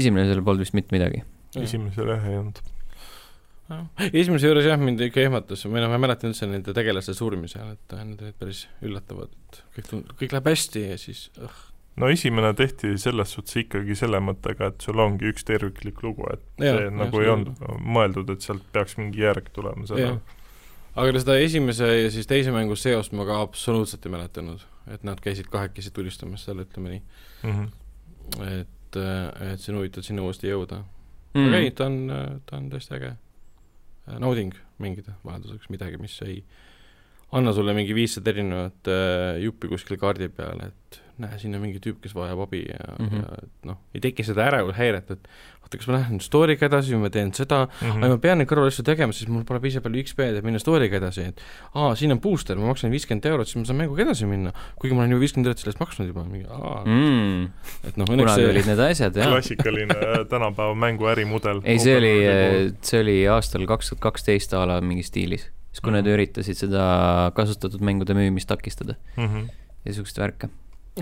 [SPEAKER 1] esimene seal polnud vist mitte midagi .
[SPEAKER 3] esimesel jah ei olnud .
[SPEAKER 2] esimese juures jah , mind ikka ehmatas , või noh , ma ei mäleta üldse nende tegelaste surmi seal , et äh, need olid päris üllatavad , et kõik tund- , kõik läheb hästi ja siis õh ,
[SPEAKER 3] no esimene tehti selles suhtes ikkagi selle mõttega, et sul ongi üks terviklik lugu, et
[SPEAKER 2] Jaa,
[SPEAKER 3] see
[SPEAKER 2] jah,
[SPEAKER 3] nagu ei
[SPEAKER 2] seda
[SPEAKER 3] olnud mõeldud, et sealt peaks mingi järg tulema sellele
[SPEAKER 2] Jah. . aga seda esimese ja siis teise mängu seost ma ka absoluutselt ei mäletanud , et nad käisid kahekesi tulistamas seal , ütleme nii .
[SPEAKER 3] Mm -hmm.
[SPEAKER 2] et , et see on huvitav sinna uuesti jõuda mm. .
[SPEAKER 1] mm.
[SPEAKER 2] aga ei , ta on , ta on täiesti äge äh, nauding mängida vahelduseks midagi , mis ei anna sulle mingi viissada erinevat äh, juppi kuskil kaardi peal , et näe , siin on mingi tüüp , kes vajab abi ja mm ,
[SPEAKER 1] Mhm.
[SPEAKER 2] -hmm. ja et noh , ei teki seda ärevushäiret , et oota , kas ma lähen nüüd story'ga edasi või ma teen seda
[SPEAKER 3] Mm
[SPEAKER 2] aga ma pean neid kõrvalasju tegema , siis mul pole piisavalt palju XP-d , et minna story'ga edasi , et aa , siin on booster , ma maksan viiskümmend eurot , siis ma saan mänguga edasi minna . kuigi ma olen ju viiskümmend eurot selle eest maksnud juba , mingi aa mm. ,
[SPEAKER 1] Mm.
[SPEAKER 2] et noh , õnneks
[SPEAKER 1] kunagi
[SPEAKER 2] see
[SPEAKER 1] olid need asjad , jah .
[SPEAKER 3] klassikaline äh, tänapäeva mängu ärimudel .
[SPEAKER 1] ei , see oli , äh, see oli aastal kaks tuhat kaksteist a la mingi stiilis , siis kui nad
[SPEAKER 3] Mhm.
[SPEAKER 1] üritasid seda kasutatud mängude müümist takistada
[SPEAKER 3] mm . -hmm.
[SPEAKER 1] ja siukseid värke .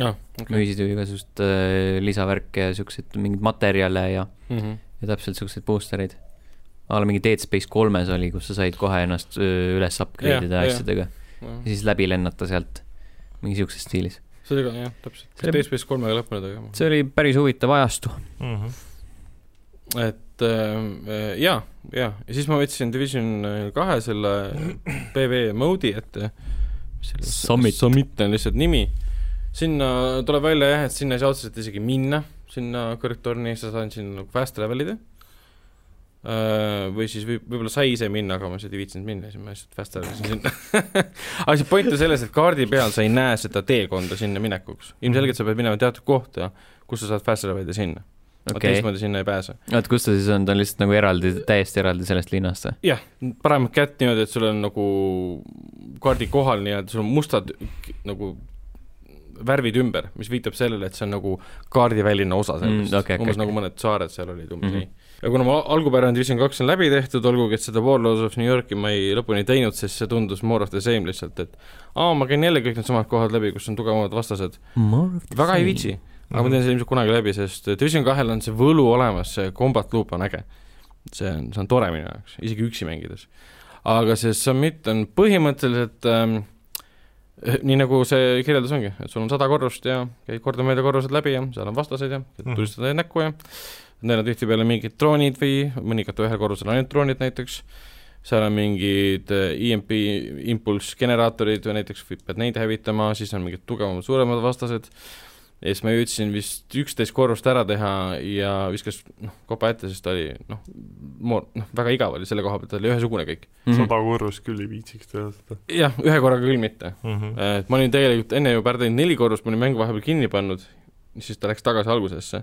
[SPEAKER 2] ah, okay.
[SPEAKER 1] müüsid ju igasugust äh, lisavärke ja siukseid mingeid materjale ja ,
[SPEAKER 2] mm -hmm.
[SPEAKER 1] ja täpselt siukseid boostereid . a la mingi Dead Space kolmes oli , kus sa said kohe ennast öö, üles upgrade ida
[SPEAKER 2] Jah, jah.
[SPEAKER 1] asjadega ja
[SPEAKER 2] no,
[SPEAKER 1] siis läbi lennata sealt , mingi siukses stiilis .
[SPEAKER 2] see oli ka jah , täpselt ,
[SPEAKER 1] See-
[SPEAKER 2] kas Dead Space kolmega lõppenud , aga
[SPEAKER 1] see oli päris huvitav ajastu .
[SPEAKER 3] Mm -hmm.
[SPEAKER 2] et äh, jaa , jaa , ja siis ma võtsin Division äh, kahe selle PV mode'i ette .
[SPEAKER 1] Summit.
[SPEAKER 2] Summit on lihtsalt nimi . sinna tuleb välja jah , et sinna ei saa otseselt isegi minna , sinna kõrgtorni , sa saad sinna nagu fast travel ida . või siis võib- , võib-olla sai ise minna , aga ma lihtsalt ei viitsinud minna , siis ma lihtsalt fast travel isin sinna . aga see point on selles , et kaardi peal sa ei näe seda teekonda sinna minekuks . ilmselgelt sa pead minema teatud kohta , kus sa saad fast travel ida sinna okay. .
[SPEAKER 1] okei okay. ,
[SPEAKER 2] teistmoodi sinna ei pääse .
[SPEAKER 1] oot kus ta siis on , ta on lihtsalt nagu eraldi , täiesti eraldi sellest linnast või ?
[SPEAKER 2] jah , paremat kätt niimoodi , et sul on nagu kaardi kohal nii-öelda , sul on mustad k- nagu värvid ümber , mis viitab sellele , et see on nagu kaardiväline osa sellest
[SPEAKER 1] Mm, okei, okei,
[SPEAKER 2] umbes
[SPEAKER 1] okei.
[SPEAKER 2] nagu mõned saared seal olid umbes
[SPEAKER 1] Mhm.
[SPEAKER 2] mm -hmm. nii . ja kuna ma algupärane Division kaks on läbi tehtud , olgugi et seda Warlords of New Yorki ma ei lõpuni teinud , sest see tundus more of the same lihtsalt , et aa , ma käin jälle kõik need samad kohad läbi , kus on tugevamad vastased , väga ei viitsi . aga
[SPEAKER 1] Mhm.
[SPEAKER 2] ma teen selle ilmselt kunagi läbi , sest Division kahel on see võlu olemas , see combat loop on äge . see on , see on tore minu jaoks , isegi üksi mängides . aga see summit on põhimõtteliselt ähm, nii nagu see kirjeldus ongi , et sul on sada korrust ja käid kordamööda korrused läbi ja seal on vastaseid ja
[SPEAKER 3] Mhm.
[SPEAKER 2] tulistad neid näkku ja neil on tihtipeale mingid droonid või mõnikord ühel korrusel on ainult droonid näiteks , seal on mingid äh, EMP impulssgeneraatorid või näiteks või pead neid hävitama , siis on mingid tugevamad , suuremad vastased , ja siis ma jõudsin vist üksteist korrust ära teha ja viskas noh , kopa ette , sest ta oli noh , moor- , noh väga igav oli selle koha pealt , ta oli ühesugune kõik .
[SPEAKER 1] Mhm.
[SPEAKER 3] sada korrust küll ei viitsiks teha seda
[SPEAKER 2] jah , ühe korraga küll mitte .
[SPEAKER 3] mm . -hmm.
[SPEAKER 1] Äh,
[SPEAKER 2] et ma olin tegelikult enne juba ära teinud neli korrust , ma olin mängu vahepeal kinni pannud , siis ta läks tagasi algusesse .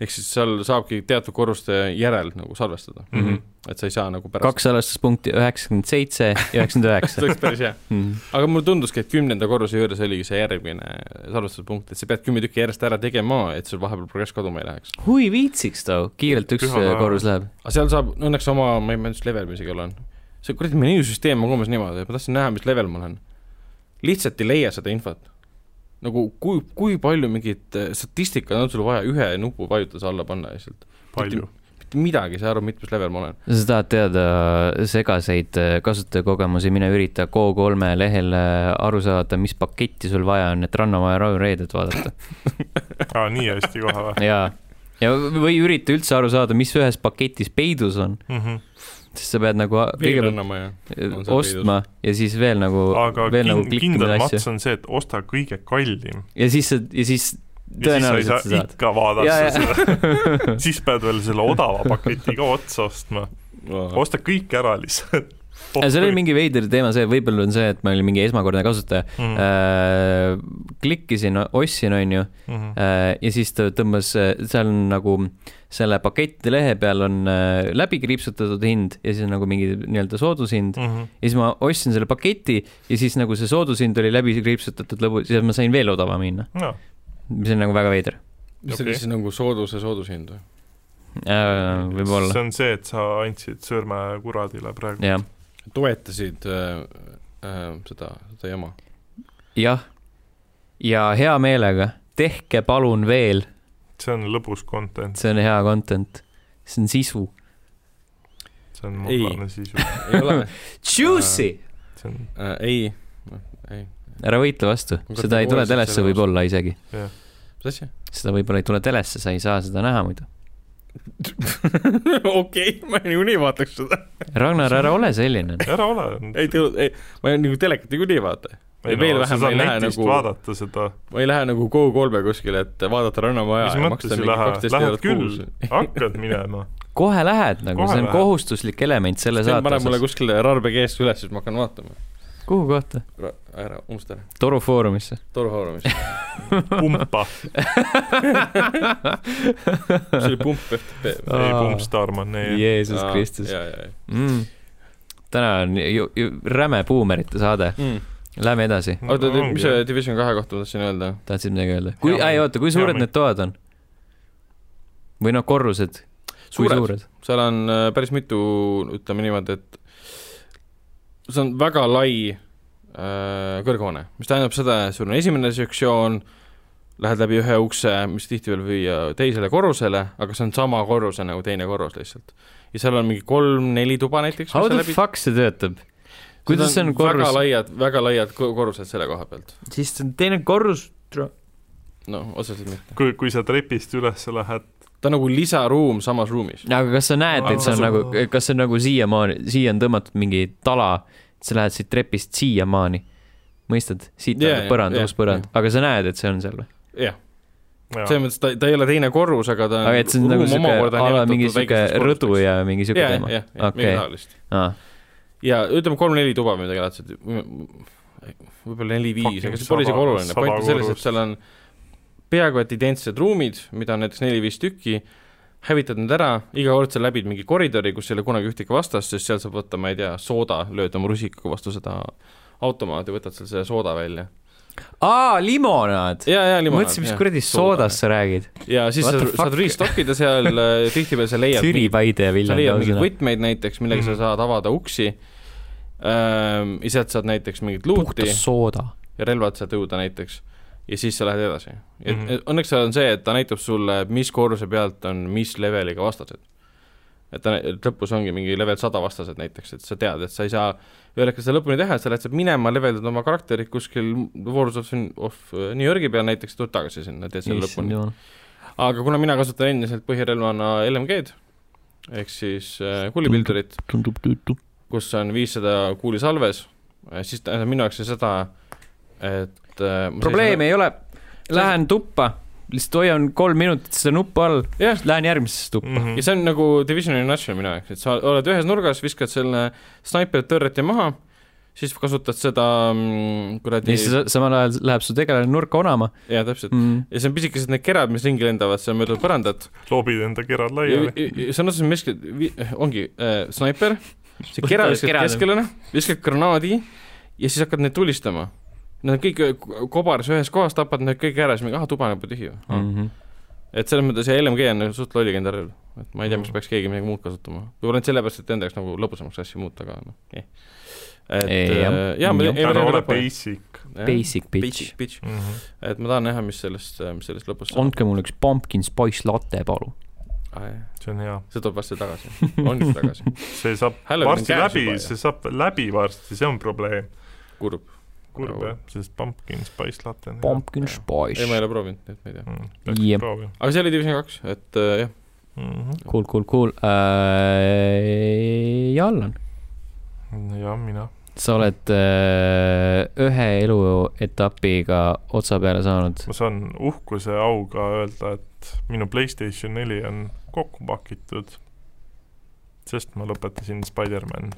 [SPEAKER 2] ehk siis seal saabki teatud korruste järel nagu salvestada ,
[SPEAKER 3] Mm -hmm.
[SPEAKER 2] et sa ei saa nagu pärast .
[SPEAKER 1] kaks salastuspunkti , üheksakümmend seitse ja üheksakümmend
[SPEAKER 2] see oleks päris hea .
[SPEAKER 1] üheksa .
[SPEAKER 2] aga mulle tunduski , et kümnenda korruse juures oligi see järgmine salvestuspunkt , et sa pead kümme tükki järjest ära tegema , et sul vahepeal progress kaduma ei läheks .
[SPEAKER 1] hui viitsiks too , kiirelt üks
[SPEAKER 3] Püha päev.
[SPEAKER 1] korrus läheb .
[SPEAKER 2] aga seal saab õnneks oma , ma ei mäleta , mis level ma isegi olen . see kuradi menüüsüsteem on umbes niimoodi , et ma tahtsin näha , mis level ma olen . lihtsalt ei leia seda infot . nagu kui , kui palju mingit eh, statistikat on sul vaja ühe nupu vajutuse alla panna lihtsalt .
[SPEAKER 3] palju .
[SPEAKER 2] mitte midagi ei saa aru , mitmes level ma olen .
[SPEAKER 1] sa tahad teada segaseid äh, kasutajakogemusi , mine ürita Go3 lehel äh, aru saada , mis paketti sul vaja on , et Rannamaja Rahu reedet vaadata .
[SPEAKER 3] aa , nii hästi kohe või ?
[SPEAKER 1] jaa . ja või ürita üldse aru saada , mis ühes paketis peidus on ,
[SPEAKER 3] Mm -hmm.
[SPEAKER 1] sest sa pead nagu a-
[SPEAKER 2] veel
[SPEAKER 1] kõigepealt
[SPEAKER 2] annama ja on seal
[SPEAKER 1] ostma ja siis veel nagu ,
[SPEAKER 3] aga
[SPEAKER 1] veel
[SPEAKER 3] kin
[SPEAKER 1] nagu
[SPEAKER 3] kindel
[SPEAKER 1] klikkida asju
[SPEAKER 3] mats on see , et osta kõige kallim .
[SPEAKER 1] ja siis sa , ja siis
[SPEAKER 3] ja siis sa
[SPEAKER 1] tõenäoliselt
[SPEAKER 3] ei
[SPEAKER 1] sa
[SPEAKER 3] saa
[SPEAKER 1] saad .
[SPEAKER 3] ikka
[SPEAKER 1] Jaa, jaa.
[SPEAKER 3] vaadata seda , siis pead veel selle odava paketi ka otsa ostma ,
[SPEAKER 2] ost- .
[SPEAKER 3] osta kõik ära lihtsalt .
[SPEAKER 1] Äh, see oli mingi veider teema , see võib-olla on see , et ma olin mingi esmakordne kasutaja ,
[SPEAKER 3] mm .
[SPEAKER 1] äh, klikkisin , ostsin , onju ,
[SPEAKER 3] -hmm.
[SPEAKER 1] ja siis ta tõmbas , seal on nagu selle paketi lehe peal on äh, läbi kriipsutatud hind ja siis on nagu mingi nii-öelda soodushind
[SPEAKER 3] Mm -hmm.
[SPEAKER 1] ja siis ma ostsin selle paketi ja siis nagu see soodushind oli läbi kriipsutatud lõbu , siis ma sain veel odavama hinna ,
[SPEAKER 3] no.
[SPEAKER 1] mis on nagu väga veider
[SPEAKER 2] mis see
[SPEAKER 3] Okei.
[SPEAKER 2] oli siis nagu sooduse soodushind või ?
[SPEAKER 1] äh, . võib-olla ,
[SPEAKER 3] see on see , et sa andsid sõrme kuradile praegu .
[SPEAKER 1] jah ,
[SPEAKER 2] toetasid äh, äh, seda , seda jama .
[SPEAKER 1] jah . ja hea meelega , tehke palun veel ,
[SPEAKER 3] see on lõbus content ,
[SPEAKER 1] see on hea content , see on sisu .
[SPEAKER 3] see on
[SPEAKER 2] Ei.
[SPEAKER 3] mullane sisu ,
[SPEAKER 2] ei ole ,
[SPEAKER 1] Juicy ,
[SPEAKER 3] see on
[SPEAKER 2] ei , ei .
[SPEAKER 1] Äh, ära võitle vastu , seda ei tule
[SPEAKER 2] kategooriliselt
[SPEAKER 1] telesse
[SPEAKER 2] nagu selle vastu.
[SPEAKER 1] võib-olla isegi .
[SPEAKER 3] jah ,
[SPEAKER 2] mis asja ?
[SPEAKER 1] seda võib-olla ei tule telesse , sa ei saa seda näha muidu .
[SPEAKER 2] okei , ma niikuinii vaataks seda .
[SPEAKER 1] Ragnar , ära ole selline .
[SPEAKER 3] ära ole .
[SPEAKER 2] ei , ei , ma nagu telekat niikuinii ei vaata . ja veel vähem ma ei lähe nagu-
[SPEAKER 3] vaadata seda ,
[SPEAKER 2] ma ei lähe nagu Go3-e kuskile , et vaadata Rannamaja
[SPEAKER 3] Mis
[SPEAKER 2] ja
[SPEAKER 3] mõttes
[SPEAKER 2] maksta
[SPEAKER 3] ei
[SPEAKER 2] mingi
[SPEAKER 3] lähe?
[SPEAKER 2] kaksteist
[SPEAKER 3] Lähed
[SPEAKER 2] eurot
[SPEAKER 3] küll.
[SPEAKER 2] kuus .
[SPEAKER 3] hakkad minema .
[SPEAKER 1] kohe lähed nagu ,
[SPEAKER 3] Kohe
[SPEAKER 1] see on
[SPEAKER 3] lähen.
[SPEAKER 1] kohustuslik element selle
[SPEAKER 2] Sten
[SPEAKER 1] saate
[SPEAKER 2] paneb mulle
[SPEAKER 1] osas .
[SPEAKER 2] kuskile RBG-sse üles , siis ma hakkan vaatama .
[SPEAKER 1] kuhu kohta ?
[SPEAKER 2] ära , unusta ära .
[SPEAKER 1] Toru Foorumisse .
[SPEAKER 2] toru haaramist .
[SPEAKER 3] pumpa ,
[SPEAKER 2] see oli pump FTP .
[SPEAKER 3] ei pump Starman , ei .
[SPEAKER 1] Jeesus Kristus .
[SPEAKER 2] ja , ja , ja .
[SPEAKER 1] mm. . täna on ju, ju räme buumerite saade ,
[SPEAKER 3] Mm,
[SPEAKER 1] lähme edasi ,
[SPEAKER 2] oota , oota , mis see Division kahe kohta ma tahtsin öelda ?
[SPEAKER 1] tahtsid midagi öelda ? kui ,
[SPEAKER 2] Jaa.
[SPEAKER 1] ei oota , kui
[SPEAKER 3] Jaa,
[SPEAKER 1] suured
[SPEAKER 3] ma-
[SPEAKER 1] need toad on ? või noh , korrused , kui
[SPEAKER 2] suured ,
[SPEAKER 1] suured ?
[SPEAKER 2] seal on äh, päris mitu , ütleme niimoodi , et see on väga lai äh, kõrghoone , mis tähendab seda , et sul on esimene sektsioon , lähed läbi ühe ukse , mis tihti võib viia teisele korrusele , aga see on sama korruse nagu teine korrus lihtsalt . ja seal on mingi kolm-neli tuba näiteks .
[SPEAKER 1] How the fuck see töötab ? kuidas see on
[SPEAKER 2] väga
[SPEAKER 1] korrus ,
[SPEAKER 2] laiad , väga laiad ko- korrused selle koha pealt ,
[SPEAKER 1] siis see on teine korrus ,
[SPEAKER 2] noh , otseselt mitte .
[SPEAKER 3] kui , kui sa trepist üles lähed ,
[SPEAKER 2] ta on nagu lisaruum samas ruumis .
[SPEAKER 1] aga kas sa näed , et see on nagu
[SPEAKER 3] Aa. ,
[SPEAKER 1] kas see on nagu siiamaani , siia on tõmmatud mingi tala , et sa lähed siit trepist siiamaani , mõistad , siit
[SPEAKER 2] Jaa,
[SPEAKER 1] on nagu
[SPEAKER 2] jaa,
[SPEAKER 1] põrand ,
[SPEAKER 2] jaa,
[SPEAKER 1] uus põrand , aga sa näed , et see on seal või ?
[SPEAKER 2] jah , selles
[SPEAKER 3] jah ,
[SPEAKER 2] mõttes ta , ta ei ole teine korrus , aga ta on
[SPEAKER 1] aga et see on nagu
[SPEAKER 2] ruum
[SPEAKER 1] siuke
[SPEAKER 2] omakorda ,
[SPEAKER 1] ala
[SPEAKER 2] nimetatud
[SPEAKER 1] mingi siuke
[SPEAKER 2] väikesteks
[SPEAKER 1] rõdu
[SPEAKER 2] korrusteks.
[SPEAKER 1] ja mingi siuke
[SPEAKER 2] jah , jah ,
[SPEAKER 1] teema .
[SPEAKER 2] jah , midagi
[SPEAKER 1] Okei.
[SPEAKER 2] taolist .
[SPEAKER 1] aa ,
[SPEAKER 2] ja ütleme kolm-neli tuba või midagi laadset , võib-olla neli-viis ,
[SPEAKER 3] Fucking
[SPEAKER 2] aga see pole isegi
[SPEAKER 3] saba-
[SPEAKER 2] oluline ,
[SPEAKER 3] saba
[SPEAKER 2] point on selles , et
[SPEAKER 3] korrust.
[SPEAKER 2] seal on peaaegu et identsed ruumid , mida on näiteks neli-viis tükki , hävitad need ära , iga kord sa läbid mingi koridori , kus ei ole kunagi ühtegi vastast , sest seal saab võtta , ma ei tea , sooda , lööd oma rusikaga vastu seda automaati , võtad seal selle sooda välja .
[SPEAKER 1] aa , limonaad .
[SPEAKER 2] ja , ja limonaad .
[SPEAKER 1] mõtlesin , mis kuradi soodast sa räägid .
[SPEAKER 2] ja siis
[SPEAKER 1] What
[SPEAKER 2] sa
[SPEAKER 1] the fuck?
[SPEAKER 2] saad restock ida seal , tihtipeale sa leiad
[SPEAKER 1] Türi , Paide ja
[SPEAKER 2] sa leiad mingeid
[SPEAKER 1] Viljandi .
[SPEAKER 2] võtmeid näiteks , millega mm -hmm.
[SPEAKER 3] Mhm.
[SPEAKER 2] sa saad avada uksi ähm, . ja sealt saad näiteks mingit luuti
[SPEAKER 1] puhtas sooda .
[SPEAKER 2] ja relvad saad õuda näiteks ja siis sa lähed edasi . et mm
[SPEAKER 3] Mhm.
[SPEAKER 2] -hmm. õnneks seal on see , et ta näitab sulle , mis korruse pealt on mis leveliga vastased . et ta , et lõpus ongi mingi level sada vastased näiteks , et sa tead , et sa ei saa ühelegi seda lõpuni teha , et sa lähed sealt minema , leveldad oma karakterit kuskil Wars of, of New Yorgi peal näiteks , tuled tagasi sinna , teed selle lõpuni . aga kuna mina kasutan endiselt põhirelvana LMG-d ehk siis äh, kuulipildurit , kus on viissada kuuli salves , siis tähendab minu jaoks see seda , et äh, ma
[SPEAKER 1] probleemi ei ole . Lähen tuppa , lihtsalt hoian kolm minutit seda nuppu all ,
[SPEAKER 2] seisan- jah ,
[SPEAKER 1] lähen järgmisesse tuppa .
[SPEAKER 3] Mhm.
[SPEAKER 2] ja see on nagu Divisioni National minu jaoks , et sa oled ühes nurgas , viskad selle snaiper turret'i maha , siis kasutad seda mm,
[SPEAKER 1] ja
[SPEAKER 2] kuradi ,
[SPEAKER 1] siis samal ajal läheb su tegelane nurka onama .
[SPEAKER 2] jaa täpselt , ja see on pisikesed need kerad , mis ringi lendavad seal mööda põrandat ,
[SPEAKER 3] loobid enda kerad laiali .
[SPEAKER 2] sõna otseses mõttes miski , ongi äh, snaiper , see kera
[SPEAKER 1] Võtad
[SPEAKER 2] viskad
[SPEAKER 1] kera-
[SPEAKER 2] keskele , viskad granaadi ja siis hakkad neid tulistama . Nad on kõik äh, k- kobaras ühes kohas , tapad need kõik ära , siis mingi ahah , tuba näeb ju tühi
[SPEAKER 1] Ah.
[SPEAKER 2] või .
[SPEAKER 3] Mm.
[SPEAKER 2] et selles mõttes see LMG on suht loll legendaarne , et ma ei tea , miks peaks keegi midagi muud kasutama . võib-olla ainult sellepärast , et enda jaoks nagu lõbusamaks asju muuta , aga noh , eh . et
[SPEAKER 1] Ei,
[SPEAKER 2] äh,
[SPEAKER 1] jah.
[SPEAKER 2] jaa , ma
[SPEAKER 1] Jah.
[SPEAKER 2] ei
[SPEAKER 3] ära ole
[SPEAKER 2] ole
[SPEAKER 3] basic .
[SPEAKER 1] Basic bitch
[SPEAKER 2] bitch ., bitch ,
[SPEAKER 3] Mhm.
[SPEAKER 2] et ma tahan näha , mis sellest , mis sellest lõpus saab .
[SPEAKER 1] andke mulle üks pumpkin spice latte , palun .
[SPEAKER 3] see on hea ,
[SPEAKER 2] see tuleb varsti tagasi , ongi tagasi ,
[SPEAKER 3] see saab
[SPEAKER 2] Halloween on
[SPEAKER 3] varsti
[SPEAKER 2] käes juba,
[SPEAKER 3] läbi ,
[SPEAKER 2] jah.
[SPEAKER 3] see saab läbi varsti , see on probleem .
[SPEAKER 2] kurb .
[SPEAKER 3] kurb
[SPEAKER 2] Nagu-
[SPEAKER 3] jah , sest pumpkin spice latte on
[SPEAKER 1] Pumpkin
[SPEAKER 2] jah.
[SPEAKER 1] spice
[SPEAKER 2] ei , ma . ei ole proovinud , nii et ma ei tea .
[SPEAKER 3] hea . peaks Mhm.
[SPEAKER 1] Jep.
[SPEAKER 3] proovima .
[SPEAKER 2] aga see oli Division kaks , et äh, jah ,
[SPEAKER 1] Cool , cool , cool äh, . ja Allan ,
[SPEAKER 3] ja mina ,
[SPEAKER 1] sa oled äh, ühe eluetapiga otsa peale saanud .
[SPEAKER 3] ma saan uhkuse auga öelda , et minu Playstation neli on kokku pakitud , sest ma lõpetasin Spider-man .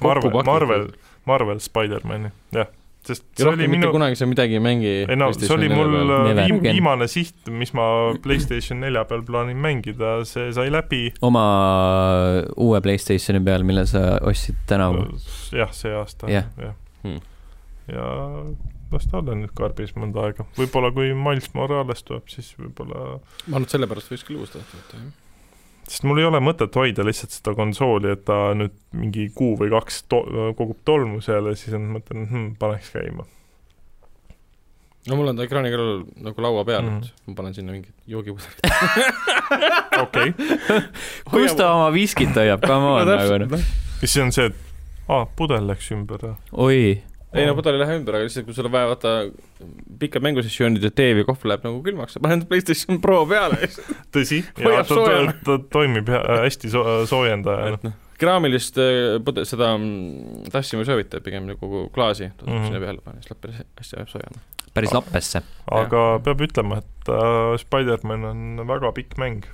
[SPEAKER 3] Marvel ,
[SPEAKER 2] pakitud?
[SPEAKER 3] Marvel , Marvel Spider-mani , jah , sest
[SPEAKER 2] ja
[SPEAKER 3] see oli
[SPEAKER 2] rohkem mitte
[SPEAKER 3] minu ,
[SPEAKER 2] kunagi sa midagi ei mängi .
[SPEAKER 3] ei no see oli mul
[SPEAKER 1] peal.
[SPEAKER 3] äh, viim-
[SPEAKER 1] Never.
[SPEAKER 3] viimane siht , mis ma Playstation nelja peal plaanin mängida , see sai läbi ,
[SPEAKER 1] oma uue Playstationi peal , mille sa ostsid tänavu .
[SPEAKER 3] äh, jah , see aasta ,
[SPEAKER 1] Jah.
[SPEAKER 3] jah ja.
[SPEAKER 2] Hmm.
[SPEAKER 3] ja las ta olla nüüd karbis mõnda aega , võib-olla kui Miles Morales tuleb , siis võib-olla ,
[SPEAKER 2] ma arvan , et sellepärast võiks küll uus tahta .
[SPEAKER 3] sest mul ei ole mõtet hoida lihtsalt seda konsooli , et ta nüüd mingi kuu või kaks to kogub tolmu seal ja siis on mõtlen hm, , paneks käima .
[SPEAKER 2] no mul on ta ekraani kõrval nagu laua peal
[SPEAKER 3] Mhm.
[SPEAKER 2] mm , -hmm. ma panen sinna mingid joogipudelid .
[SPEAKER 3] okei okay. ,
[SPEAKER 1] kus ta oma viskit hoiab , come on , nagu noh .
[SPEAKER 3] ja siis on see , et aa , pudel läks ümber ja
[SPEAKER 1] oi ,
[SPEAKER 2] ei no pudel ei lähe ümber , aga lihtsalt kui sul on vaja vaata pika mängusessioonide tee või kohv läheb nagu külmaks , sa paned Playstation Pro peale ja siis
[SPEAKER 3] tõsi , ja
[SPEAKER 2] Hoiab
[SPEAKER 3] ta, ta,
[SPEAKER 2] soojana.
[SPEAKER 3] ta toimib hea- äh, hästi so- soojendajana .
[SPEAKER 2] et noh , kraamilist äh, pude- , seda mm, tassi ma ei soovita , pigem nagu klaasi tuleb
[SPEAKER 3] Mhm.
[SPEAKER 2] mm. sinna peale panna , siis läheb päris hästi läheb soojana .
[SPEAKER 1] päris lappesse .
[SPEAKER 3] aga peab ütlema , et äh, Spider-man on väga pikk mäng .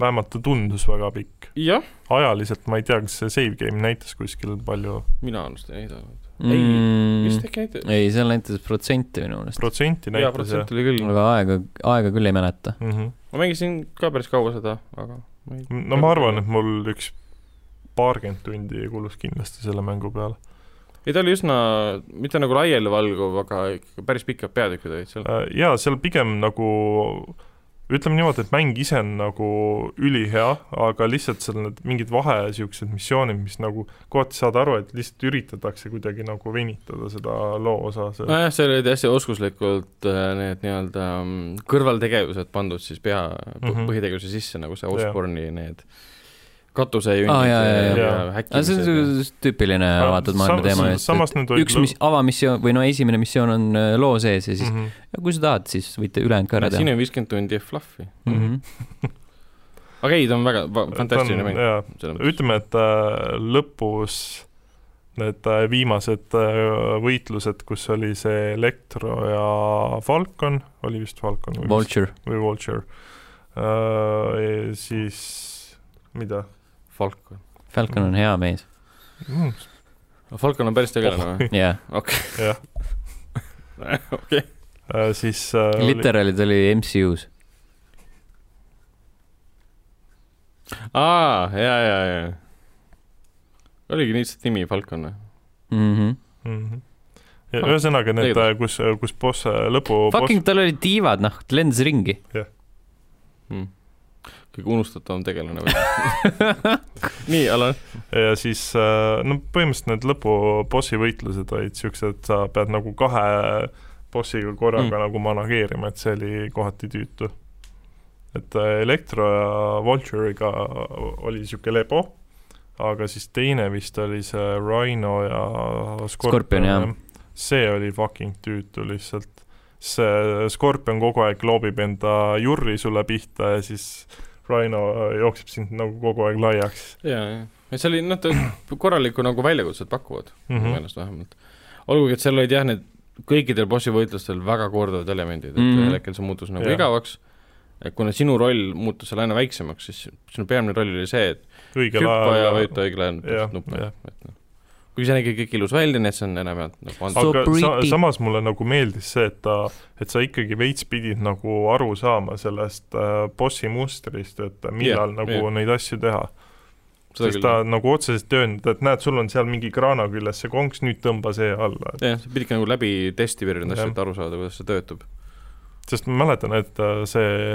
[SPEAKER 3] vähemalt ta tundus väga pikk .
[SPEAKER 2] jah ,
[SPEAKER 3] ajaliselt ma ei tea , kas see save game näitas kuskil palju
[SPEAKER 2] mina arvan seda ei näidanud . Ei, vist
[SPEAKER 1] Mm. ei ,
[SPEAKER 2] äkki näitas ,
[SPEAKER 1] seal näitas protsenti minu meelest ,
[SPEAKER 3] protsenti
[SPEAKER 2] jaa ,
[SPEAKER 3] näitas ja
[SPEAKER 2] protsent oli küll .
[SPEAKER 1] aga aega , aega küll ei mäleta .
[SPEAKER 3] mm . -hmm.
[SPEAKER 2] ma mängisin ka päris kaua seda , aga ma ei
[SPEAKER 3] no ma arvan , et mul üks paarkümmend tundi kulus kindlasti selle mängu peale .
[SPEAKER 2] ei , ta oli üsna , mitte nagu laialivalguv , aga ikka päris pikad peatükid olid seal .
[SPEAKER 3] Äh, jaa , seal pigem nagu ütleme niimoodi , et mäng ise on nagu ülihea , aga lihtsalt seal need mingid vahe siuksed missioonid , mis nagu kohati saad aru , et lihtsalt üritatakse kuidagi nagu venitada seda loo osa .
[SPEAKER 2] nojah , seal olid hästi oskuslikult äh, need nii-öelda mm, kõrvaltegevused pandud siis pea
[SPEAKER 3] Mhm.
[SPEAKER 2] mm , põhitegevuse sisse , nagu see
[SPEAKER 3] Jah.
[SPEAKER 2] Osborne'i need katuse
[SPEAKER 1] Aa, Ah, jaa, jaa, jaa.
[SPEAKER 3] Jaa.
[SPEAKER 1] aga see on
[SPEAKER 2] häkkimised .
[SPEAKER 1] selline tüüpiline
[SPEAKER 3] Aga
[SPEAKER 1] avatud maailma
[SPEAKER 3] sam-
[SPEAKER 1] teema ,
[SPEAKER 3] sam- samas
[SPEAKER 1] et,
[SPEAKER 3] need
[SPEAKER 1] et
[SPEAKER 3] olid
[SPEAKER 1] üks
[SPEAKER 3] lõ-
[SPEAKER 1] mis avamissioon või no esimene missioon on äh, loo sees ja siis
[SPEAKER 3] -hmm.
[SPEAKER 1] ja kui sa tahad , siis võite ülejäänud ka ära
[SPEAKER 2] siin
[SPEAKER 1] teha .
[SPEAKER 2] on viiskümmend tundi fluff'i ,
[SPEAKER 1] Mm -hmm.
[SPEAKER 2] aga ei , ta on väga va- fantastiline mäng .
[SPEAKER 3] jaa , ütleme , et äh, lõpus need äh, viimased äh, võitlused , kus oli see Elektro ja Falcon , oli vist Falcon või, vist-
[SPEAKER 1] Vulture ,
[SPEAKER 3] või Vulture äh, , siis mida
[SPEAKER 2] Falcon .
[SPEAKER 1] Falcon on hea mees ,
[SPEAKER 3] mm, ?
[SPEAKER 2] Falcon on päris tegelane või ?
[SPEAKER 1] jah .
[SPEAKER 3] jah ,
[SPEAKER 2] okei .
[SPEAKER 3] äh, siis äh, oli,
[SPEAKER 1] Literally ta oli MCU-s .
[SPEAKER 2] aa , ja , ja , ja . oligi lihtsalt nimi Falcon või ?
[SPEAKER 1] Mhm.
[SPEAKER 3] mm, ja, ühesõnaga need , kus , kus boss , lõpu
[SPEAKER 1] Fucking , tal olid tiivad , noh , ta lendas ringi .
[SPEAKER 2] mm. . kõige unustatavam tegelane või ? nii , Alan .
[SPEAKER 3] ja siis äh, no põhimõtteliselt need lõpubossi võitlused olid siuksed , sa pead nagu kahe bossiga korraga mm.
[SPEAKER 2] Mm.
[SPEAKER 3] nagu manageerima , et see oli kohati tüütu . et äh, Elektro ja Vulture'iga oli siuke lebo , aga siis teine vist oli see Rhino ja
[SPEAKER 1] Scorpion, jah. .
[SPEAKER 3] see oli fucking tüütu lihtsalt . see Scorpion kogu aeg loobib enda jurri sulle pihta ja siis Rhino jookseb sind nagu kogu aeg laiaks
[SPEAKER 2] ja , ja , et see oli , noh , ta korralikku nagu väljakutset pakuvad mm ,
[SPEAKER 3] Mhm.
[SPEAKER 2] -hmm. ennast vähemalt . olgugi , et seal olid jah , need kõikidel bossi võitlustel väga korduvad elemendid , et
[SPEAKER 1] Mhm.
[SPEAKER 2] ühel hetkel see muutus nagu
[SPEAKER 3] Jah.
[SPEAKER 2] yeah. igavaks , kuna sinu roll muutus seal aina väiksemaks , siis sinu peamine roll oli see , et
[SPEAKER 3] õigel
[SPEAKER 2] hüppa ja
[SPEAKER 3] ajal .
[SPEAKER 2] võita õiglane
[SPEAKER 3] jah,
[SPEAKER 2] nupp ,
[SPEAKER 3] jah.
[SPEAKER 2] et noh . kui see nägi kõik ilus välja , nii et see on enam-vähem nagu antud .
[SPEAKER 3] aga
[SPEAKER 1] So
[SPEAKER 3] sa,
[SPEAKER 1] pretty.
[SPEAKER 3] samas mulle nagu meeldis see , et ta , et sa ikkagi veits pidid nagu aru saama sellest äh, bossi mustrist , et millal
[SPEAKER 2] Jah,
[SPEAKER 3] yeah, nagu
[SPEAKER 2] jah.
[SPEAKER 3] yeah. neid asju teha . sest ta nagu otseselt ei öelnud , et näed , sul on seal mingi kraana küljes see konks , nüüd tõmba see alla .
[SPEAKER 2] jah , sa pididki nagu läbi testi
[SPEAKER 3] Jah.
[SPEAKER 2] virjandast , et aru saada , kuidas see töötab .
[SPEAKER 3] sest ma mäletan , et äh, see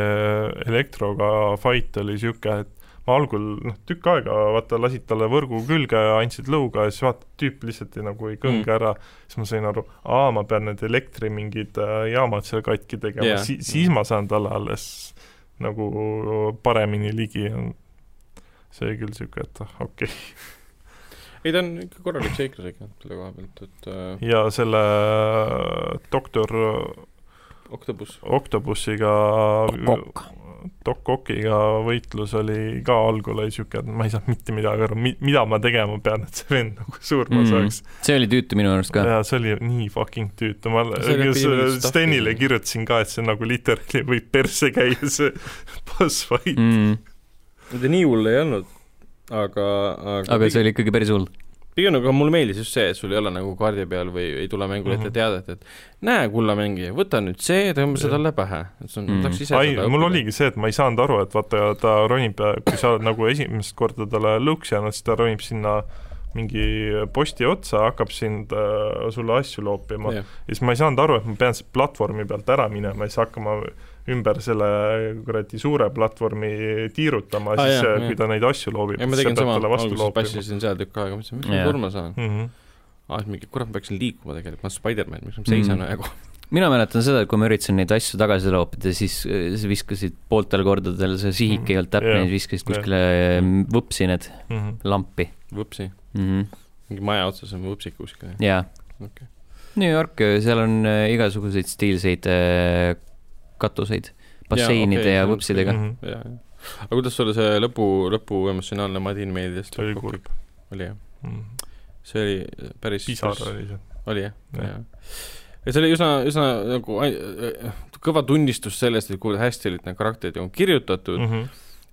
[SPEAKER 3] Elektroga fight oli niisugune , et ma algul noh , tükk aega vaata lasid talle võrgu külge ja andsid lõuga ja siis vaata , tüüp lihtsalt ei, nagu ei kõnge
[SPEAKER 2] Mm.
[SPEAKER 3] mm. ära , siis ma sain aru , aa , ma pean need elektri mingid äh, jaamad seal katki tegema
[SPEAKER 2] Jaa.
[SPEAKER 3] yeah. , si- , siis ma saan talle alles nagu paremini ligi . see oli küll niisugune , et ah, okei okay. .
[SPEAKER 2] ei , ta on ikka korralik seiklus ikka selle koha pealt , et äh,
[SPEAKER 3] ja selle äh, doktor
[SPEAKER 2] Octopus
[SPEAKER 3] Octopusiga , Doc Ockiga võitlus oli ka algul oli siuke , et ma ei saanud mitte midagi aru , mida ma tegema pean , et see vend nagu surma
[SPEAKER 1] Mm.
[SPEAKER 3] mm. saaks .
[SPEAKER 1] see oli tüütu minu arust ka .
[SPEAKER 3] ja see oli nii fucking tüütu , ma
[SPEAKER 2] See oli piinlik stuff.
[SPEAKER 3] Stenile kirjutasin ka , et see nagu literaali võib perse käia , see boss fight mm. .
[SPEAKER 1] Mhm.
[SPEAKER 2] mitte nii hull ei olnud , aga , aga,
[SPEAKER 1] aga see oli ikkagi päris hull .
[SPEAKER 2] pigem nagu mulle meeldis just see , et sul ei ole nagu kaardi peal või ei tule mängule ette
[SPEAKER 3] Mhm.
[SPEAKER 2] teadet , et näe , kullamängija , võta nüüd see , tõmba see
[SPEAKER 3] Jah.
[SPEAKER 2] talle pähe . et see on
[SPEAKER 1] Mhm.
[SPEAKER 2] mm. , tahaks ise
[SPEAKER 3] ai , mul . oligi see , et ma ei saanud aru , et vaata , ta ronib , kui sa oled nagu esimest korda talle lõuks jäänud , siis ta ronib sinna mingi posti otsa , hakkab sind äh, , sulle asju loopima . ja siis ma ei saanud aru , et ma pean sealt platvormi pealt ära minema ja siis hakkama ümber selle kuradi suure platvormi tiirutama ,
[SPEAKER 2] Aa,
[SPEAKER 3] siis
[SPEAKER 2] jah,
[SPEAKER 3] ah, kui
[SPEAKER 2] jah.
[SPEAKER 3] ta neid asju loobib ,
[SPEAKER 2] ja ma
[SPEAKER 3] siis sa
[SPEAKER 2] tegin
[SPEAKER 3] pead
[SPEAKER 2] sama ,
[SPEAKER 3] talle vastu
[SPEAKER 2] alguses
[SPEAKER 3] loopima .
[SPEAKER 2] passisin seal tükk aega , mõtlesin , miks
[SPEAKER 1] Jah.
[SPEAKER 2] ma surma saan .
[SPEAKER 3] Mm -hmm.
[SPEAKER 2] aa , siis mingi , kurat , ma peaksin liikuma tegelikult , ma olen Spider-man , miks ma
[SPEAKER 1] Mhm.
[SPEAKER 2] seisan mm. ajaga .
[SPEAKER 1] mina mäletan seda , et kui ma üritasin neid asju tagasi loopida , siis äh, sa viskasid pooltel kordadel , see sihik
[SPEAKER 2] Mhm.
[SPEAKER 1] ei olnud täpne ja
[SPEAKER 3] Jah.
[SPEAKER 1] siis viskasid
[SPEAKER 3] Jah.
[SPEAKER 1] kuskile äh, võpsi need
[SPEAKER 3] Mm -hmm.
[SPEAKER 1] lampi
[SPEAKER 2] võpsi ,
[SPEAKER 1] mm . -hmm.
[SPEAKER 2] mingi maja otsas on võpsik kuskil .
[SPEAKER 1] jaa , New York , seal on äh, igasuguseid stiilseid äh, katuseid basseinide
[SPEAKER 2] okei,
[SPEAKER 1] ja
[SPEAKER 2] see Mhm. on
[SPEAKER 1] võpsidega .
[SPEAKER 3] Mhm,
[SPEAKER 2] jaa , jaa . aga kuidas sulle see lõpu , lõpu emotsionaalne madin meeldis ?
[SPEAKER 3] see oli kurb .
[SPEAKER 2] oli jah , see oli päris
[SPEAKER 3] mhm. pisar oli see .
[SPEAKER 2] oli jah ,
[SPEAKER 3] Jah.
[SPEAKER 2] jah . ja see oli üsna , üsna nagu ai- äh, kõva tunnistus sellest , et kuule , hästi olid need karakterid nagu kirjutatud mm ,
[SPEAKER 3] Mhm,
[SPEAKER 2] -hmm.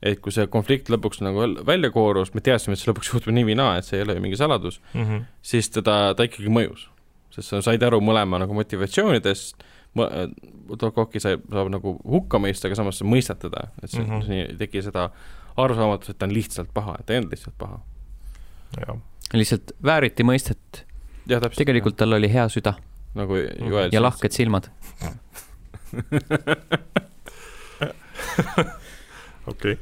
[SPEAKER 2] et kui see konflikt lõpuks nagu väl- välja koorus , me teadsime , et see lõpuks juhtub nii või naa , et see ei ole ju mingi saladus ,
[SPEAKER 3] mhm.
[SPEAKER 2] siis teda , ta ikkagi mõjus . sest sa said aru mõlema nagu motivatsioonidest , Tokoki sai , saab nagu hukka mõista , aga samas sa mõistad teda , et see mm
[SPEAKER 3] Mhm.
[SPEAKER 2] -hmm. tegi seda arusaamatust , et ta on lihtsalt paha , et ta ei olnud lihtsalt paha .
[SPEAKER 3] jah ,
[SPEAKER 1] lihtsalt vääriti mõistet ,
[SPEAKER 2] jah , täpselt .
[SPEAKER 1] tegelikult tal oli hea süda
[SPEAKER 2] nagu Joel
[SPEAKER 1] ja . lahked silmad .
[SPEAKER 3] okei .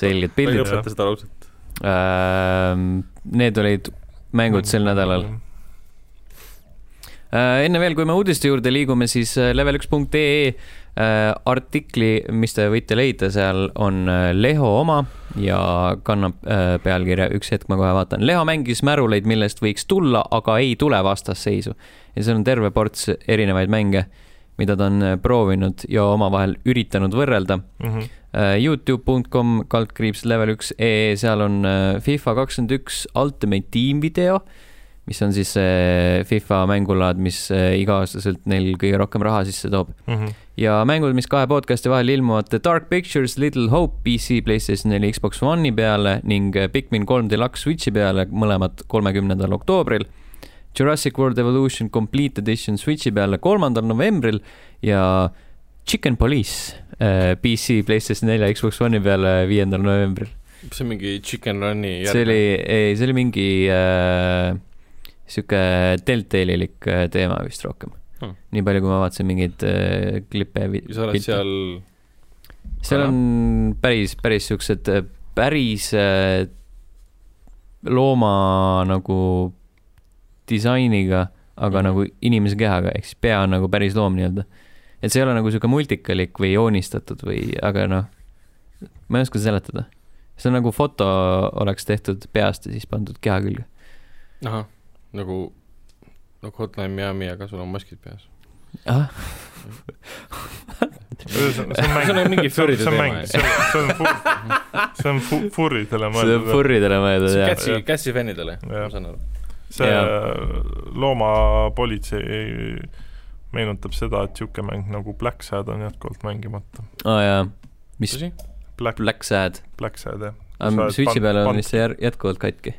[SPEAKER 1] selged
[SPEAKER 2] ma ei
[SPEAKER 1] pildid .
[SPEAKER 2] lõpeta seda lauset .
[SPEAKER 1] Ehm, Need olid mängud sel nädalal .. Äh, enne veel , kui me uudiste juurde liigume , siis äh, level1.ee äh, artikli , mis te võite leida , seal on äh, Leho oma ja kannab äh, pealkirja , üks hetk ma kohe vaatan . Leho mängis märuleid , millest võiks tulla , aga ei tule vastasseisu . ja seal on terve ports erinevaid mänge , mida ta on äh, proovinud ja omavahel üritanud võrrelda .
[SPEAKER 3] Mhm,
[SPEAKER 1] Äh, Youtube.com kaldkriips level1.ee , seal on äh, FIFA kakskümmend üks Ultimate Team video , mis on siis see FIFA mängulaad , mis äh, iga-aastaselt neil kõige rohkem raha sisse toob .
[SPEAKER 3] Mhm.
[SPEAKER 1] ja mängud , mis kahe podcast'i vahel ilmuvad The Dark Pictures , Little Hope PC , Playstation neli , Xbox One'i peale ning äh, Pikmin kolm Deluxe Switch'i peale , mõlemad kolmekümnendal oktoobril . Jurassic World Evolution Complete Edition Switch'i peale kolmandal novembril ja Chicken Police äh, PC , Playstation neli ja Xbox One'i peale viiendal novembril .
[SPEAKER 2] see on mingi Chicken Run'i
[SPEAKER 1] see oli , ei , see oli mingi äh, sihuke deltaililik äh, teema vist rohkem
[SPEAKER 2] Hmm.
[SPEAKER 1] hmm. . nii palju , kui ma vaatasin mingeid äh, klippe ja vi-
[SPEAKER 2] ja sa oled seal ,
[SPEAKER 1] seal on päris , päris siuksed , päris äh, looma nagu disainiga , aga
[SPEAKER 2] Mhm.
[SPEAKER 1] mm. nagu inimese kehaga , ehk siis pea on nagu päris loom nii-öelda . et see ei ole nagu sihuke multikalik või joonistatud või , aga noh , ma ei oska seletada . see on nagu foto oleks tehtud peast ja siis pandud keha külge .
[SPEAKER 2] ahah , nagu , nagu Hotline Miami , aga sul on maskid peas .
[SPEAKER 1] ahah ,
[SPEAKER 3] ühesõnaga , see
[SPEAKER 2] See on
[SPEAKER 3] on
[SPEAKER 2] mingi
[SPEAKER 3] mäng , see on ,
[SPEAKER 2] furryde
[SPEAKER 3] see on
[SPEAKER 2] teema,
[SPEAKER 3] mäng
[SPEAKER 2] jah. ,
[SPEAKER 3] see on , see on fur- , see on fu- , furridele
[SPEAKER 1] see on
[SPEAKER 3] mõeldud .
[SPEAKER 1] furridele mõeldud jah .
[SPEAKER 2] Kätsi , Kätsi fännidele , ma
[SPEAKER 3] Jah.
[SPEAKER 2] saan aru .
[SPEAKER 3] see
[SPEAKER 1] Jaa.
[SPEAKER 3] loomapolitsei meenutab seda , et niisugune mäng nagu Black Sad on jätkuvalt mängimata .
[SPEAKER 1] aa jaa , mis ,
[SPEAKER 2] tõsi ?
[SPEAKER 3] Black ,
[SPEAKER 1] Black Sad ,
[SPEAKER 3] Black Sad , jah . oled
[SPEAKER 1] Switchi
[SPEAKER 3] pan-
[SPEAKER 1] peal on
[SPEAKER 3] pan-
[SPEAKER 1] vist see jär- jätkuvalt katki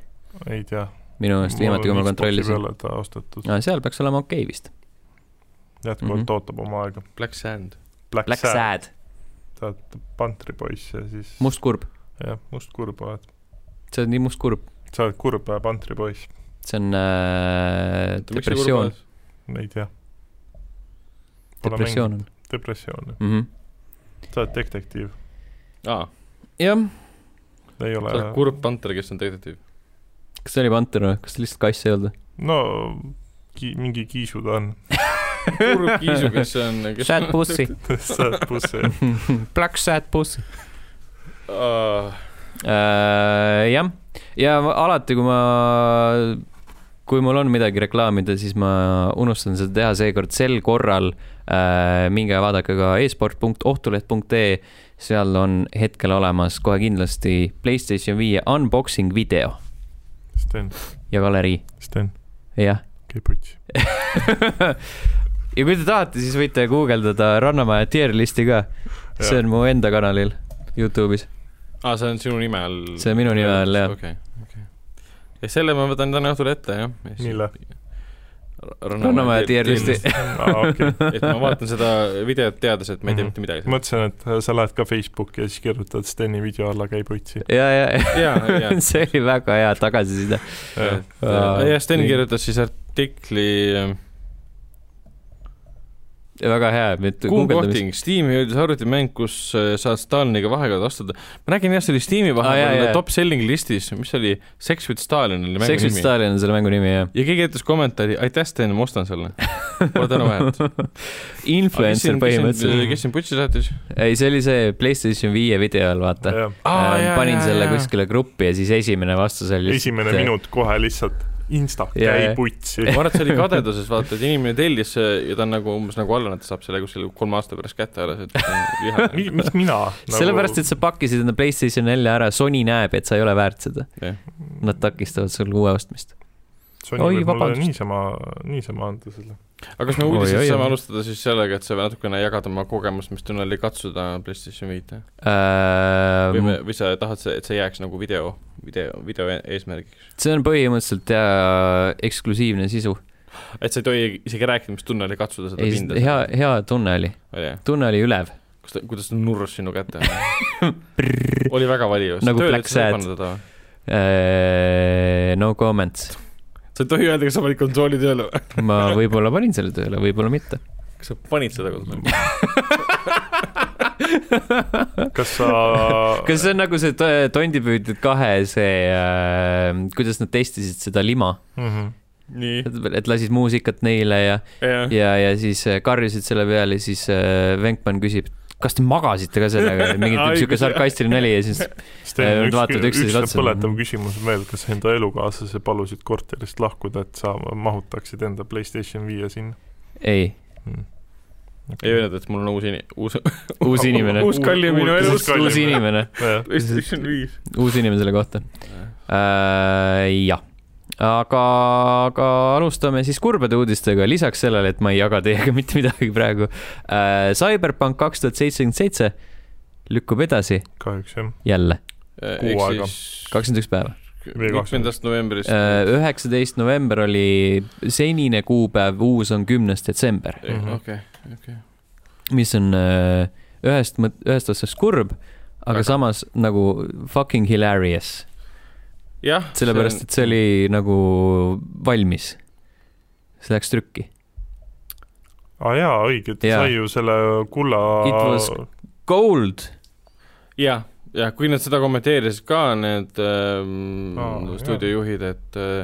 [SPEAKER 3] ei tea .
[SPEAKER 1] minu meelest viimati , kui ma kontrollisin .
[SPEAKER 3] ta ostetud ,
[SPEAKER 1] aa , seal peaks olema okei okay vist .
[SPEAKER 3] jätkuvalt mm
[SPEAKER 1] Mhm.
[SPEAKER 3] -hmm. ootab oma aega .
[SPEAKER 2] Black Sand .
[SPEAKER 3] Black,
[SPEAKER 1] Black
[SPEAKER 3] Black Sad ,
[SPEAKER 1] Sad ,
[SPEAKER 3] sa oled pantripoiss ja siis
[SPEAKER 1] must kurb ,
[SPEAKER 3] jah , mustkurb oled .
[SPEAKER 1] see on nii must kurb ,
[SPEAKER 3] sa oled kurb pantripoiss ,
[SPEAKER 1] see on äh, depressioon ,.
[SPEAKER 3] ei tea .
[SPEAKER 1] depressioon on .
[SPEAKER 3] depressioon , jah .
[SPEAKER 1] mm -hmm. .
[SPEAKER 3] sa oled detektiiv ,
[SPEAKER 2] aa ,
[SPEAKER 1] jah ,
[SPEAKER 3] ei
[SPEAKER 2] sa oled
[SPEAKER 3] ole .
[SPEAKER 2] kurb panter , kes on detektiiv .
[SPEAKER 1] kas see oli panter või , kas ta lihtsalt kass ei olnud või ?
[SPEAKER 3] no ki, mingi kiisu ta on .
[SPEAKER 2] kurb kiisu , kes on , kes
[SPEAKER 1] Sad pussy ,
[SPEAKER 3] sa oled buss ,
[SPEAKER 1] black sad pussy .
[SPEAKER 2] uh,
[SPEAKER 1] Äh, jah , ja ma- alati , kui ma , kui mul on midagi reklaamida , siis ma unustan seda teha seekord sel korral äh, . minge vaadake ka e-sport.ohtuleht.ee , seal on hetkel olemas kohe kindlasti Playstation viie unboxing video
[SPEAKER 3] Sten ,
[SPEAKER 1] ja galerii ,
[SPEAKER 3] Sten ,
[SPEAKER 1] jah .
[SPEAKER 3] käi putsi .
[SPEAKER 1] ja kui te tahate , siis võite guugeldada Rannamaja tier list'i ka , see on mu enda kanalil Youtube'is .
[SPEAKER 2] aa , see on sinu nime all .
[SPEAKER 1] See on minu nime all, jah.
[SPEAKER 2] okei , okei . ja selle ma võtan täna õhtul ette , jah .
[SPEAKER 3] Mille? ?
[SPEAKER 1] Rannamaja tier list'i .
[SPEAKER 3] aa , okei .
[SPEAKER 2] et ma vaatan seda videot teades , et ma ei tea mitte midagi .
[SPEAKER 3] mõtlesin , et sa lähed ka Facebooki ja siis kirjutad Steni video alla käi putsi .
[SPEAKER 1] ja , ja
[SPEAKER 2] Jaa, , jaa.
[SPEAKER 1] see oli väga hea tagasiside . Aa,
[SPEAKER 2] Äh, ja Sten
[SPEAKER 1] äh, nii.
[SPEAKER 2] kirjutas siis artikli äh,
[SPEAKER 1] väga hea , et
[SPEAKER 2] kuum
[SPEAKER 1] guugeldamis-
[SPEAKER 2] kohting , Steam'i jõudis arvutimäng , kus äh, saad Staliniga vahekorda astuda . ma nägin jah , see oli
[SPEAKER 1] Aa,
[SPEAKER 2] Steam'i
[SPEAKER 1] jaa,
[SPEAKER 2] vahekorda
[SPEAKER 1] jaa.
[SPEAKER 2] top selling listis , mis see oli , Sex with Stalin oli mängu
[SPEAKER 1] Sex with
[SPEAKER 2] nimi .
[SPEAKER 1] Stalin on selle mängu nimi , jah .
[SPEAKER 2] ja keegi jättis kommentaari , aitäh Sten , ma ostan selle . pole tänu vajanud . Ah,
[SPEAKER 1] Influencer põhimõtteliselt .
[SPEAKER 2] kes siin putši saatis ?
[SPEAKER 1] ei , see oli see PlayStation viie video all , Äh, vaata . panin selle . kuskile gruppi ja siis esimene vastus oli .
[SPEAKER 3] esimene . minut kohe lihtsalt Insta
[SPEAKER 1] Jaa, jaa.
[SPEAKER 3] käi putsi .
[SPEAKER 2] ma arvan , et see oli kadeduses , vaata , et inimene tellis see ja ta on nagu umbes nagu alla , et ta saab selle kuskil kolme aasta pärast kätte alles , et ta on vihane .
[SPEAKER 3] miks mina nagu... ?
[SPEAKER 1] sellepärast , et sa pakkisid enda Playstation nelja ära , Sony näeb , et sa ei ole väärt seda .
[SPEAKER 2] Jah.
[SPEAKER 1] Nad takistavad sul uue ostmist .
[SPEAKER 3] Sony
[SPEAKER 1] Oi,
[SPEAKER 3] võib mulle
[SPEAKER 1] vabandust.
[SPEAKER 3] niisama , niisama anda selle .
[SPEAKER 2] aga kas me
[SPEAKER 1] Oi,
[SPEAKER 2] uudisest
[SPEAKER 1] oi,
[SPEAKER 2] saame
[SPEAKER 1] oi.
[SPEAKER 2] alustada siis sellega , et sa natukene jagad oma kogemust , mis tunnel oli katsuda PlayStation viite või me ,
[SPEAKER 1] see
[SPEAKER 2] või sa tahad , et see jääks nagu video , video , video e- eesmärgiks ?
[SPEAKER 1] on põhimõtteliselt jaa eksklusiivne sisu .
[SPEAKER 2] et sa ei tohi isegi rääkida , mis tunne oli katsuda seda
[SPEAKER 1] ei ,
[SPEAKER 2] pinda .
[SPEAKER 1] hea , hea tunne oli ,
[SPEAKER 2] hea .
[SPEAKER 1] tunne oli ülev .
[SPEAKER 2] kas ta , kuidas ta nurrus sinu kätte ? oli väga valju .
[SPEAKER 1] Nagu Black Sad. Ehm, No comment ,
[SPEAKER 2] sa ei tohi öelda , kas sa panid konsooli tööle või ?
[SPEAKER 1] ma võib-olla panin selle tööle , võib-olla mitte .
[SPEAKER 2] kas sa panid seda konsooli ?
[SPEAKER 3] kas sa
[SPEAKER 1] kas see on nagu see to- Tondipüüdjad kahe see äh, , kuidas nad testisid seda lima ,
[SPEAKER 3] mm ? -hmm.
[SPEAKER 2] nii .
[SPEAKER 1] et lasid muusikat neile ja ,
[SPEAKER 2] jah ,
[SPEAKER 1] ja , ja siis äh, karjusid selle peale , siis äh, Venkman küsib , kas te magasite ka sellega , mingi
[SPEAKER 2] Ai,
[SPEAKER 1] siuke
[SPEAKER 2] kui see-
[SPEAKER 1] sarkastiline nali ja siis
[SPEAKER 3] siis teil
[SPEAKER 1] Nad
[SPEAKER 3] on
[SPEAKER 1] vaatavad
[SPEAKER 3] üks,
[SPEAKER 1] üksteisele
[SPEAKER 3] üks
[SPEAKER 1] otsa.
[SPEAKER 3] põletav küsimus veel , kas enda elukaaslase palusid korterist lahkuda , et sa mahutaksid enda Playstation viie sinna
[SPEAKER 1] ei ,
[SPEAKER 3] mm. ?
[SPEAKER 2] ei öelnud , et mul on uus ini- , uus
[SPEAKER 1] uus inimene ,
[SPEAKER 2] uus kallim minu
[SPEAKER 3] Uus-
[SPEAKER 2] elus .
[SPEAKER 3] kallim.
[SPEAKER 1] uus inimene ,
[SPEAKER 3] öelnud .
[SPEAKER 2] PlayStation viis .
[SPEAKER 1] uus inimene selle kohta äh, . jah , aga , aga alustame siis kurbade uudistega , lisaks sellele , et ma ei jaga teiega mitte midagi praegu äh, . Cyberpunk kaks tuhat seitsekümmend seitse lükkub edasi
[SPEAKER 3] kahjuks jah .
[SPEAKER 1] jälle ,
[SPEAKER 2] ehk
[SPEAKER 3] Kuu aega.
[SPEAKER 2] siis
[SPEAKER 1] kakskümmend üks päeva .
[SPEAKER 3] Või kakskümmend.
[SPEAKER 2] mitmendast novembrist .
[SPEAKER 1] Äh, üheksateist november oli senine kuupäev , uus on kümnes detsember ,
[SPEAKER 3] Mhm.
[SPEAKER 2] okei , okei .
[SPEAKER 1] mis on äh, ühest , ühest otsast kurb , aga
[SPEAKER 2] Väga.
[SPEAKER 1] samas nagu fucking hilarious ,
[SPEAKER 2] jah .
[SPEAKER 1] sellepärast et see oli nagu valmis . see läks trükki .
[SPEAKER 3] aa Ah, jaa , õige , ta
[SPEAKER 1] Jaa.
[SPEAKER 3] sai ju selle kulla
[SPEAKER 1] It was- Gold ,
[SPEAKER 2] jah , jah , kui nad seda kommenteerisid ka , need ähm,
[SPEAKER 3] Aa,
[SPEAKER 2] stuudiojuhid , et äh,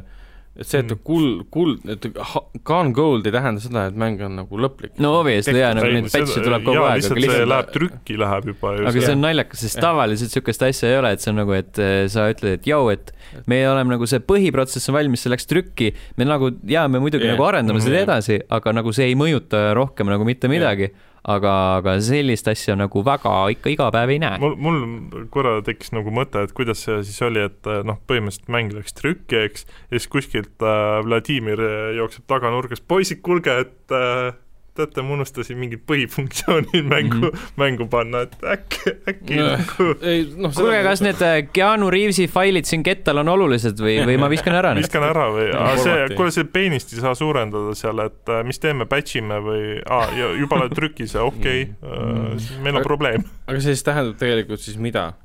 [SPEAKER 2] et see , et ta
[SPEAKER 3] Mm.
[SPEAKER 2] kuld , kuld , et ha- Gone Gold ei tähenda seda , et mäng on nagu lõplik .
[SPEAKER 1] no obviously jaa , nagu
[SPEAKER 3] Ei,
[SPEAKER 1] neid
[SPEAKER 3] seda-
[SPEAKER 1] patch'e tuleb kogu
[SPEAKER 3] jaa,
[SPEAKER 1] aeg ,
[SPEAKER 3] lihtsalt
[SPEAKER 1] aga
[SPEAKER 3] see
[SPEAKER 1] lihtsalt ,
[SPEAKER 3] läheb trükki , läheb juba ju
[SPEAKER 1] aga see
[SPEAKER 3] see
[SPEAKER 1] on naljakas , sest
[SPEAKER 2] Jah.
[SPEAKER 1] tavaliselt sihukest asja ei ole , et see on nagu , et äh, sa ütled , et jõu , et me oleme nagu see põhiprotsess on valmis , see läks trükki , me nagu jaa , me muidugi
[SPEAKER 2] Jah.
[SPEAKER 1] nagu arendame seda
[SPEAKER 2] Mhm.
[SPEAKER 1] edasi , aga nagu see ei mõjuta rohkem nagu mitte midagi . aga , aga sellist asja nagu väga ikka iga päev ei näe .
[SPEAKER 3] mul , mul korra tekkis nagu mõte , et kuidas see siis oli , et äh, noh , põhimõtteliselt mäng läks trükki , eks , ja siis kuskilt äh, Vladimir äh, jookseb taganurgas , poisid , kuulge , et äh, teate , ma unustasin mingid põhifunktsioonid mängu
[SPEAKER 1] Mhm.
[SPEAKER 3] mm , -hmm. mängu panna , et äkki , äkki
[SPEAKER 2] Nojah.
[SPEAKER 3] nagu
[SPEAKER 2] ei noh ,
[SPEAKER 1] kuulge , kas need äh, Keanu Reavesi failid siin kettal on olulised või , või ma viskan ära need ?
[SPEAKER 3] viskan ära või , aa see
[SPEAKER 2] Formati. ,
[SPEAKER 3] kuule see peenist ei saa suurendada seal , et äh, mis teeme , batch ime või , aa ja juba oled trükis , okei
[SPEAKER 1] Mm.
[SPEAKER 3] äh, , meil on
[SPEAKER 2] Aga-
[SPEAKER 3] probleem .
[SPEAKER 2] aga see siis tähendab tegelikult siis mida ?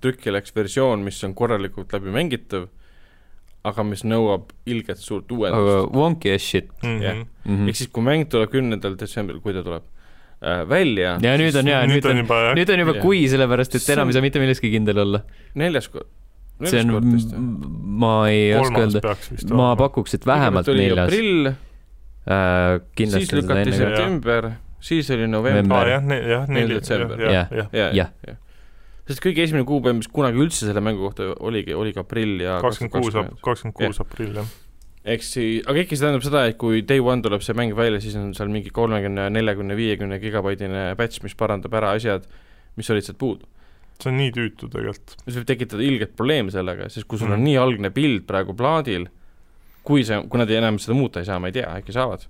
[SPEAKER 2] trükki läks versioon , mis on korralikult läbi mängitav , aga mis nõuab ilget suurt
[SPEAKER 1] aga
[SPEAKER 2] uuendust .
[SPEAKER 1] wonky as shit
[SPEAKER 2] Jah.
[SPEAKER 3] ja
[SPEAKER 1] mm . -hmm.
[SPEAKER 2] ehk siis , kui mäng tuleb kümnendal detsembril , kui ta tuleb äh, välja ,
[SPEAKER 1] ja nüüd on jaa , nüüd on ,
[SPEAKER 3] juba jah ,
[SPEAKER 1] nüüd on juba
[SPEAKER 2] Jah.
[SPEAKER 1] kui , sellepärast et
[SPEAKER 2] See on-
[SPEAKER 1] enam ei saa mitte milleski kindel olla .
[SPEAKER 2] neljas kord ,
[SPEAKER 1] see
[SPEAKER 2] neljas
[SPEAKER 1] on
[SPEAKER 2] kord vist , või ?
[SPEAKER 1] ma ei oska
[SPEAKER 3] kolmas
[SPEAKER 1] öelda ,
[SPEAKER 3] peaks vist
[SPEAKER 1] ma
[SPEAKER 3] olema .
[SPEAKER 1] pakuks , et vähemalt
[SPEAKER 2] oli
[SPEAKER 1] neljas .
[SPEAKER 2] aprill , siis
[SPEAKER 1] kindlasti seda
[SPEAKER 2] lükati
[SPEAKER 1] enne
[SPEAKER 3] see-
[SPEAKER 1] ka .
[SPEAKER 2] september , siis oli november
[SPEAKER 1] November.
[SPEAKER 3] aa jah , jah , neli ,
[SPEAKER 2] detsember.
[SPEAKER 3] jah ,
[SPEAKER 1] Jah.
[SPEAKER 3] jah , jah .
[SPEAKER 2] ja, ,
[SPEAKER 1] Jah.
[SPEAKER 2] jah . sest kõige esimene kuupäev , mis kunagi üldse selle mängu kohta oligi , oligi aprill ja
[SPEAKER 3] kakskümmend kuus , kakskümmend
[SPEAKER 2] Jah.
[SPEAKER 3] kuus aprill jah .
[SPEAKER 2] eks siis , aga ikka see tähendab seda , et kui day one tuleb see mäng välja , siis on seal mingi kolmekümne , neljakümne , viiekümne gigabaitine batch , mis parandab ära asjad , mis olid sealt puudu .
[SPEAKER 3] see on nii tüütu tegelikult .
[SPEAKER 2] mis võib tekitada ilget probleemi sellega , sest kui sul on
[SPEAKER 3] Mhm.
[SPEAKER 2] nii algne pild praegu plaadil , kui see , kui nad ei- enam seda muuta ei saa , ma ei tea , äkki saavad .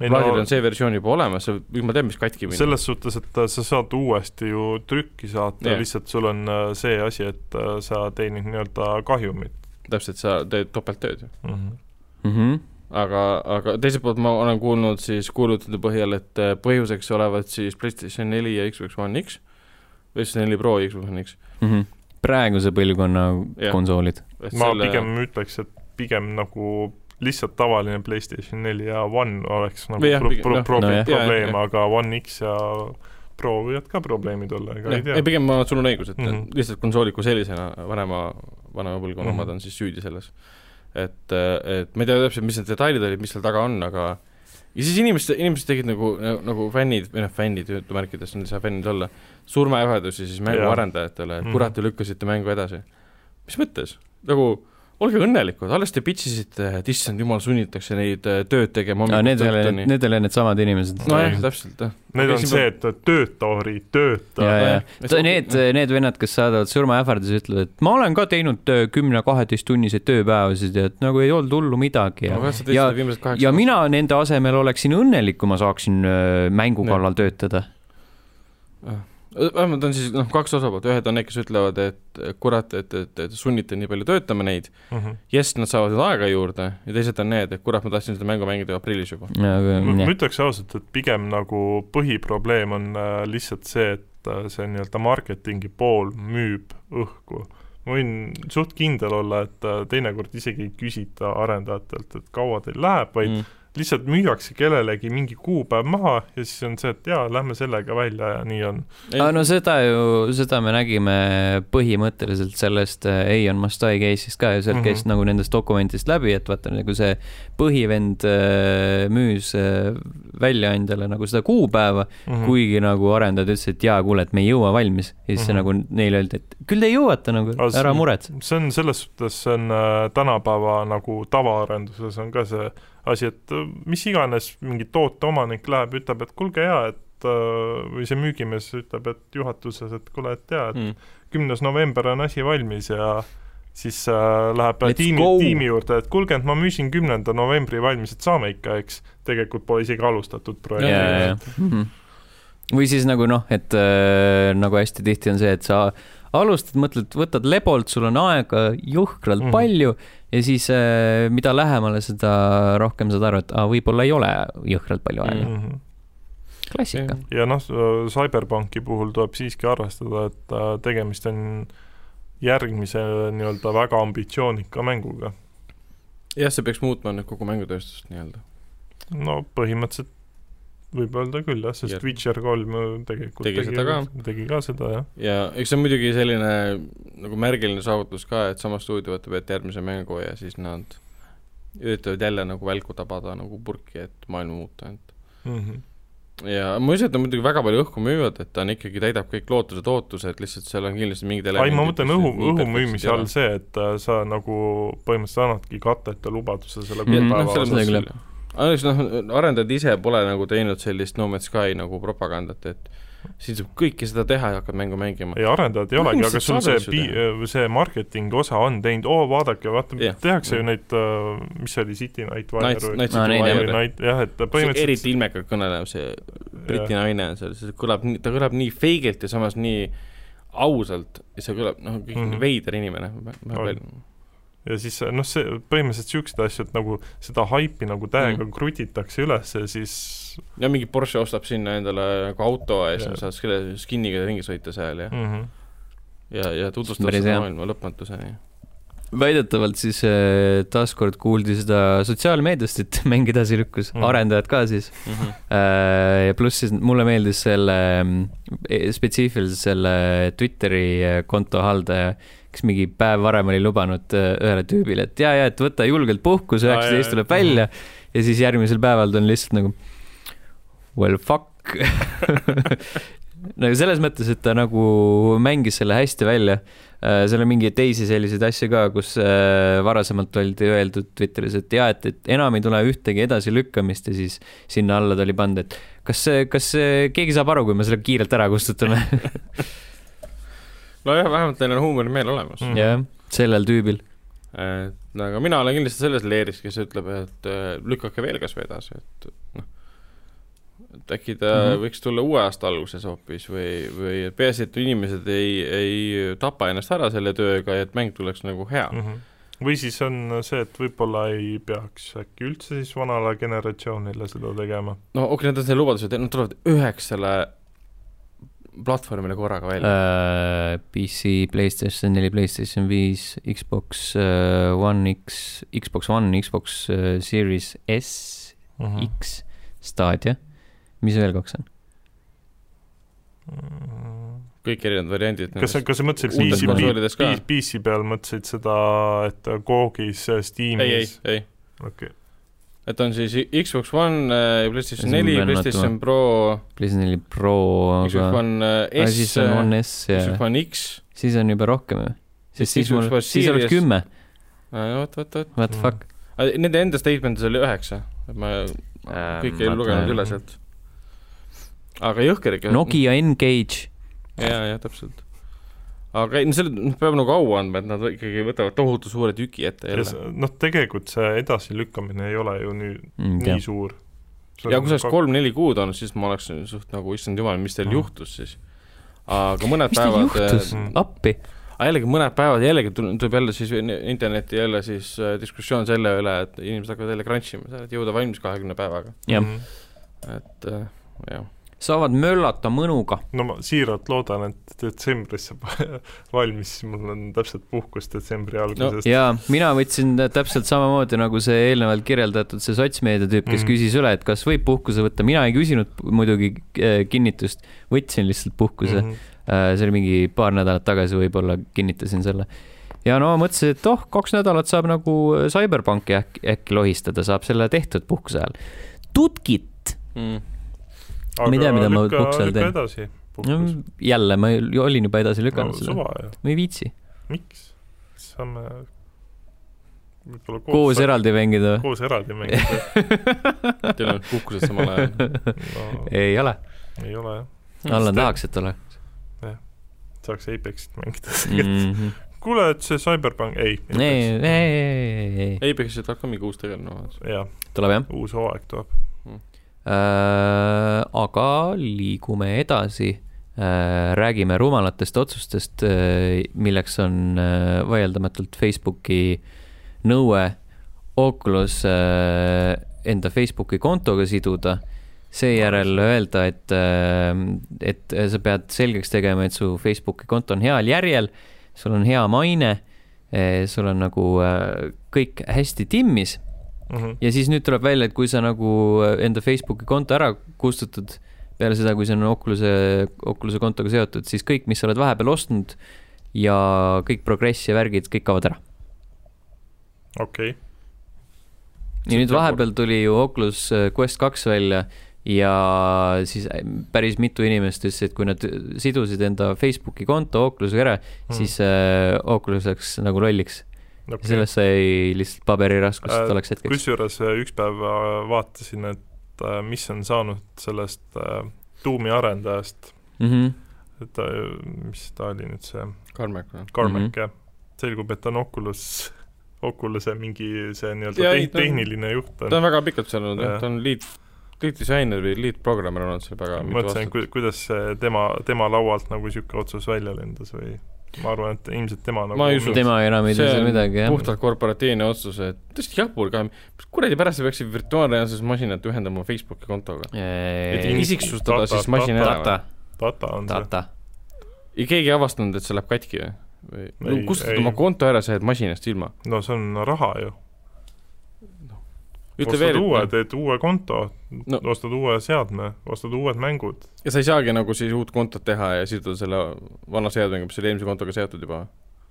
[SPEAKER 2] plaadil on see versioon juba olemas , ma tean , mis katki minna .
[SPEAKER 3] selles suhtes , et äh, sa saad uuesti ju trükki saata
[SPEAKER 2] Jah.
[SPEAKER 3] yeah. , lihtsalt sul on äh, see asi , et äh, sa teenid nii-öelda kahjumit
[SPEAKER 2] täpselt , sa teed topelttööd ju .
[SPEAKER 3] mm . -hmm.
[SPEAKER 1] mhmh ,
[SPEAKER 2] aga , aga teiselt poolt ma olen kuulnud siis kuulutuse põhjal , et äh, põhjuseks olevat siis PlayStation neli ja Xbox One X , PlayStation neli Pro ja Xbox One X .
[SPEAKER 1] mhmh , mhm. praeguse põlvkonna
[SPEAKER 2] Jah.
[SPEAKER 1] konsoolid .
[SPEAKER 3] ma selle... pigem ütleks , et pigem nagu lihtsalt tavaline PlayStation neli ja One oleks nagu
[SPEAKER 2] Või jah,
[SPEAKER 3] pro
[SPEAKER 2] pigem-
[SPEAKER 3] pro
[SPEAKER 2] noh,
[SPEAKER 3] pro
[SPEAKER 1] nojah.
[SPEAKER 2] Jah,
[SPEAKER 3] probleem ,
[SPEAKER 2] jah.
[SPEAKER 3] aga One X ja Pro võivad ka probleemid olla , ega ei
[SPEAKER 2] ei ,
[SPEAKER 3] tea .
[SPEAKER 2] pigem ma arvan , et sul on õigus , et mm -hmm.
[SPEAKER 3] Mhm.
[SPEAKER 2] lihtsalt konsoolid kui sellisena , vanema , vanema põlvkonna omad mm
[SPEAKER 3] Mhm.
[SPEAKER 2] -hmm. on siis süüdi selles . et , et ma ei tea täpselt , mis need detailid olid , mis seal taga on , aga ja siis inimesed , inimesed tegid nagu , nagu fännid , või noh , fännid jutumärkides , nad ei saa fännid olla , surmaähvardusi siis mängu
[SPEAKER 3] Jaa.
[SPEAKER 2] arendajatele , et
[SPEAKER 3] Mhm.
[SPEAKER 2] kurat , te lükkasite mängu edasi . mis mõttes ? nagu olge õnnelikud , alles te pitch isite , et issand jumal , sunnitakse neid äh, tööd tegema .
[SPEAKER 1] Need ei ole , need ei ole needsamad inimesed .
[SPEAKER 2] nojah , täpselt jah .
[SPEAKER 3] Need on
[SPEAKER 2] Esimene-
[SPEAKER 3] see , et tööta , Ori , tööta .
[SPEAKER 1] ja , ja
[SPEAKER 2] jah.
[SPEAKER 1] Ta- need , need vennad , kes saadavad surmaähvardusi , ütlevad , et ma olen ka teinud äh, kümne-kaheteisttunniseid tööpäevasid ja et nagu ei olnud hullu midagi ja , ja- ja . mina nende asemel oleksin õnnelik , kui ma saaksin öö, mängu
[SPEAKER 2] Jah.
[SPEAKER 1] kallal töötada .
[SPEAKER 2] Äh, vähemalt on siis noh , kaks osapoolt , ühed on need , kes ütlevad , et kurat , et , et , et sunnite nii palju töötama neid ,
[SPEAKER 3] Mhm.
[SPEAKER 2] jess , nad saavad nüüd aega juurde ja teised on need , et kurat , ma tahtsin seda mängu mängida aprillis juba .
[SPEAKER 3] ma ütleks ausalt , et pigem nagu põhiprobleem on äh, lihtsalt see , et äh, see nii-öelda marketingi pool müüb õhku . ma võin suht kindel olla , et äh, teinekord isegi ei küsita arendajatelt , et kaua teil läheb , vaid
[SPEAKER 2] Mm.
[SPEAKER 3] lihtsalt müüakse kellelegi mingi kuupäev maha ja siis on see , et jaa , lähme sellega välja ja nii on .
[SPEAKER 2] Mm.
[SPEAKER 1] aga no seda ju , seda me nägime põhimõtteliselt sellest Ei on must die case'ist ka ju , sealt käis mm
[SPEAKER 3] Mhm.
[SPEAKER 1] -hmm. nagu nendest dokumentidest läbi , et vaata nagu see põhivend äh, müüs äh, väljaandjale nagu seda kuupäeva mm ,
[SPEAKER 3] Mhm.
[SPEAKER 1] -hmm. kuigi nagu arendajad ütlesid , et jaa , kuule , et me ei jõua valmis . ja siis mm -hmm.
[SPEAKER 3] Mhm.
[SPEAKER 1] nagu neile öeldi , et küll te jõuate nagu
[SPEAKER 3] Aga , see-
[SPEAKER 1] ära muretse .
[SPEAKER 3] see on selles suhtes , see on äh, tänapäeva nagu tavaarenduses on ka see asi , et äh, mis iganes mingi toote omanik läheb , ütleb , et kuulge jaa , et äh, või see müügimees ütleb , et juhatuses , et kuule , et jaa ,
[SPEAKER 2] Mm.
[SPEAKER 3] et kümnes november on asi valmis ja siis äh, läheb
[SPEAKER 1] Let's
[SPEAKER 3] tiimi
[SPEAKER 1] go. ,
[SPEAKER 3] tiimi juurde , et kuulge , et ma müüsin kümnenda novembri valmis , et saame ikka , eks . tegelikult pole isegi alustatud
[SPEAKER 1] ja ,
[SPEAKER 3] projekti .
[SPEAKER 1] ja , ja . Mhm. või siis nagu noh , et äh, nagu hästi tihti on see , et sa alustad , mõtled , võtad lebolt , sul on aega juhkralt mm
[SPEAKER 3] Mhm.
[SPEAKER 1] -hmm. palju ja siis äh, mida lähemale , seda rohkem saad aru , et aa , võib-olla ei ole jõhkralt palju aega mm .
[SPEAKER 3] Mm -hmm.
[SPEAKER 1] -hmm. klassika .
[SPEAKER 3] ja noh , CyberPunki puhul tuleb siiski arvestada , et äh, tegemist on järgmise äh, nii-öelda väga ambitsioonika mänguga .
[SPEAKER 2] jah , see peaks muutma nüüd kogu mängutööstust nii-öelda .
[SPEAKER 3] no põhimõtteliselt võib öelda küll jah , sest
[SPEAKER 2] Jah.
[SPEAKER 3] Witcher kolm ju tegelikult
[SPEAKER 2] Tegi seda ka.
[SPEAKER 3] tegi ka seda jah .
[SPEAKER 2] ja eks see on muidugi selline nagu märgiline saavutus ka , et sama stuudio võtab ette järgmise mängu ja siis nad üritavad jälle nagu välku tabada nagu purki , et maailma muuta , et
[SPEAKER 3] Mm -hmm.
[SPEAKER 2] ja ma ei usu , et nad muidugi väga palju õhku müüvad , et ta on ikkagi , täidab kõik lootused , ootused , lihtsalt seal on kindlasti mingid
[SPEAKER 3] ei , ma
[SPEAKER 2] elemendid,
[SPEAKER 3] mõtlen
[SPEAKER 2] mis
[SPEAKER 3] õhu
[SPEAKER 2] nii ,
[SPEAKER 3] õhu
[SPEAKER 2] perfektsed ei
[SPEAKER 3] müümise
[SPEAKER 2] ole.
[SPEAKER 3] all see , et äh, sa nagu põhimõtteliselt annadki katteta lubaduse selle
[SPEAKER 1] Mhm.
[SPEAKER 2] Ja,
[SPEAKER 1] Mm,
[SPEAKER 2] noh,
[SPEAKER 3] kuupäeva
[SPEAKER 1] selles
[SPEAKER 2] selles
[SPEAKER 3] osas .
[SPEAKER 1] mõttes
[SPEAKER 2] mõttes küll . ainus noh , arendajad ise pole nagu teinud sellist No Man's Sky nagu propagandat , et siin saab kõike seda teha ja hakkad mängu mängima .
[SPEAKER 3] ei , arendajad ei olegi , aga
[SPEAKER 2] Põhimõtteliselt
[SPEAKER 3] sul see
[SPEAKER 2] saadakse ju
[SPEAKER 3] pi- , see marketingi osa on teinud , oo vaadake , vaata
[SPEAKER 2] Jah.
[SPEAKER 3] yeah. , tehakse
[SPEAKER 2] Mm.
[SPEAKER 3] ju neid , mis see oli , City Night Wire
[SPEAKER 2] Nights ,
[SPEAKER 3] või ?
[SPEAKER 2] Nights
[SPEAKER 1] Aa,
[SPEAKER 2] of the
[SPEAKER 1] neid
[SPEAKER 3] Või
[SPEAKER 1] ei
[SPEAKER 2] Wire .
[SPEAKER 3] neid- jah , et
[SPEAKER 2] see
[SPEAKER 3] põhimõtteliselt
[SPEAKER 2] eriti ilmekalt kõnelev , see Briti
[SPEAKER 3] jah.
[SPEAKER 2] naine on seal , see kõlab , ta kõlab nii feigilt ja samas nii ausalt ja see kõlab , noh ,
[SPEAKER 3] Mhm.
[SPEAKER 2] veider inimene . vahepeal
[SPEAKER 3] ja siis noh , see põhimõtteliselt niisugused asjad nagu seda haipi nagu
[SPEAKER 2] Mm.
[SPEAKER 3] täiega mm. krutitakse üles ja siis
[SPEAKER 2] ja mingi Porsche ostab sinna endale nagu auto ja siis
[SPEAKER 3] Jah.
[SPEAKER 2] saad selle skin'iga ringi sõita seal ja ,
[SPEAKER 3] mm -hmm.
[SPEAKER 2] ja , ja tutvustab
[SPEAKER 1] Päris
[SPEAKER 2] seda
[SPEAKER 1] hea.
[SPEAKER 2] maailma lõpmatuseni .
[SPEAKER 1] väidetavalt siis äh, taaskord kuuldi seda sotsiaalmeediast , et mäng edasi lükkus mm ,
[SPEAKER 3] Mhm.
[SPEAKER 1] -hmm. arendajad ka siis .
[SPEAKER 2] Mhm.
[SPEAKER 1] Äh, ja pluss siis mulle meeldis selle , spetsiifiliselt selle Twitteri äh, konto haldaja , kes mingi päev varem oli lubanud äh, ühele tüübile , et ja , ja , et võta julgelt puhkus ,
[SPEAKER 3] Aa, jaa,
[SPEAKER 1] üheksateist tuleb
[SPEAKER 3] jaa.
[SPEAKER 1] välja ja siis järgmisel päeval ta on lihtsalt nagu well fuck . nagu selles mõttes , et ta nagu mängis selle hästi välja . seal on mingeid teisi selliseid asju ka , kus äh, varasemalt oldi öeldud Twitteris , et jaa , et , et enam ei tule ühtegi edasilükkamist ja siis sinna alla ta oli pannud , et kas , kas äh, keegi saab aru , kui me selle kiirelt ära kustutame ?
[SPEAKER 2] nojah , vähemalt neil on huumorimeel olemas .
[SPEAKER 3] Mm.
[SPEAKER 1] jah , sellel tüübil .
[SPEAKER 2] et aga mina olen kindlasti selles leeris , kes ütleb , et äh, lükake veel kasvõi edasi , et noh , et äkki ta mm
[SPEAKER 1] Mhm.
[SPEAKER 2] -hmm. võiks tulla uue aasta alguses hoopis või , või et peaasi , et inimesed ei , ei tapa ennast ära selle tööga ja et mäng tuleks nagu hea
[SPEAKER 1] Mhm.
[SPEAKER 2] mm .
[SPEAKER 3] Mm -hmm. või siis on see , et võib-olla ei peaks äkki üldse siis vanale generatsioonile seda tegema .
[SPEAKER 2] -hmm. no okei okay, , nad on selle lubaduse teinud , nad tulevad üheksale platvormile korraga välja äh. .
[SPEAKER 1] PC , Playstation neli , Playstation viis , Xbox äh, One X , Xbox One , Xbox äh, Series S
[SPEAKER 3] Mm
[SPEAKER 2] Mhm.
[SPEAKER 1] mm. , X , Stadia , mis veel kaks on ?
[SPEAKER 3] -hmm.
[SPEAKER 2] kõik erinevad variandid .
[SPEAKER 3] kas sa , kas sa mõtlesid
[SPEAKER 1] Uutes
[SPEAKER 3] PC ,
[SPEAKER 2] konsoolides ka?
[SPEAKER 3] PC , PC peal mõtlesid seda , et Googis ,
[SPEAKER 2] ei , ei
[SPEAKER 3] Steamis ,?
[SPEAKER 2] ei ,
[SPEAKER 3] okei ,
[SPEAKER 2] et on siis Xbox One äh, , PlayStation
[SPEAKER 1] Esimene
[SPEAKER 2] neli ,
[SPEAKER 1] peal
[SPEAKER 2] PlayStation Pro ,
[SPEAKER 1] PlayStation neli Pro ,
[SPEAKER 2] Xbox
[SPEAKER 1] aga
[SPEAKER 2] One äh,
[SPEAKER 1] Ah,
[SPEAKER 2] S ,
[SPEAKER 1] siis on
[SPEAKER 2] Xbox
[SPEAKER 1] One S ja
[SPEAKER 2] One X
[SPEAKER 1] siis on juba rohkem ju .
[SPEAKER 2] Siis
[SPEAKER 1] sest siis
[SPEAKER 2] Xbox
[SPEAKER 1] mul ,
[SPEAKER 2] One
[SPEAKER 1] siis oleks
[SPEAKER 2] Series- Mm.
[SPEAKER 1] kümme .
[SPEAKER 2] Äh, vot , vot , vot .
[SPEAKER 1] What the fuck ?
[SPEAKER 2] Äh, Nende enda statement'is oli üheksa , et ma
[SPEAKER 1] Ähm,
[SPEAKER 2] kõike ei
[SPEAKER 1] vaata-
[SPEAKER 2] lugenud üle sealt . aga jõhker ikka .
[SPEAKER 1] Nokia N-Gage ,
[SPEAKER 2] ja , ja täpselt . aga ei , no selle , noh , peab nagu au andma , et nad ikkagi võtavad tohutu suure tüki ette
[SPEAKER 3] ja
[SPEAKER 2] jälle .
[SPEAKER 3] see- noh , tegelikult see edasilükkamine ei ole ju nüüd
[SPEAKER 1] Mm,
[SPEAKER 3] nii suur .
[SPEAKER 2] ja kui see oleks kolm-neli kuud olnud , siis ma oleks suht nagu , issand jumal , mis teil
[SPEAKER 3] Mm.
[SPEAKER 2] juhtus siis . aga mõned
[SPEAKER 1] mis teil
[SPEAKER 2] päevad äh,
[SPEAKER 1] juhtus
[SPEAKER 3] Mm. ,
[SPEAKER 1] appi ?
[SPEAKER 2] aga jällegi mõned päevad jällegi tul- tuleb jälle siis internetti jälle siis äh, diskussioon selle üle , et inimesed hakkavad jälle crunch ima , sa oled jõuda valmis kahekümne päevaga ,
[SPEAKER 1] jah ,
[SPEAKER 3] Mm.
[SPEAKER 2] et äh, jah .
[SPEAKER 1] saavad möllata mõnuga .
[SPEAKER 3] no ma siiralt loodan , et detsembris saab valmis , siis mul on täpselt puhkus detsembri alguses
[SPEAKER 1] ja mina võtsin täpselt samamoodi nagu see eelnevalt kirjeldatud , see sotsmeedia tüüp , kes
[SPEAKER 2] Mm.
[SPEAKER 3] Mhm.
[SPEAKER 1] küsis üle , et kas võib puhkuse võtta , mina ei küsinud muidugi äh, kinnitust , võtsin lihtsalt puhkuse .
[SPEAKER 3] Mhm.
[SPEAKER 1] Äh, see oli mingi paar nädalat tagasi , võib-olla kinnitasin selle . ja no ma mõtlesin , et oh , kaks nädalat saab nagu CyberPunki äkki , äkki lohistada , saab selle tehtud puhkuse ajal . tutkit ,
[SPEAKER 2] Mm.
[SPEAKER 3] aga
[SPEAKER 1] Ma ei tea, mida ma
[SPEAKER 3] lükka-
[SPEAKER 1] puhkuse ajal teen.
[SPEAKER 3] lükka edasi puhkus .
[SPEAKER 1] jälle ma olin juba edasi
[SPEAKER 3] no
[SPEAKER 1] lükanud seda ,
[SPEAKER 3] suva ju ,
[SPEAKER 1] ma ei viitsi .
[SPEAKER 3] miks ? saame võib-olla
[SPEAKER 1] koos eraldi mängida või ?
[SPEAKER 3] koos eraldi mängida ,
[SPEAKER 2] Teil on puhkused samal ajal .
[SPEAKER 3] no
[SPEAKER 1] ei ole ,
[SPEAKER 3] ei ole jah ,
[SPEAKER 1] Allan tahaks , et ole
[SPEAKER 3] saaks Apexit mängida tegelikult .
[SPEAKER 1] mm .
[SPEAKER 3] kuule , et see Cyberpunk , ei .
[SPEAKER 1] -hmm. ei , ei , ei , ei , ei ,
[SPEAKER 2] Apexit hakkab mingi uus noh, tegelane olemas .
[SPEAKER 3] jah ,
[SPEAKER 1] tuleb jah
[SPEAKER 3] uus hooaeg tuleb .
[SPEAKER 1] äh, . aga liigume edasi äh, , räägime rumalatest otsustest äh, , milleks on äh, vaieldamatult Facebooki nõue Oculus äh, enda Facebooki kontoga siduda . seejärel öelda , et äh, , et sa pead selgeks tegema , et su Facebooki konto on heal järjel , sul on hea maine , sul on nagu äh, kõik hästi timmis
[SPEAKER 3] Mhm.
[SPEAKER 1] ja siis nüüd tuleb välja , et kui sa nagu enda Facebooki konto ära kustutad peale seda , kui see on Oculus'e , Oculus'e kontoga seotud , siis kõik , mis sa oled vahepeal ostnud ja kõik progress ja värgid , kõik kaovad ära .
[SPEAKER 3] okei ,
[SPEAKER 1] ja nüüd vahepeal tuli ju Oculus äh, Quest kaks välja ja siis äh, päris mitu inimest ütles , et kui nad sidusid enda Facebooki konto Oculusega ära mm. , siis äh, Oculus läks nagu lolliks .
[SPEAKER 3] Hmm. okei .
[SPEAKER 1] sellest sai lihtsalt paberiraskus
[SPEAKER 3] Äh,
[SPEAKER 1] äh, tolleks hetkeks .
[SPEAKER 3] kusjuures äh, üks päev äh, vaatasin , et äh, mis on saanud sellest äh, tuumi arendajast ,
[SPEAKER 1] Mm -hmm.
[SPEAKER 3] et ta , mis ta oli nüüd see ,
[SPEAKER 2] Carmack või ?
[SPEAKER 3] Carmack mm
[SPEAKER 1] Mhm.
[SPEAKER 3] -hmm. jah , selgub , et ta on Oculus , Oculus'e mingi see
[SPEAKER 2] Jaa,
[SPEAKER 3] nii-öelda
[SPEAKER 2] ei,
[SPEAKER 3] te
[SPEAKER 2] ta on-
[SPEAKER 3] tehniline juht
[SPEAKER 2] ta
[SPEAKER 3] on .
[SPEAKER 2] on väga pikalt seal olnud jah ,
[SPEAKER 3] Jah.
[SPEAKER 2] ta on lead , lead disainer või lead programmer olnud seal väga mitu
[SPEAKER 3] mõtlesin ,
[SPEAKER 2] aastat .
[SPEAKER 3] kuidas see tema , tema laualt nagu niisugune otsus välja lendas või ma arvan , et ilmselt tema nagu
[SPEAKER 2] Ma ei usu.
[SPEAKER 1] tema enam ei tea
[SPEAKER 2] see
[SPEAKER 1] seal
[SPEAKER 2] on
[SPEAKER 1] midagi , jah .
[SPEAKER 2] puhtalt korporatiivne otsus , et tõesti jabur ka , mis kuradi pärast sa peaksid virtuaalreaalses masinat ühendama Facebooki kontoga ? et
[SPEAKER 1] Ei,
[SPEAKER 3] inimesed-
[SPEAKER 2] isiksustada
[SPEAKER 3] data-
[SPEAKER 2] siis masin ära või ?
[SPEAKER 1] data ,
[SPEAKER 3] data on see .
[SPEAKER 1] data .
[SPEAKER 2] ja keegi ei avastanud , et see läheb katki või ? või no,
[SPEAKER 3] Ei,
[SPEAKER 2] kustutad
[SPEAKER 3] ei.
[SPEAKER 2] oma konto ära , sa jääd masinast ilma .
[SPEAKER 3] no see on raha ju .
[SPEAKER 2] ütle
[SPEAKER 3] ostad
[SPEAKER 2] veel
[SPEAKER 3] uue ,, teed uue konto
[SPEAKER 2] No.
[SPEAKER 3] no. , ostad uue seadme , ostad uued mängud .
[SPEAKER 2] ja sa ei saagi nagu siis uut kontot teha ja siduda selle vana seadmega , mis oli eelmise kontoga seotud juba .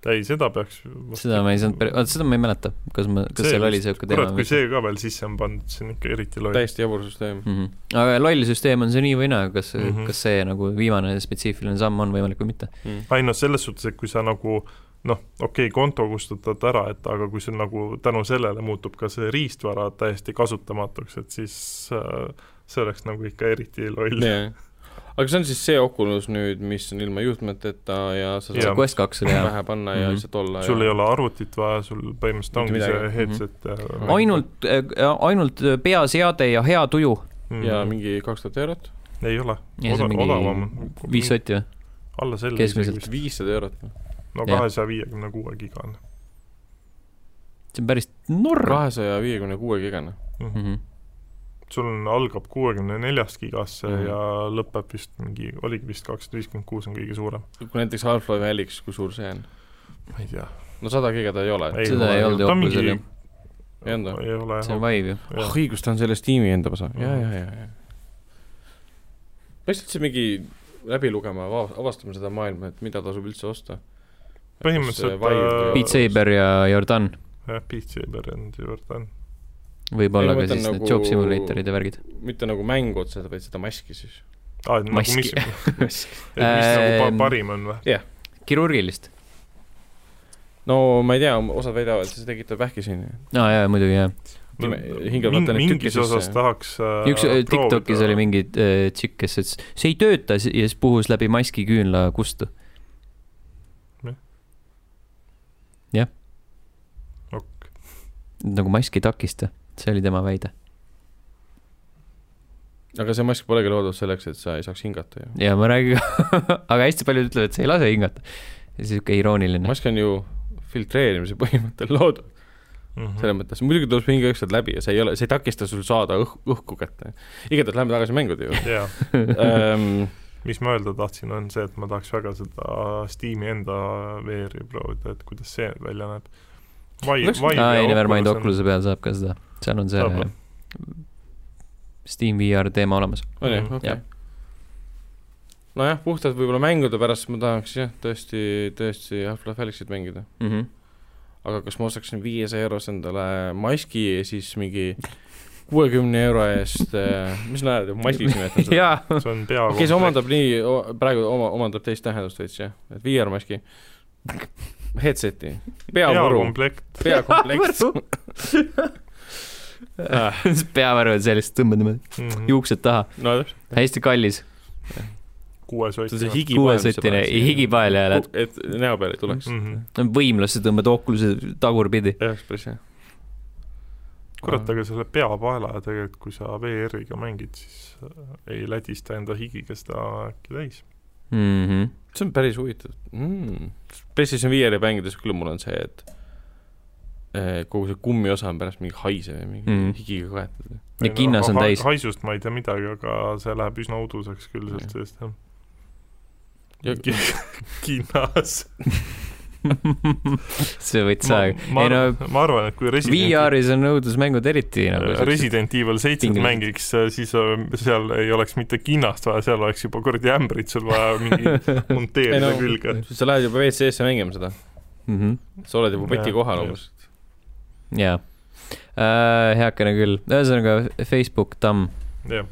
[SPEAKER 3] ei , seda peaks .
[SPEAKER 1] seda ma ei saanud , oota seda ma ei mäleta , kas ma , kas
[SPEAKER 3] See
[SPEAKER 1] seal oli
[SPEAKER 3] vist-
[SPEAKER 1] siuke teema
[SPEAKER 3] kurat , kui see ka veel sisse on pandud , see on ikka eriti loll .
[SPEAKER 2] täiesti jabur süsteem .
[SPEAKER 1] mm . -hmm. aga loll süsteem on see nii või naa , kas mm , -hmm.
[SPEAKER 3] Mhm.
[SPEAKER 1] kas see nagu viimane spetsiifiline samm on võimalik või mitte .
[SPEAKER 3] ei noh , selles suhtes , et kui sa nagu noh , okei okay, , konto kustutad ära , et aga kui sul nagu tänu sellele muutub ka see riistvara täiesti kasutamatuks , et siis äh, see oleks nagu ikka eriti loll .
[SPEAKER 2] aga see on siis see Oculus nüüd , mis on ilma juhtmeteta ja sa
[SPEAKER 1] see
[SPEAKER 3] Jaa.
[SPEAKER 2] saad
[SPEAKER 1] Quest kaks oli hea .
[SPEAKER 2] pähe panna ja
[SPEAKER 1] Mhm.
[SPEAKER 2] lihtsalt olla
[SPEAKER 3] sul
[SPEAKER 2] ja
[SPEAKER 3] ei ole arvutit vaja , sul põhimõtteliselt
[SPEAKER 2] Mitte
[SPEAKER 3] ongi see
[SPEAKER 2] midagi.
[SPEAKER 3] headset ja
[SPEAKER 1] ainult , ainult äh, peaseade ja hea tuju .
[SPEAKER 3] mm,
[SPEAKER 2] ja mingi kaks tuhat eurot ,
[SPEAKER 3] ei ole ,
[SPEAKER 1] ja see on
[SPEAKER 3] Oda- odavam
[SPEAKER 1] mingi . viis sotti või ?
[SPEAKER 3] alla selle
[SPEAKER 1] keskmiselt.
[SPEAKER 3] isegi vist.
[SPEAKER 2] viissada eurot .
[SPEAKER 3] no
[SPEAKER 1] Jah.
[SPEAKER 3] kahesaja viiekümne kuue gigane
[SPEAKER 1] see on päris nurr .
[SPEAKER 2] kahesaja viiekümne kuue gigane .
[SPEAKER 3] mm . -hmm.
[SPEAKER 1] Mm -hmm.
[SPEAKER 3] sul on , algab kuuekümne neljast gigasse mm
[SPEAKER 2] Mhm.
[SPEAKER 3] -hmm. ja lõpeb vist mingi , oligi vist kakssada viiskümmend kuus on kõige suurem ,
[SPEAKER 2] kui näiteks Half-Life Alyx , kui suur see on ?
[SPEAKER 3] ma ei tea .
[SPEAKER 2] no sada giga ta ei ole .
[SPEAKER 3] Ei
[SPEAKER 1] seda
[SPEAKER 3] ole
[SPEAKER 1] ei
[SPEAKER 3] ju.
[SPEAKER 1] olnud
[SPEAKER 3] Ta on
[SPEAKER 1] Oculusel
[SPEAKER 3] mingi-
[SPEAKER 1] jah ,
[SPEAKER 2] Ei olnud või?
[SPEAKER 3] ei ole
[SPEAKER 1] see on Vive ju .
[SPEAKER 2] ah
[SPEAKER 3] jah ,
[SPEAKER 2] õigus , ta on selle Steam'i enda osa , ja ,
[SPEAKER 3] Mhm.
[SPEAKER 2] ja , ja , ja . peaks üldse mingi läbi lugema , avastama seda maailma , et mida tasub üldse osta .
[SPEAKER 3] Põhimõtteliselt, äh,
[SPEAKER 1] Beat Saber ja Jordan
[SPEAKER 3] jah , Beat Saber on juurde on .
[SPEAKER 1] võib-olla
[SPEAKER 2] Ei, ma
[SPEAKER 1] ka
[SPEAKER 2] mõtlen
[SPEAKER 1] siis need
[SPEAKER 2] nagu-
[SPEAKER 1] job simulator'id ja värgid .
[SPEAKER 2] mitte nagu mängu otseselt , vaid seda maski siis .
[SPEAKER 3] aa , et nagu mis ,
[SPEAKER 1] Maski.
[SPEAKER 3] mis nagu
[SPEAKER 1] Ähm,
[SPEAKER 3] pa- parim on või ?
[SPEAKER 1] kirurgilist .
[SPEAKER 2] no ma ei tea , osad väidavad , see tekitab vähkisinni .
[SPEAKER 1] aa jaa , muidugi jah .
[SPEAKER 2] Pime- hingavad vaata neid tükke
[SPEAKER 3] mingis
[SPEAKER 2] sisse.
[SPEAKER 3] osas tahaks äh,
[SPEAKER 1] üks äh, Tiktokis oli mingi äh, tšikk , kes ütles , see ei tööta si- ja siis puhus läbi maski küünla kustu .
[SPEAKER 3] ok. .
[SPEAKER 1] nagu mask ei takista , see oli tema väide .
[SPEAKER 2] aga see mask polegi loodud selleks , et sa ei saaks hingata ju .
[SPEAKER 1] ja ma räägin , aga hästi paljud ütlevad , et see ei lase hingata . sihuke irooniline .
[SPEAKER 2] mask on ju filtreerimise põhimõttel loodud ,
[SPEAKER 3] mm -hmm.
[SPEAKER 2] selles mõttes , muidugi tuleb hinge ükskord läbi ja see ei ole , see ei takista sul saada õh- , õhku kätte . igatahes lähme tagasi mängude juurde
[SPEAKER 3] jaa ,
[SPEAKER 2] ähm, .
[SPEAKER 3] mis ma öelda tahtsin , on see , et ma tahaks väga seda Steam'i enda VR-i proovida , et kuidas see välja näeb .
[SPEAKER 2] Oleks-
[SPEAKER 1] aa ei , Nevermind Oculus'e peal saab ka seda , seal on see
[SPEAKER 3] Saab või?
[SPEAKER 1] Steam VR teema olemas .
[SPEAKER 2] on ju ,
[SPEAKER 3] Mhm.
[SPEAKER 2] okei
[SPEAKER 1] Jah. .
[SPEAKER 2] nojah , puhtalt võib-olla mängude pärast ma tahaks jah , tõesti , tõesti Half-Life Alyxit mängida , aga kas ma ostaksin viiesaja euros endale maski ja siis mingi kuuekümne euro eest , mis nad maskiks nimetavad seda ?
[SPEAKER 1] jaa ,
[SPEAKER 3] see on peaaegu
[SPEAKER 2] okei , see omandab nii , praegu oma , omandab teist tähendust veits jah , et VR-maski , headset'i , peavaru ,
[SPEAKER 3] peakomplekt ,
[SPEAKER 2] peakompleks .
[SPEAKER 1] peavärv on sellist , tõmbad niimoodi
[SPEAKER 3] Mhm.
[SPEAKER 1] juuksed taha ,
[SPEAKER 2] no täpselt ,
[SPEAKER 1] hästi kallis ,
[SPEAKER 3] kuues
[SPEAKER 2] see on see
[SPEAKER 3] otsas .
[SPEAKER 2] higi .
[SPEAKER 1] kuuesotine higipael ja lähed
[SPEAKER 2] et näo peale ei tuleks mm. .
[SPEAKER 3] Mhm.
[SPEAKER 1] võimlasse , tõmbad Oculus'e tagurpidi .
[SPEAKER 2] jah , päris hea .
[SPEAKER 3] kurat , aga selle peapaela tegelikult , kui sa VR-iga mängid , siis äh, ei lädista enda higiga seda äkki täis .
[SPEAKER 2] see on päris huvitav mm. . PlayStation VR-i mängides küll mul on see , et eh, kogu see kummiosa on pärast mingi haisev ja mingi
[SPEAKER 1] Mhm.
[SPEAKER 2] mm. higiga kaetud .
[SPEAKER 1] ja kinnas on täis .
[SPEAKER 3] haisust ma ei tea midagi , aga see läheb üsna uduseks küll sealt seest jah
[SPEAKER 2] Ja-
[SPEAKER 3] Ki- . kinnas .
[SPEAKER 1] see võttis
[SPEAKER 3] ma,
[SPEAKER 1] aega .
[SPEAKER 3] ma,
[SPEAKER 1] ei no nagu
[SPEAKER 3] ma arvan , et kui Resident ,
[SPEAKER 1] VR-is on õudusmängud eriti nagu sellised-
[SPEAKER 3] Resident Evil seitset
[SPEAKER 1] Tingimused.
[SPEAKER 3] mängiks , siis äh, seal ei oleks mitte kinnast vaja , seal oleks juba kuradi ämbrit sul vaja mingi monteerida
[SPEAKER 2] Ei no-
[SPEAKER 3] külge .
[SPEAKER 2] sa lähed juba WC-sse mängima seda ,
[SPEAKER 1] Mhm.
[SPEAKER 2] sa oled juba poti
[SPEAKER 3] Jah,
[SPEAKER 2] kohal
[SPEAKER 3] jah.
[SPEAKER 2] umbes .
[SPEAKER 1] jaa . heakene küll , ühesõnaga Facebook tamm .
[SPEAKER 3] jah ,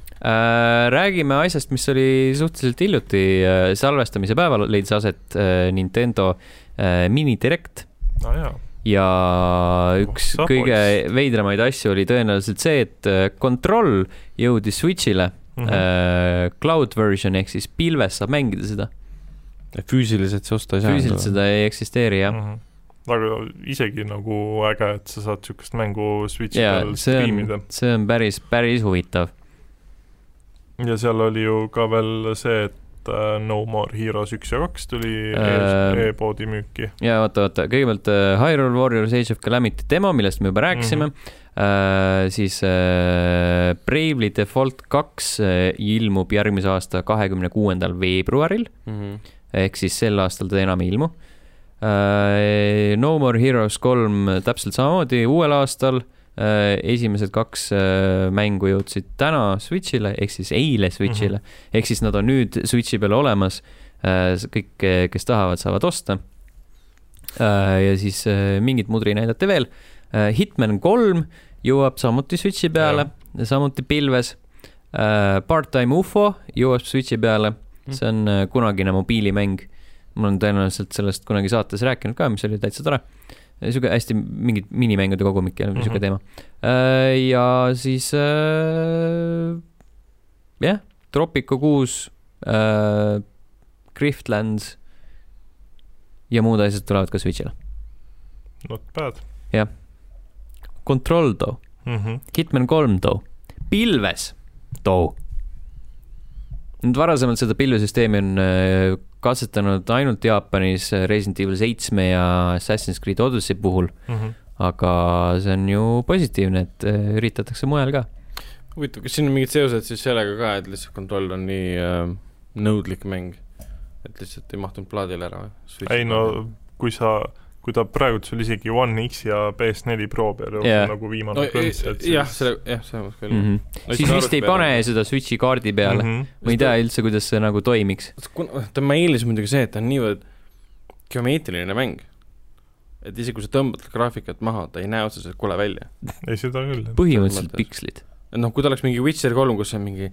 [SPEAKER 1] räägime asjast , mis oli suhteliselt hiljuti äh, salvestamise päeval leidis aset äh, Nintendo äh, minidirekt
[SPEAKER 3] aa Ah, jaa ,
[SPEAKER 1] ja üks
[SPEAKER 3] Oh, sa
[SPEAKER 1] kõige
[SPEAKER 3] poiss.
[SPEAKER 1] veidramaid asju oli tõenäoliselt see , et äh, Control jõudis Switch'ile mm ,
[SPEAKER 3] Mhm.
[SPEAKER 1] -hmm. cloud version ehk siis pilves saab mängida seda ,
[SPEAKER 2] füüsiliselt sa osta ei saa .
[SPEAKER 1] füüsiliselt seda ei eksisteeri jah .
[SPEAKER 3] jah . aga Mhm. isegi nagu äge , et sa saad siukest mängu Switchi
[SPEAKER 1] ja
[SPEAKER 3] peal
[SPEAKER 1] see
[SPEAKER 3] striimida
[SPEAKER 1] on , see on päris , päris huvitav .
[SPEAKER 3] ja seal oli ju ka veel see , et äh, No More Heroes üks ja kaks tuli
[SPEAKER 1] Ähm.
[SPEAKER 3] e- e-poodi müüki .
[SPEAKER 1] ja oota , oota , kõigepealt äh, Hyrule Warriors Age of Calamity demo , millest me juba rääkisime mm . -hmm. Uh, siis uh, Bravely Default kaks uh, ilmub järgmise aasta kahekümne kuuendal veebruaril ,
[SPEAKER 2] Mhm.
[SPEAKER 1] ehk siis sel aastal ta enam ei ilmu uh, . No More Heroes kolm täpselt samamoodi uuel aastal uh, . esimesed kaks uh, mängu jõudsid täna Switch'ile ehk siis eile Switch'ile mm -hmm. ehk siis nad on nüüd Switch'i peal olemas uh, . kõik , kes tahavad , saavad osta uh, . ja siis uh, mingit mudri näidati veel uh, . Hitman kolm jõuab samuti Switch'i peale , samuti pilves uh, . Part-time ufo jõuab Switch'i peale , see on uh, kunagine mobiilimäng ma olen tõenäoliselt sellest kunagi saates rääkinud ka , mis oli täitsa tore . niisugune hästi mingid minimängude kogumik ja niisugune mm -hmm. teema . ja siis äh, jah , Tropico kuus äh, , Griftlands ja muud asjad tulevad ka Switch'ile .
[SPEAKER 3] Not bad
[SPEAKER 1] Control too ,
[SPEAKER 3] mm . -hmm.
[SPEAKER 1] Hitman kolm too , Pilves too . nüüd varasemalt seda pilvesüsteemi on äh, katsetanud ainult Jaapanis äh, Resident Evil seitsme ja Assassin's Creed Odyssey puhul ,
[SPEAKER 3] Mm -hmm.
[SPEAKER 1] aga see on ju positiivne , et äh, üritatakse mujal ka .
[SPEAKER 2] huvitav , kas siin on mingid seosed siis sellega ka , et lihtsalt Control on nii äh, nõudlik mäng , et lihtsalt ei mahtunud plaadile ära või ?
[SPEAKER 3] ei no kui sa , kui ta praegu sul isegi One X ja PS4 Pro peal on
[SPEAKER 1] Jaa.
[SPEAKER 3] yeah. nagu
[SPEAKER 2] no
[SPEAKER 3] viimane
[SPEAKER 2] ei-
[SPEAKER 3] et
[SPEAKER 2] jah , selle , jah , selles mõttes küll mm . -hmm.
[SPEAKER 1] Mhm. siis vist ei pane seda Switch'i kaardi
[SPEAKER 2] Mhm.
[SPEAKER 1] peale ,
[SPEAKER 3] -hmm.
[SPEAKER 1] ma ei tea üldse , kuidas see nagu toimiks .
[SPEAKER 2] kuna , tema eelis on muidugi see , et ta on niivõrd geomeetriline mäng , et isegi kui sa tõmbad graafikat maha , ta ei näe otseselt kole välja .
[SPEAKER 3] ei , seda küll .
[SPEAKER 1] põhimõtteliselt
[SPEAKER 2] mõttes.
[SPEAKER 1] pikslid .
[SPEAKER 2] et noh , kui ta oleks mingi Witcher kolm , kus on mingi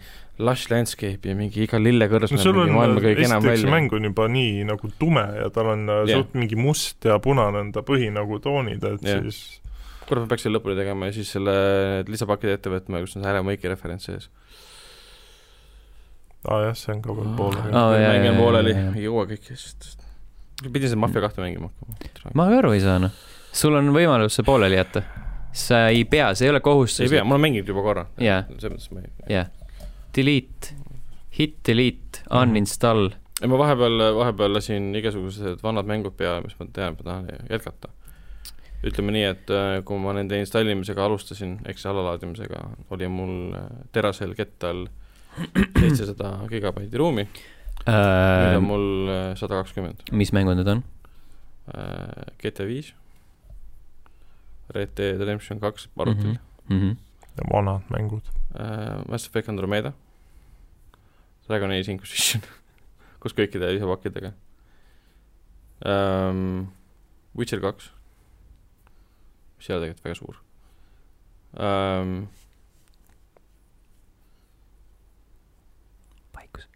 [SPEAKER 2] lush landscape ja mingi iga lillekõrs
[SPEAKER 3] no sul
[SPEAKER 2] mingi
[SPEAKER 3] on ,
[SPEAKER 2] maailma kõige enam
[SPEAKER 3] esiteks see
[SPEAKER 2] välja .
[SPEAKER 3] mäng on juba nii nagu tume ja tal on yeah.
[SPEAKER 2] Jah.
[SPEAKER 3] suht mingi must ja punane on ta põhi nagu toonid , et
[SPEAKER 2] Jah.
[SPEAKER 3] yeah. siis
[SPEAKER 2] korra peaks selle lõpuni tegema ja siis selle need lisapakid ette võtma , kus on see Härra Mõiki referents sees .
[SPEAKER 3] aa ah, jah , see on ka veel pooleli
[SPEAKER 1] Aa,
[SPEAKER 3] ah, .
[SPEAKER 1] jaa,
[SPEAKER 2] Noh, mäng
[SPEAKER 1] jaa,
[SPEAKER 2] on
[SPEAKER 1] jaa,
[SPEAKER 2] pooleli
[SPEAKER 1] jaa. ,
[SPEAKER 2] ei jõua kõike , sest pidin seda Mafia kahte mängima hakkama .
[SPEAKER 1] ma ka aru ei saa , noh . sul on võimalus see pooleli jätta . sa ei pea , see ei ole kohustus .
[SPEAKER 2] ei pea , ma olen mänginud juba korra .
[SPEAKER 1] Jaa.
[SPEAKER 2] selles mõttes ma ei ,
[SPEAKER 1] jah , delete , hit delete , uninstall .
[SPEAKER 2] ei ma vahepeal , vahepeal lasin igasugused vanad mängud peale , mis ma tean , ma tahan jätkata . ütleme nii , et äh, kui ma nende installimisega alustasin , eks alalaadimisega , oli mul äh, terasel kettal seitsesada gigabaiti ruumi , nüüd
[SPEAKER 1] Ähm.
[SPEAKER 2] on mul äh, sada kakskümmend .
[SPEAKER 1] Äh,
[SPEAKER 2] Äh,
[SPEAKER 1] mis mängud need on ?
[SPEAKER 2] GTA viis , Red Dead Redemption kaks arvutil mm ,
[SPEAKER 1] Mhm.
[SPEAKER 3] vanad mängud .
[SPEAKER 2] -hmm. Mass Effect Andromeda , Dragon Age Inquisition , koos kõikide lisapakkidega um, , Witcher kaks , mis ei ole tegelikult väga suur um, ,
[SPEAKER 1] vaikus .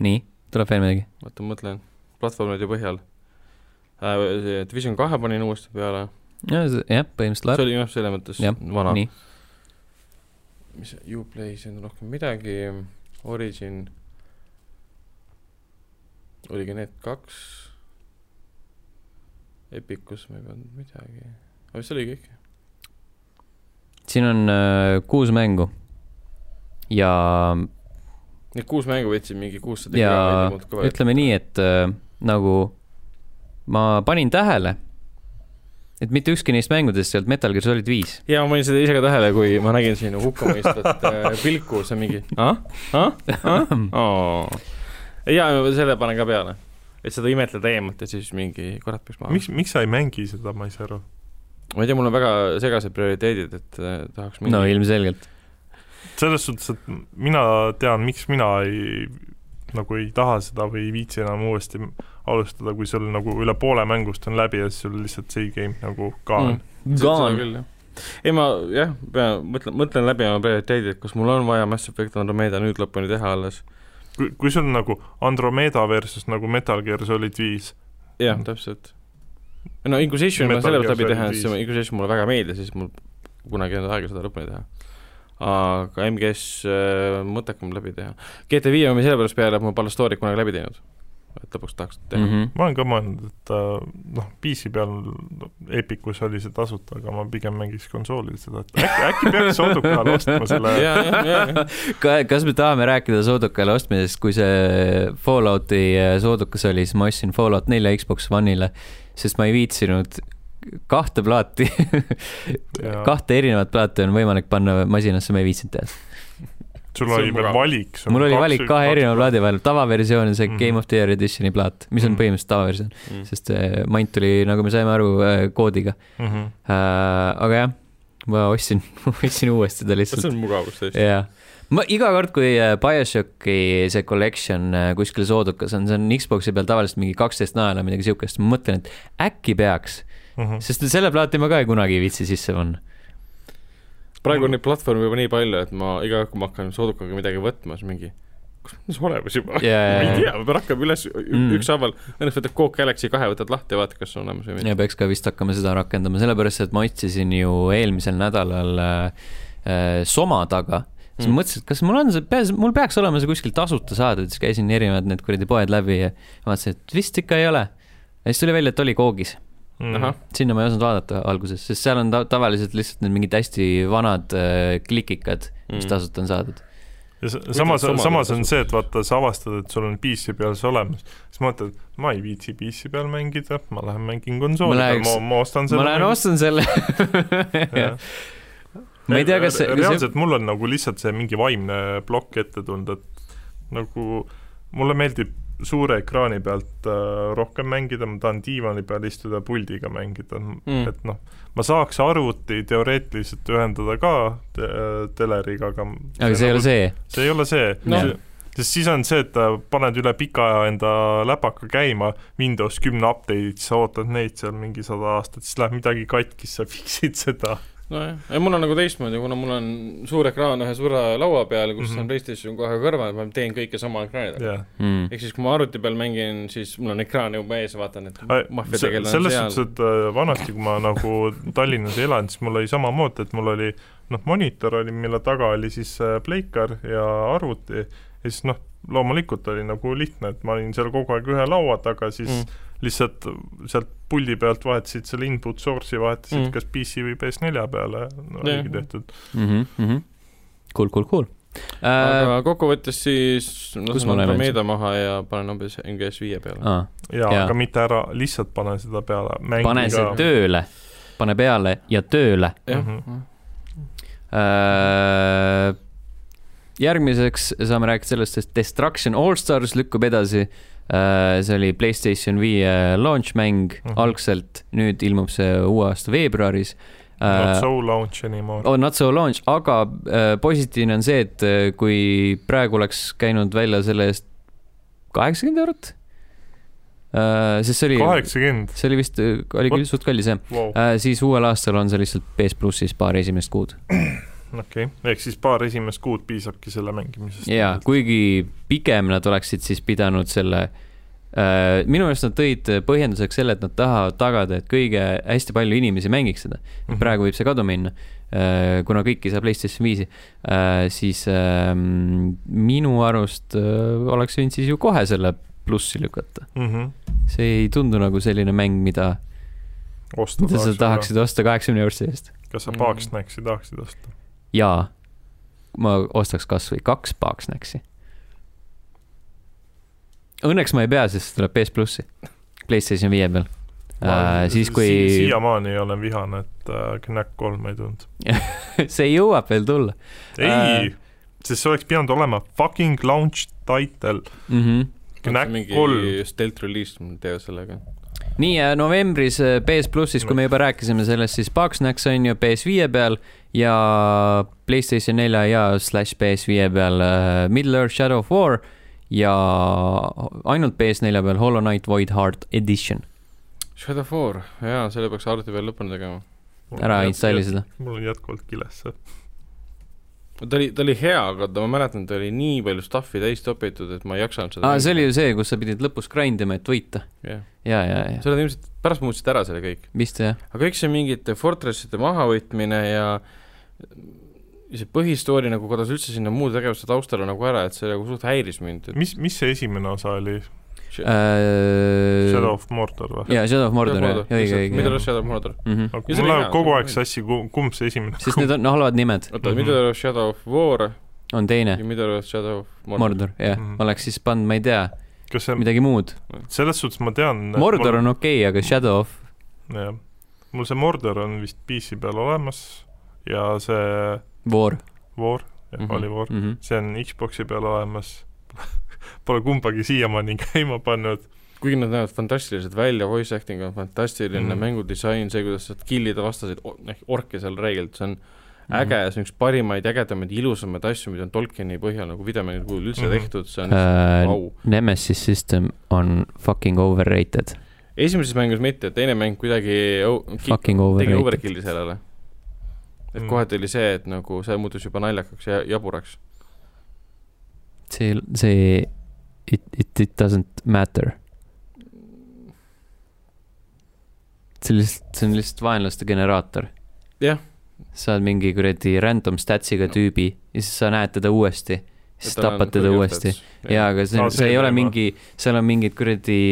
[SPEAKER 1] nii , tuleb veel midagi ?
[SPEAKER 2] vaata , mõtlen platvormide põhjal uh, , Division kahe panin uuesti peale ,
[SPEAKER 1] jah , põhimõtteliselt
[SPEAKER 2] see
[SPEAKER 1] läheb .
[SPEAKER 2] oli jah , selles mõttes
[SPEAKER 1] Jah,
[SPEAKER 2] vana .
[SPEAKER 1] nii ,
[SPEAKER 2] mis see- Uplay's on rohkem midagi , Origin oligi need kaks , Epicus ma ei pannud midagi , aga see oli kõik .
[SPEAKER 1] siin on äh, kuus mängu . ja
[SPEAKER 2] Need kuus mängu võtsid mingi kuussada
[SPEAKER 1] ja ütleme nii , et äh, nagu ma panin tähele , et mitte ükski neist mängudest ei olnud Metal Gear Solid viis .
[SPEAKER 2] ja ma panin seda ise ka tähele , kui ma nägin sinu hukkamõistvat äh, pilku , see mingi ah , ah , ah , aa . ja selle panen ka peale , et seda imetleda eemalt ja siis mingi kurat peaks maha .
[SPEAKER 3] miks , miks sa ei mängi seda , ma ei saa aru .
[SPEAKER 2] ma ei tea , mul on väga segased prioriteedid , et äh, tahaks
[SPEAKER 1] no ilmselgelt .
[SPEAKER 3] selles suhtes , et mina tean , miks mina ei , nagu ei taha seda või ei viitsi enam uuesti alustada , kui sul nagu üle poole mängust on läbi ja siis sul lihtsalt see game nagu ka on
[SPEAKER 2] Mm. . Seda . küll, jah. ei , ma jah , pean , mõtlen , mõtlen läbi oma prioriteedid , kas mul on vaja Mass Effect Andromeda nüüd lõpuni teha alles .
[SPEAKER 3] kui , kui sul nagu Andromeda versus nagu Metal Gear Solid viis ,
[SPEAKER 2] jah , Mm. täpselt . no Inquisition ma
[SPEAKER 3] Metal
[SPEAKER 2] selle
[SPEAKER 3] Gear
[SPEAKER 2] pealt läbi
[SPEAKER 3] Solid
[SPEAKER 2] teha , sest see
[SPEAKER 3] viis.
[SPEAKER 2] Inquisition mulle väga meeldis , siis mul kunagi ei olnud aega seda lõpuni teha . aga MGS äh, mõttekam läbi teha . GTA viie ma selle pärast peale , et ma pole story'd kunagi läbi teinud . et lõpuks tahaks teha mm . -hmm.
[SPEAKER 1] Mhm.
[SPEAKER 3] ma olen ka mõelnud , et äh, noh , PC peal no, Epicus oli see tasuta , aga ma pigem mängiks konsoolil seda , et äkki , äkki peaks Sodukal ostma selle
[SPEAKER 2] ja , ja , ja , ja ,
[SPEAKER 1] Ka- kas me tahame rääkida soodukale ostmisest , kui see Fallouti äh, soodukas oli , siis ma ostsin Fallout nelja Xbox One'ile , sest ma ei viitsinud kahte plaati
[SPEAKER 3] ja
[SPEAKER 1] kahte erinevat plaati on võimalik panna masinasse , ma ei viitsinud teha .
[SPEAKER 3] sul
[SPEAKER 2] see on
[SPEAKER 3] oli veel
[SPEAKER 2] mugav.
[SPEAKER 3] valik .
[SPEAKER 1] mul oli valik kahe erineva plaadi vahel , tavaversioon ja see
[SPEAKER 3] Mhm.
[SPEAKER 1] Game of the Year Editioni plaat , mis on
[SPEAKER 3] Mhm.
[SPEAKER 1] põhimõtteliselt tavaversioon , sest see mant tuli , nagu me saime aru , koodiga .
[SPEAKER 3] mm .
[SPEAKER 2] Mhm,
[SPEAKER 3] -hmm.
[SPEAKER 1] aga jah , ma ostsin , ostsin uuesti ta lihtsalt .
[SPEAKER 2] see on mugavus tõesti .
[SPEAKER 1] jaa , ma iga kord , kui äh, BioShocki see collection äh, kuskil soodukas on , see on Xbox'i peal tavaliselt mingi kaksteist naela , midagi siukest , ma mõtlen , et äkki peaks ,
[SPEAKER 3] Mm
[SPEAKER 2] mhm.
[SPEAKER 3] -hmm.
[SPEAKER 1] sest selle plaati ma ka ei kunagi ei viitsi sisse panna .
[SPEAKER 2] praegu on neid platvorme juba nii palju , et ma iga kord , kui ma hakkan soodukaga midagi võtma , siis mingi , kus on see olemas juba
[SPEAKER 1] Jaa, jaa,
[SPEAKER 2] ma ei
[SPEAKER 1] jaa.
[SPEAKER 2] tea , võib-olla hakkab üles ü-
[SPEAKER 1] Mm.
[SPEAKER 2] ükshaaval , õnneks võtad Coke Galaxy kahe , võtad lahti ja vaatad , kas on olemas või mitte .
[SPEAKER 1] ja peaks ka vist hakkama seda rakendama , sellepärast et ma otsisin ju eelmisel nädalal äh, äh, Soma taga , siis
[SPEAKER 2] Mm.
[SPEAKER 1] ma mõtlesin , et kas mul on see , peas , mul peaks olema see kuskil tasuta saada , siis käisin erinevad need kuradi poed läbi ja vaatasin , et vist ikka ei ole . ja siis tuli välja , et oli koogis .
[SPEAKER 2] ahah ,
[SPEAKER 3] Mm.
[SPEAKER 1] sinna ma ei osanud vaadata alguses , sest seal on ta tavaliselt lihtsalt need mingid hästi vanad äh, klikikad , mis
[SPEAKER 2] Mm.
[SPEAKER 1] mm. tasuta on saadud .
[SPEAKER 3] ja sa- samas ,
[SPEAKER 2] Kuidas
[SPEAKER 3] samas on
[SPEAKER 2] omadused-
[SPEAKER 3] see , et vaata , sa avastad , et sul on PC peal see olemas , siis mõtled , ma ei viitsi PC peal mängida , ma lähen mängin konsooli
[SPEAKER 1] Ma
[SPEAKER 3] peal ,
[SPEAKER 1] läheks-
[SPEAKER 3] ma , ma ostan selle .
[SPEAKER 1] ma lähen ostan selle . ma ei tea , kas see , kas see ,
[SPEAKER 3] reaalselt mul on nagu lihtsalt see mingi vaimne plokk ette tulnud , et nagu mulle meeldib suure ekraani pealt äh, rohkem mängida , ma tahan diivani peal istuda , puldiga mängida mm.
[SPEAKER 2] Mm. ,
[SPEAKER 3] et noh , ma saaks arvuti teoreetiliselt ühendada ka te teleriga , aga nagu
[SPEAKER 1] aga see ei ole see .
[SPEAKER 3] see ei ole see
[SPEAKER 2] Noh.
[SPEAKER 3] no. , sest siis on see , et äh, paned üle pika aja enda läpaka käima , Windows kümne update'id , sa ootad neid seal mingi sada aastat , siis läheb midagi katki , sa fix'id seda .
[SPEAKER 2] nojah , ei mul on nagu teistmoodi , kuna mul on suur ekraan ühe suure laua peal , kus mm -hmm.
[SPEAKER 3] Mhm.
[SPEAKER 2] on PlayStation kohe kõrval , ma teen kõike sama ekraani taga .
[SPEAKER 3] jah .
[SPEAKER 1] mm. .
[SPEAKER 2] ehk siis , kui ma arvuti peal mängin , siis mul on ekraan juba ees , vaatan , et maffia
[SPEAKER 3] selles
[SPEAKER 2] tegelane on
[SPEAKER 3] suhtes ,
[SPEAKER 2] seal .
[SPEAKER 3] et äh, vanasti , kui ma nagu Tallinnas ei elanud , siis mul oli samamoodi , et mul oli noh , monitor oli , mille taga oli siis äh, pleikar ja arvuti ja siis noh , loomulikult oli nagu lihtne , et ma olin seal kogu aeg ühe laua taga , siis mm. lihtsalt sealt puldi pealt vahetasid selle input source'i , vahetasid
[SPEAKER 2] Mm.
[SPEAKER 3] mm. kas PC või PS4 peale
[SPEAKER 2] Jah.
[SPEAKER 3] no, , oligi tehtud .
[SPEAKER 1] Mm -hmm. Cool , cool , cool
[SPEAKER 2] aga
[SPEAKER 1] äh, .
[SPEAKER 2] kokkuvõttes siis
[SPEAKER 1] Kus me
[SPEAKER 2] lasen
[SPEAKER 1] oleme
[SPEAKER 2] Andromeda maha ja panen hoopis NGS viie peale .
[SPEAKER 1] Ah,
[SPEAKER 3] jaa
[SPEAKER 1] Jaa.
[SPEAKER 3] ja. , aga mitte ära , lihtsalt pane seda peale ,
[SPEAKER 1] pane
[SPEAKER 3] mängi
[SPEAKER 1] see
[SPEAKER 3] ka .
[SPEAKER 1] tööle , pane peale ja tööle
[SPEAKER 2] jah mm ,
[SPEAKER 3] Mhm.
[SPEAKER 2] -hmm.
[SPEAKER 1] äh, . järgmiseks saame rääkida sellest , et Destruction All Stars lükkub edasi äh, . see oli Playstation viie launch mäng mm
[SPEAKER 3] Mhm.
[SPEAKER 1] -hmm. algselt , nüüd ilmub see uue aasta veebruaris
[SPEAKER 3] Not
[SPEAKER 1] äh, .
[SPEAKER 3] so launch anymore .
[SPEAKER 1] on Not So Launch , aga äh, positiivne on see , et äh, kui praegu oleks käinud välja selle eest kaheksakümmend eurot äh, , sest see oli ,
[SPEAKER 3] kaheksakümmend ,
[SPEAKER 1] see oli vist , oli küll suht kallis jah
[SPEAKER 3] vau ,
[SPEAKER 1] äh, , siis uuel aastal on see lihtsalt PS plussis paar esimest kuud
[SPEAKER 3] okei okay. , ehk siis paar esimest kuud piisabki selle mängimisest .
[SPEAKER 1] ja kuigi pigem nad oleksid siis pidanud selle äh, minu meelest nad tõid põhjenduseks selle , et nad tahavad tagada , et kõige , hästi palju inimesi mängiks seda .
[SPEAKER 3] Mhm.
[SPEAKER 1] praegu võib see kaduma minna , kuna kõiki saab PlayStation viisi , siis ähm, minu arust äh, oleks võinud siis ju kohe selle plussi lükata .
[SPEAKER 3] mm . -hmm.
[SPEAKER 1] see ei tundu nagu selline mäng , mida ,
[SPEAKER 3] osta
[SPEAKER 1] mida sa tahaksid osta kaheksakümne eurose eest .
[SPEAKER 3] kas sa
[SPEAKER 2] Mm.
[SPEAKER 3] Bugsnaxi tahaksid osta ?
[SPEAKER 1] jaa , ma ostaks kasvõi kaks Bugsnaxi . Õnneks ma ei pea , sest see tuleb PS plussi , PlayStation viie peal . Äh, siis kui
[SPEAKER 3] siiamaani ei ole vihane , et äh, Knack kolme ei tulnud .
[SPEAKER 1] see jõuab veel tulla
[SPEAKER 3] ei ,
[SPEAKER 1] Äh.
[SPEAKER 3] sest see oleks pidanud olema fucking launch title .
[SPEAKER 1] mm . -hmm.
[SPEAKER 3] Knack
[SPEAKER 2] mingi
[SPEAKER 3] kolm.
[SPEAKER 2] stealth release , ma tean sellega .
[SPEAKER 1] nii ja novembris äh, PS plussis , kui me juba rääkisime sellest , siis Bugsnax on ju PS5 peal ja Playstation nelja ja slash PS5 peal äh, Middle-earth Shadow of War ja ainult PS4 peal Hollow Knight Void Heart Edition .
[SPEAKER 2] Shadow of War , jaa , selle peaks arvuti peal lõpuni tegema .
[SPEAKER 1] ära installi . seda .
[SPEAKER 3] mul on jätkuvalt kiles see .
[SPEAKER 2] ta oli , ta oli hea , aga ta , ma mäletan , ta oli nii palju stuff'i täis topitud , et ma ei jaksanud seda .
[SPEAKER 1] aa , see oli ju see , kus sa pidid lõpus grind ima , et võita .
[SPEAKER 2] jah ,
[SPEAKER 1] ja , ja , ja
[SPEAKER 2] sa oled ilmselt , pärast muutsid ära selle kõik .
[SPEAKER 1] vist jah .
[SPEAKER 2] aga kõik see mingite fortresside mahavõtmine ja ja see põhistoori nagu kadus üldse sinna muu tegevuse taustale nagu ära , et see nagu suht häiris mind , et
[SPEAKER 3] mis , mis see esimene osa oli ? Shadow
[SPEAKER 1] Äh. jaa ,
[SPEAKER 3] of Mordor või ?
[SPEAKER 1] Shadow of Mordor ,
[SPEAKER 2] Mordor,
[SPEAKER 1] õige ,
[SPEAKER 2] lihtsalt
[SPEAKER 1] õige
[SPEAKER 2] Middle-earth . Shadow of Mordor .
[SPEAKER 1] Mhm.
[SPEAKER 3] aga
[SPEAKER 2] see
[SPEAKER 3] mul
[SPEAKER 2] oli
[SPEAKER 3] läheb
[SPEAKER 2] hea,
[SPEAKER 3] kogu
[SPEAKER 2] see
[SPEAKER 3] aeg
[SPEAKER 2] oli-
[SPEAKER 3] sassi , kumb see esimene
[SPEAKER 1] sest need on halvad nimed ,
[SPEAKER 2] oota ,
[SPEAKER 3] Mhm.
[SPEAKER 2] Middle-earth Shadow of War
[SPEAKER 1] on teine
[SPEAKER 2] ja Middle-earth Shadow of Mordor .
[SPEAKER 1] Mordor , jah
[SPEAKER 3] Mhm. ,
[SPEAKER 1] oleks siis pannud , ma ei tea ,
[SPEAKER 3] kas see ,
[SPEAKER 1] midagi muud .
[SPEAKER 3] selles suhtes ma tean .
[SPEAKER 1] Mordor on okei okay, , aga Shadow of ,
[SPEAKER 3] jah , mul see Mordor on vist PC peal olemas ja see
[SPEAKER 1] War
[SPEAKER 3] War , jah mm
[SPEAKER 2] Mhm.
[SPEAKER 3] -hmm. oli War ,
[SPEAKER 1] mm . -hmm.
[SPEAKER 3] see on Xbox'i peal olemas . Pole kumbagi siiamaani käima pannud .
[SPEAKER 2] kuigi nad näevad fantastilised välja , voice acting on fantastiline mm. ,
[SPEAKER 3] Mhm.
[SPEAKER 2] mängudisain , see , kuidas saad kill ida vastaseid o- ehk orke seal reeglilt , see on
[SPEAKER 1] Mhm.
[SPEAKER 2] äge , see on üks parimaid , ägedamaid , ilusamaid asju , mida on Tolkieni põhjal nagu videomängu kujul üldse
[SPEAKER 3] Mhm.
[SPEAKER 2] tehtud , see on
[SPEAKER 1] Äh,
[SPEAKER 2] vau .
[SPEAKER 1] Nemesis System on fucking overrated ,
[SPEAKER 2] esimeses mängus mitte , teine mäng kuidagi o- ki-
[SPEAKER 1] fucking
[SPEAKER 2] tegi
[SPEAKER 1] overrated . Mhm.
[SPEAKER 2] overkill'i sellele . et
[SPEAKER 3] Mm.
[SPEAKER 2] kohati oli see , et nagu see muutus juba naljakaks ja jaburaks .
[SPEAKER 1] see , see , it , it , it doesn't matter . see on lihtsalt , see on lihtsalt vaenlaste generaator .
[SPEAKER 2] Jah. .
[SPEAKER 1] saad mingi kuradi random statsiga tüübi ja siis sa näed teda uuesti , siis tapad teda uuesti . jaa , aga see
[SPEAKER 3] Aa,
[SPEAKER 1] on ,
[SPEAKER 3] see
[SPEAKER 1] see ei ole
[SPEAKER 3] teema.
[SPEAKER 1] mingi , seal on mingid kuradi ,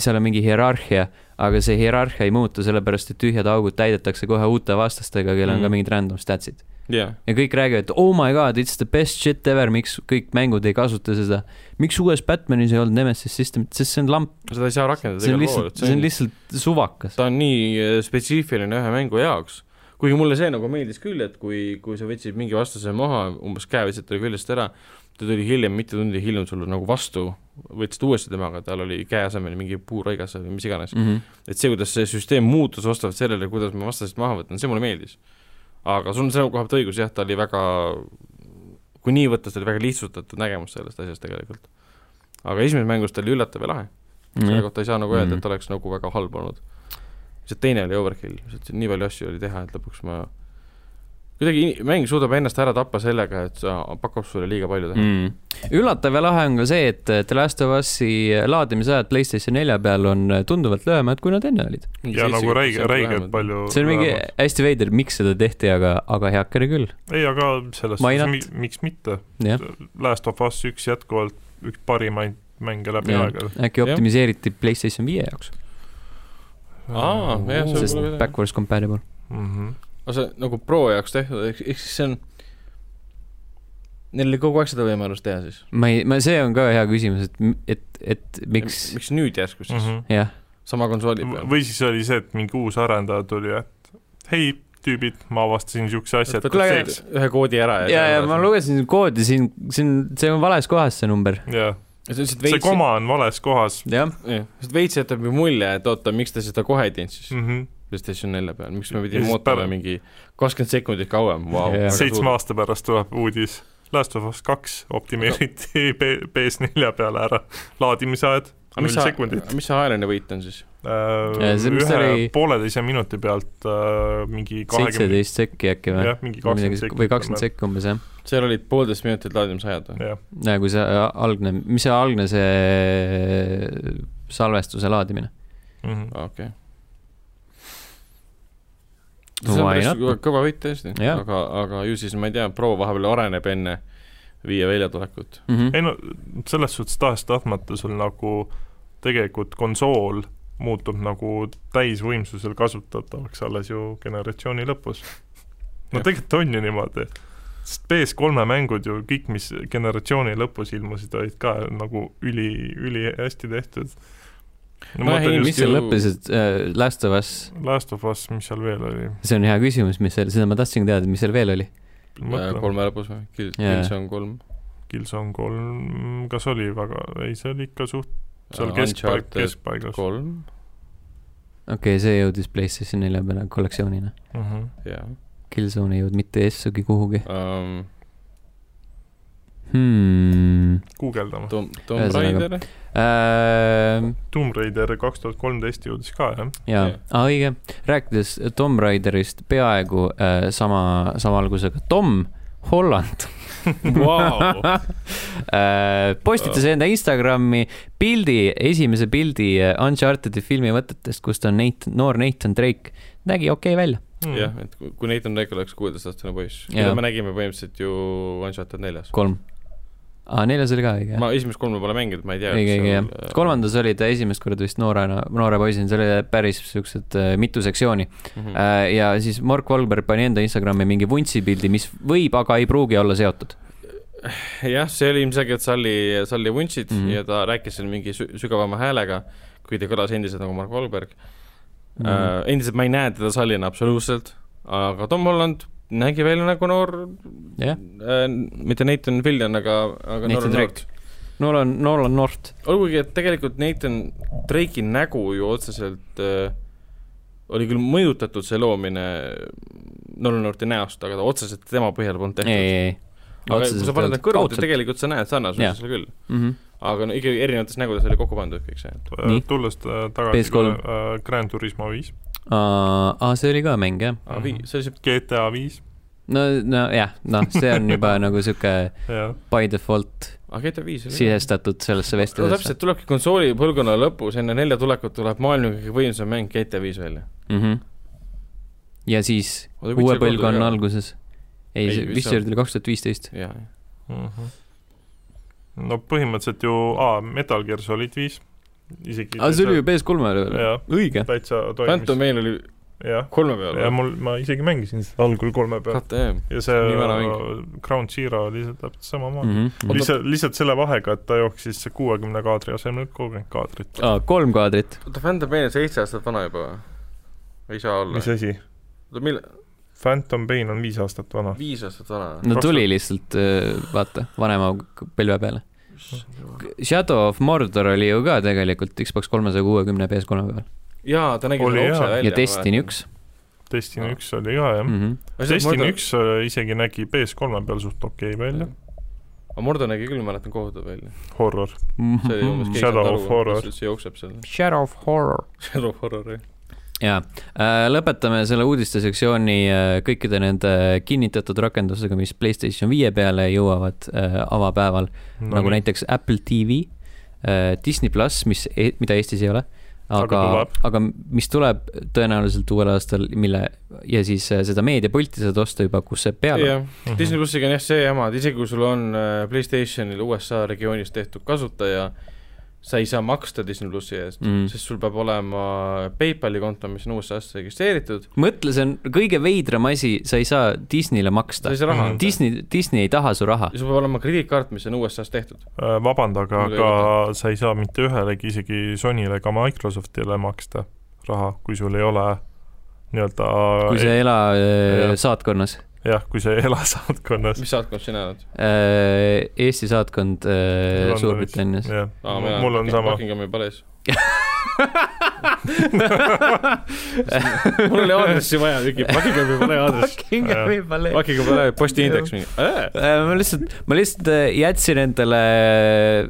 [SPEAKER 1] seal on mingi hierarhia , aga see hierarhia ei muutu , sellepärast et tühjad augud täidetakse kohe uute vastastega , kellel on ka
[SPEAKER 2] Mm.
[SPEAKER 1] mingid random stats'id .
[SPEAKER 2] jah ,
[SPEAKER 1] ja kõik räägivad , oh my god , it's the best shit ever , miks kõik mängud ei kasuta seda . miks uues Batmanis ei olnud Nemesis System'it , sest see on lamp ,
[SPEAKER 2] seda ei saa rakendada
[SPEAKER 1] see on
[SPEAKER 2] igal pool ,
[SPEAKER 1] lihtsalt ,
[SPEAKER 2] et
[SPEAKER 1] see on lihtsalt suvakas .
[SPEAKER 2] ta on nii eh, spetsiifiline ühe mängu jaoks . kuigi mulle see nagu meeldis küll , et kui , kui sa võtsid mingi vastase maha , umbes käe võtsid talle küljest ära , ta tuli hiljem , mitu tundi hiljem sulle nagu vastu , võtsid uuesti temaga , tal oli käe asemel mingi puurõigas või mis iganes .
[SPEAKER 1] Mm -hmm.
[SPEAKER 2] et see , kuidas see süsteem muutus vastavalt sellele , kuidas ma vastasest maha võtan , see mulle meeldis . aga sul on selle koha pealt õigus , jah , ta oli väga , kui nii võtta , see oli väga lihtsustatud nägemus sellest asjast tegelikult . aga esimeses mängus ta oli üllatav ja lahe , selle kohta ei saa nagu öelda ,
[SPEAKER 1] Mhm.
[SPEAKER 2] et oleks nagu väga halb olnud . see teine oli overkill , lihtsalt siin nii palju asju oli teha , et lõpuks ma kuidagi in- mäng suudab ennast ära tappa sellega , et sa , pakub sulle liiga palju teha mm. .
[SPEAKER 1] mm. . üllatav ja lahe on ka see , et The Last of Us'i laadimisajad PlayStation nelja peal on tunduvalt lühemad , kui nad enne olid .
[SPEAKER 3] ja nagu räige , räigelt . palju .
[SPEAKER 1] see on mingi hästi veider , miks seda tehti , aga , aga heakene küll ,
[SPEAKER 3] ei , aga selles
[SPEAKER 1] Mainat.
[SPEAKER 3] suhtes , miks mitte .
[SPEAKER 1] jah .
[SPEAKER 3] Last of Us üks jätkuvalt üks parimaid mänge läbi
[SPEAKER 1] Jah.
[SPEAKER 3] aegade .
[SPEAKER 1] äkki
[SPEAKER 2] Jah.
[SPEAKER 1] optimiseeriti PlayStation viie jaoks ,
[SPEAKER 2] Aa, Ah, jah, see
[SPEAKER 1] sest
[SPEAKER 2] võib-olla ka-
[SPEAKER 1] backwards compatible .
[SPEAKER 3] mm .
[SPEAKER 2] aga see on nagu pro jaoks tehtud , ehk ehk siis see on , neil oli kogu aeg seda võimalust teha siis .
[SPEAKER 1] ma ei , ma , see on ka hea küsimus , et , et , et miks ,
[SPEAKER 2] miks nüüd järsku siis mm ,
[SPEAKER 3] -hmm.
[SPEAKER 1] jah ,
[SPEAKER 2] -hmm. sama konsooli peal ?
[SPEAKER 3] või siis oli see , et mingi uus arendaja tuli , et hei , tüübid , ma avastasin niisuguse asja , et
[SPEAKER 2] võtad
[SPEAKER 3] kas
[SPEAKER 1] kuule,
[SPEAKER 3] teeks .
[SPEAKER 2] ühe koodi ära
[SPEAKER 1] ja , ja ma . lugesin koodi siin , siin , see on vales kohas , see number .
[SPEAKER 3] jah ,
[SPEAKER 2] see on lihtsalt
[SPEAKER 3] see
[SPEAKER 2] veits ,
[SPEAKER 3] koma on vales kohas
[SPEAKER 1] jah ,
[SPEAKER 2] sest veits jätab ju mulje , et oota , miks te seda kohe ei teinud siis
[SPEAKER 3] mm . -hmm.
[SPEAKER 2] PlayStation nelja peal , miks me
[SPEAKER 3] Ja
[SPEAKER 2] pidime
[SPEAKER 3] siis
[SPEAKER 2] ootama
[SPEAKER 3] pärast-
[SPEAKER 2] mingi kakskümmend sekundit kauem , vau
[SPEAKER 1] Jaa. .
[SPEAKER 3] seitsme aasta pärast tuleb uudis . Last of Us kaks optimeeriti P- PS4 peale ära , laadimise aed
[SPEAKER 2] aga mis
[SPEAKER 3] null
[SPEAKER 2] see ,
[SPEAKER 3] sekundit.
[SPEAKER 2] mis see ajaline võit on siis ?
[SPEAKER 1] Ja see- mis
[SPEAKER 3] ühe
[SPEAKER 1] oli-
[SPEAKER 3] pooleteise minuti pealt äh, mingi kahekümne ,
[SPEAKER 1] seitseteist sekki äkki või ?
[SPEAKER 3] jah , mingi
[SPEAKER 1] või
[SPEAKER 3] kakskümmend
[SPEAKER 1] midagi ,
[SPEAKER 3] sekundit .
[SPEAKER 1] või kakskümmend sekki umbes jah .
[SPEAKER 2] seal olid poolteist minutit laadimisajad või ?
[SPEAKER 3] jah ,
[SPEAKER 1] nagu see algne , mis see algne see salvestuse laadimine ?
[SPEAKER 3] Mhm.
[SPEAKER 2] okei .
[SPEAKER 1] No
[SPEAKER 2] see on
[SPEAKER 1] why
[SPEAKER 2] päris
[SPEAKER 1] not?
[SPEAKER 2] kõva- kõva võit tõesti ,
[SPEAKER 1] Jah.
[SPEAKER 2] aga , aga ju siis ma ei tea , Pro vahepeal areneb enne viie väljatulekut .
[SPEAKER 1] Mhm.
[SPEAKER 3] ei no selles suhtes tahes-tahtmata sul nagu tegelikult konsool muutub nagu täisvõimsusel kasutatavaks alles ju generatsiooni lõpus . no
[SPEAKER 2] Jah.
[SPEAKER 3] tegelikult on ju niimoodi , sest PS3 mängud ju kõik , mis generatsiooni lõpus ilmusid , olid ka nagu üli , ülihästi tehtud no, .
[SPEAKER 2] Nojah,
[SPEAKER 3] ma
[SPEAKER 2] ei,
[SPEAKER 3] mõtlen
[SPEAKER 1] mis
[SPEAKER 3] just
[SPEAKER 1] seal
[SPEAKER 2] ju-
[SPEAKER 1] lõppes , et äh, Last of Us ,
[SPEAKER 3] Last of Us , mis seal veel oli ?
[SPEAKER 1] see on hea küsimus , mis seal , seda ma tahtsingi teada , mis seal veel oli .
[SPEAKER 3] mõtlen ,
[SPEAKER 2] Äh, kolme lõpus või ? Kill ,
[SPEAKER 1] Jaa.
[SPEAKER 2] Killzone kolm .
[SPEAKER 3] Killzone kolm , kas oli väga , ei see oli ikka suht seal keskpaik , keskpaigas .
[SPEAKER 2] Äh, kolm ,
[SPEAKER 1] okei okay, , see jõudis PlayStation nelja peale kollektsioonina .
[SPEAKER 3] Mm -hmm.
[SPEAKER 2] jaa
[SPEAKER 1] Killzone ei jõudnud mitte essugi kuhugi
[SPEAKER 2] um, .
[SPEAKER 1] hmm. .
[SPEAKER 3] guugeldame .
[SPEAKER 2] Tom , Tom
[SPEAKER 1] Ühesõnaga-
[SPEAKER 2] Raider .
[SPEAKER 1] Äh,
[SPEAKER 3] Tomb Raider kaks tuhat kolmteist jõudis ka jah ,
[SPEAKER 1] jaa
[SPEAKER 2] Jah.
[SPEAKER 1] ah, , õige , rääkides Tomb Raiderist peaaegu äh, sama , sama algusega , Tom Holland
[SPEAKER 2] Vau.
[SPEAKER 1] Äh, postitas enda Instagrami pildi , esimese pildi äh, Uncharted'i filmi võtetest , kus ta on Nathan , noor Nathan Drake , nägi okei okay välja ,
[SPEAKER 3] Hmm.
[SPEAKER 2] jah , et kui- kui Nathan Drake oleks kuueteistaastane poiss ,
[SPEAKER 1] Jaa.
[SPEAKER 2] mida me nägime põhimõtteliselt ju Uncharted neljas .
[SPEAKER 1] kolm . aa , Ah, neljas oli ka õige .
[SPEAKER 2] ma esimest kolme pole mänginud , ma ei tea .
[SPEAKER 1] õige , õige , jah .
[SPEAKER 2] äh,
[SPEAKER 1] kolmandas oli ta esimest korda vist noorena , noore poisina , seal oli päris siuksed äh, mitu sektsiooni .
[SPEAKER 2] kolm .
[SPEAKER 1] Äh, ja siis Mark Wahlberg pani enda Instagrami mingi vuntsipildi , mis võib , aga ei pruugi olla seotud .
[SPEAKER 2] Äh, jah , see oli ilmselgelt Salli , Salli Vuntšit mm
[SPEAKER 1] Mhm.
[SPEAKER 2] -hmm. ja ta rääkis seal mingi sü- sügavama häälega , kui ta kõlas endiselt nagu Mark Wahlberg mm .
[SPEAKER 1] Mhm.
[SPEAKER 2] -hmm. Uh, endiselt ma ei näe teda Sallina absoluutselt , aga Tom Holland nägi välja nagu noor
[SPEAKER 1] jah ,
[SPEAKER 2] uh, , mitte Nathan Fillion , aga , aga
[SPEAKER 1] Nathan
[SPEAKER 2] noor
[SPEAKER 1] Drake. . Nolan , Nolan North ,
[SPEAKER 2] olgugi , et tegelikult Nathan Drake'i nägu ju otseselt uh, oli küll mõjutatud see loomine Nolan Norti näost , aga ta otseselt tema põhjal polnud
[SPEAKER 1] ei ,
[SPEAKER 2] tehtud .
[SPEAKER 1] ei , ei .
[SPEAKER 2] aga kui sa paned need kõrvuti ,
[SPEAKER 1] tegelikult .
[SPEAKER 2] tegelikult sa näed
[SPEAKER 1] Jaa.
[SPEAKER 2] sarnasust seal küll
[SPEAKER 1] Mhm.
[SPEAKER 2] aga no ikkagi erinevates nägudes oli kokku pandud kõik see .
[SPEAKER 1] Nii.
[SPEAKER 3] Äh, tulles ta- tagasi
[SPEAKER 1] PS3.
[SPEAKER 3] äh, Gran Turismo viis ,
[SPEAKER 1] aa , see oli ka mäng , jah .
[SPEAKER 2] aga vii- , see oli see ,
[SPEAKER 3] GTA viis
[SPEAKER 1] no , nojah , noh , see on juba nagu sihuke
[SPEAKER 3] ja
[SPEAKER 1] by default
[SPEAKER 2] aga GTA viis oli ka .
[SPEAKER 1] sisestatud sellesse
[SPEAKER 2] no
[SPEAKER 1] vestlusesse
[SPEAKER 2] täpselt , tulebki konsooli põlvkonna lõpus , enne nelja tulekut tuleb maailma kõige võimsam mäng GTA viis välja .
[SPEAKER 1] mm . -hmm. ja siis
[SPEAKER 2] Oota,
[SPEAKER 1] uue
[SPEAKER 2] Witcher kolm tuli
[SPEAKER 1] põlvkonna
[SPEAKER 2] ka.
[SPEAKER 1] alguses ,
[SPEAKER 2] Ei,
[SPEAKER 1] ei ,
[SPEAKER 2] mis
[SPEAKER 1] Witcher
[SPEAKER 2] on?
[SPEAKER 1] tuli kaks tuhat viisteist ,
[SPEAKER 2] jaa ,
[SPEAKER 3] mm . -hmm. no põhimõtteliselt ju , aa , Metal Gear Solid viis , isegi
[SPEAKER 1] aa , see oli ju PS3-e peal ,
[SPEAKER 3] jah ,
[SPEAKER 1] õige .
[SPEAKER 3] täitsa
[SPEAKER 2] Phantom
[SPEAKER 3] toimis ,
[SPEAKER 2] meil oli
[SPEAKER 3] jah .
[SPEAKER 2] kolme
[SPEAKER 3] ja
[SPEAKER 2] peal .
[SPEAKER 3] mul , ma isegi mängisin seda algul kolme peal
[SPEAKER 2] KTM ,
[SPEAKER 3] ja see
[SPEAKER 2] nii vana
[SPEAKER 3] Ground Zero oli see täpselt samamoodi mm. .
[SPEAKER 1] aa ,
[SPEAKER 3] lihtsalt , lihtsalt selle vahega , et ta jooksis kuuekümne kaadri asemel kolmkümmend kaadrit .
[SPEAKER 1] kolm kaadrit .
[SPEAKER 2] oota Phantom meil on seitse aastat vana juba või ? ei saa olla
[SPEAKER 3] mis . asi ?
[SPEAKER 2] oota mille ,
[SPEAKER 3] Phantom Pain on viis aastat vana .
[SPEAKER 2] viis aastat vana või ?
[SPEAKER 1] no
[SPEAKER 3] Kaks
[SPEAKER 1] tuli
[SPEAKER 3] tuhat-
[SPEAKER 1] lihtsalt , vaata , vanema k- põlve peale . Shadow of Mordor oli ju ka tegelikult Xbox kolmesaja kuuekümne PS3 peal
[SPEAKER 2] jaa , ta nägi
[SPEAKER 3] Oli
[SPEAKER 2] selle
[SPEAKER 3] jaa.
[SPEAKER 2] okse välja .
[SPEAKER 1] ja Destiny . üks . Mhm.
[SPEAKER 3] Destiny üks oli ka jah mm. . Destiny . üks äh, isegi nägi PS3 peal suht okei okay välja ,
[SPEAKER 2] aga Mordo nägi küll , ma mäletan , kohutav välja .
[SPEAKER 3] horror .
[SPEAKER 2] see oli umbes
[SPEAKER 3] Shadow of Horror.
[SPEAKER 2] see jookseb seal .
[SPEAKER 1] Shadow of Horror .
[SPEAKER 2] Shadow of Horror , jah .
[SPEAKER 1] ja Äh, lõpetame selle uudistesektsiooni äh, kõikide nende kinnitatud rakendusega, mis Playstation viie peale jõuavad äh, avapäeval no, nagu nii. näiteks Apple TV äh,, Disney pluss, mis e , mida Eestis ei ole , aga,
[SPEAKER 3] Aga
[SPEAKER 1] aga, aga mis tuleb tõenäoliselt uuel aastal , mille ja siis äh, seda meediapulti saad osta juba , kus see peal on .
[SPEAKER 2] jah ,
[SPEAKER 3] Mhm.
[SPEAKER 2] Disney plussiga on jah see jama , et isegi kui sul on äh, Playstationil USA regioonis tehtud kasutaja , sa ei saa maksta Disney plussi eest
[SPEAKER 1] Mm.
[SPEAKER 3] Mhm.
[SPEAKER 2] mm. , sest sul peab olema PayPali konto , mis on USA-s registreeritud ,
[SPEAKER 1] mõtle , see on kõige veidram asi , sa ei saa Disneyle
[SPEAKER 2] sa
[SPEAKER 1] maksta
[SPEAKER 2] ei . saa raha anda
[SPEAKER 3] Mm.
[SPEAKER 2] mm. .
[SPEAKER 1] Disney , Disney ei taha su raha
[SPEAKER 2] ja . sul peab olema krediitkaart , mis on USA-s tehtud .
[SPEAKER 3] vabanda , Äh, aga ,
[SPEAKER 2] Mul ei
[SPEAKER 3] aga sa ei saa mitte ühelegi , isegi Sonyle ega Microsoftile maksta raha , kui sul ei ole nii-öelda
[SPEAKER 1] kui sa ei ela äh,
[SPEAKER 3] Jah.
[SPEAKER 1] saatkonnas .
[SPEAKER 3] jah , kui sa ei ela saatkonnas .
[SPEAKER 2] mis saatkond sina oled ?
[SPEAKER 1] Eesti saatkond äh,
[SPEAKER 3] Londonis.
[SPEAKER 1] Suurbritannias .
[SPEAKER 3] jah
[SPEAKER 2] aa , Ah, mina ,
[SPEAKER 3] mul on
[SPEAKER 2] olen
[SPEAKER 3] sama .
[SPEAKER 2] Buckinghami palees mul oli aadressi vaja , mingi Buckinghami palee aadress .
[SPEAKER 3] Uh,
[SPEAKER 1] Buckinghami palee .
[SPEAKER 2] Buckinghami palee postiindeks mingi ,
[SPEAKER 1] Äh, ma lihtsalt , ma lihtsalt äh, jätsin endale äh,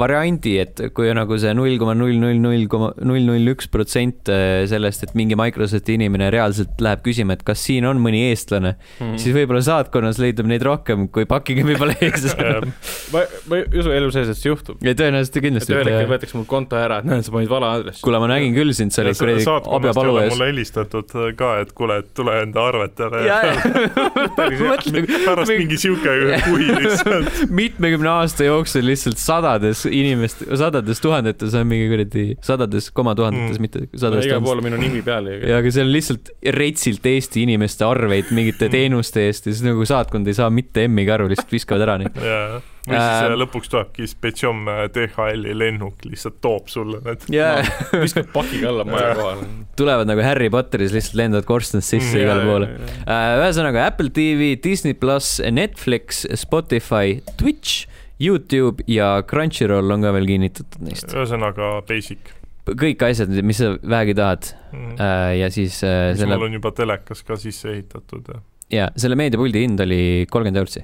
[SPEAKER 1] variandi , et kui on nagu see null koma null null null koma null null üks protsent äh, sellest , et mingi Microsofti inimene reaalselt läheb küsima , et kas siin on mõni eestlane ,
[SPEAKER 3] Mhm.
[SPEAKER 2] Mm.
[SPEAKER 1] siis võib-olla saatkonnas leidub neid rohkem kui Buckinghami palees .
[SPEAKER 2] ma , ma ei usu elu sees , et see juhtub .
[SPEAKER 1] ja tõenäoliselt
[SPEAKER 2] et
[SPEAKER 1] kindlasti
[SPEAKER 2] ühel hetkel
[SPEAKER 1] mitte .
[SPEAKER 2] võetakse mul konto ära , et näed , sa panid vale aadressi .
[SPEAKER 1] kuule , ma nägin küll sind , sa olid kuradi
[SPEAKER 3] saatkonnas ei
[SPEAKER 1] objapalu
[SPEAKER 3] ole
[SPEAKER 1] ees
[SPEAKER 3] mulle . helistatud äh, ka , et kuule , et tule enda arvetele
[SPEAKER 1] Jaa, jaa. Mõtle,
[SPEAKER 3] pärast
[SPEAKER 1] mingi-
[SPEAKER 3] mingi sihuke kui lihtsalt .
[SPEAKER 1] mitmekümne aasta jooksul lihtsalt sadades inimest , sadades tuhandetes on mingi kuradi , sadades koma tuhandetes
[SPEAKER 3] Mm.
[SPEAKER 1] mm. , mitte
[SPEAKER 2] no,
[SPEAKER 1] sadades
[SPEAKER 2] igal
[SPEAKER 1] tuhandetes .
[SPEAKER 2] pool on minu nimi peal
[SPEAKER 1] ja
[SPEAKER 2] ja
[SPEAKER 1] aga seal on lihtsalt retsilt Eesti inimeste arveid mingite
[SPEAKER 3] Mm.
[SPEAKER 1] teenuste eest ja siis nagu saatkond ei saa mitte M-igi aru , lihtsalt viskavad ära neid .
[SPEAKER 3] jaa , või siis
[SPEAKER 1] Ähm.
[SPEAKER 3] äh, lõpuks tulebki äh, Spetsom DHL-i lennuk , lihtsalt toob sulle need .
[SPEAKER 1] ja
[SPEAKER 2] viskad pakiga alla maja kohale .
[SPEAKER 1] tulevad nagu Harry Potteris , lihtsalt lendavad korstnast sisse
[SPEAKER 3] Mm,
[SPEAKER 1] mm,
[SPEAKER 3] jaa,
[SPEAKER 1] igale poole . ühesõnaga Apple TV , Disney pluss , Netflix , Spotify , Twitch , Youtube ja Crunchyroll on ka veel kinnitatud neist .
[SPEAKER 3] ühesõnaga basic .
[SPEAKER 1] kõik asjad , mis sa vähegi tahad
[SPEAKER 3] mis
[SPEAKER 1] Äh, ja siis äh, selle
[SPEAKER 3] Mhm. mul , on juba telekas ka sisse ehitatud ja
[SPEAKER 1] jaa , selle meediapuldi hind oli kolmkümmend eurtsi .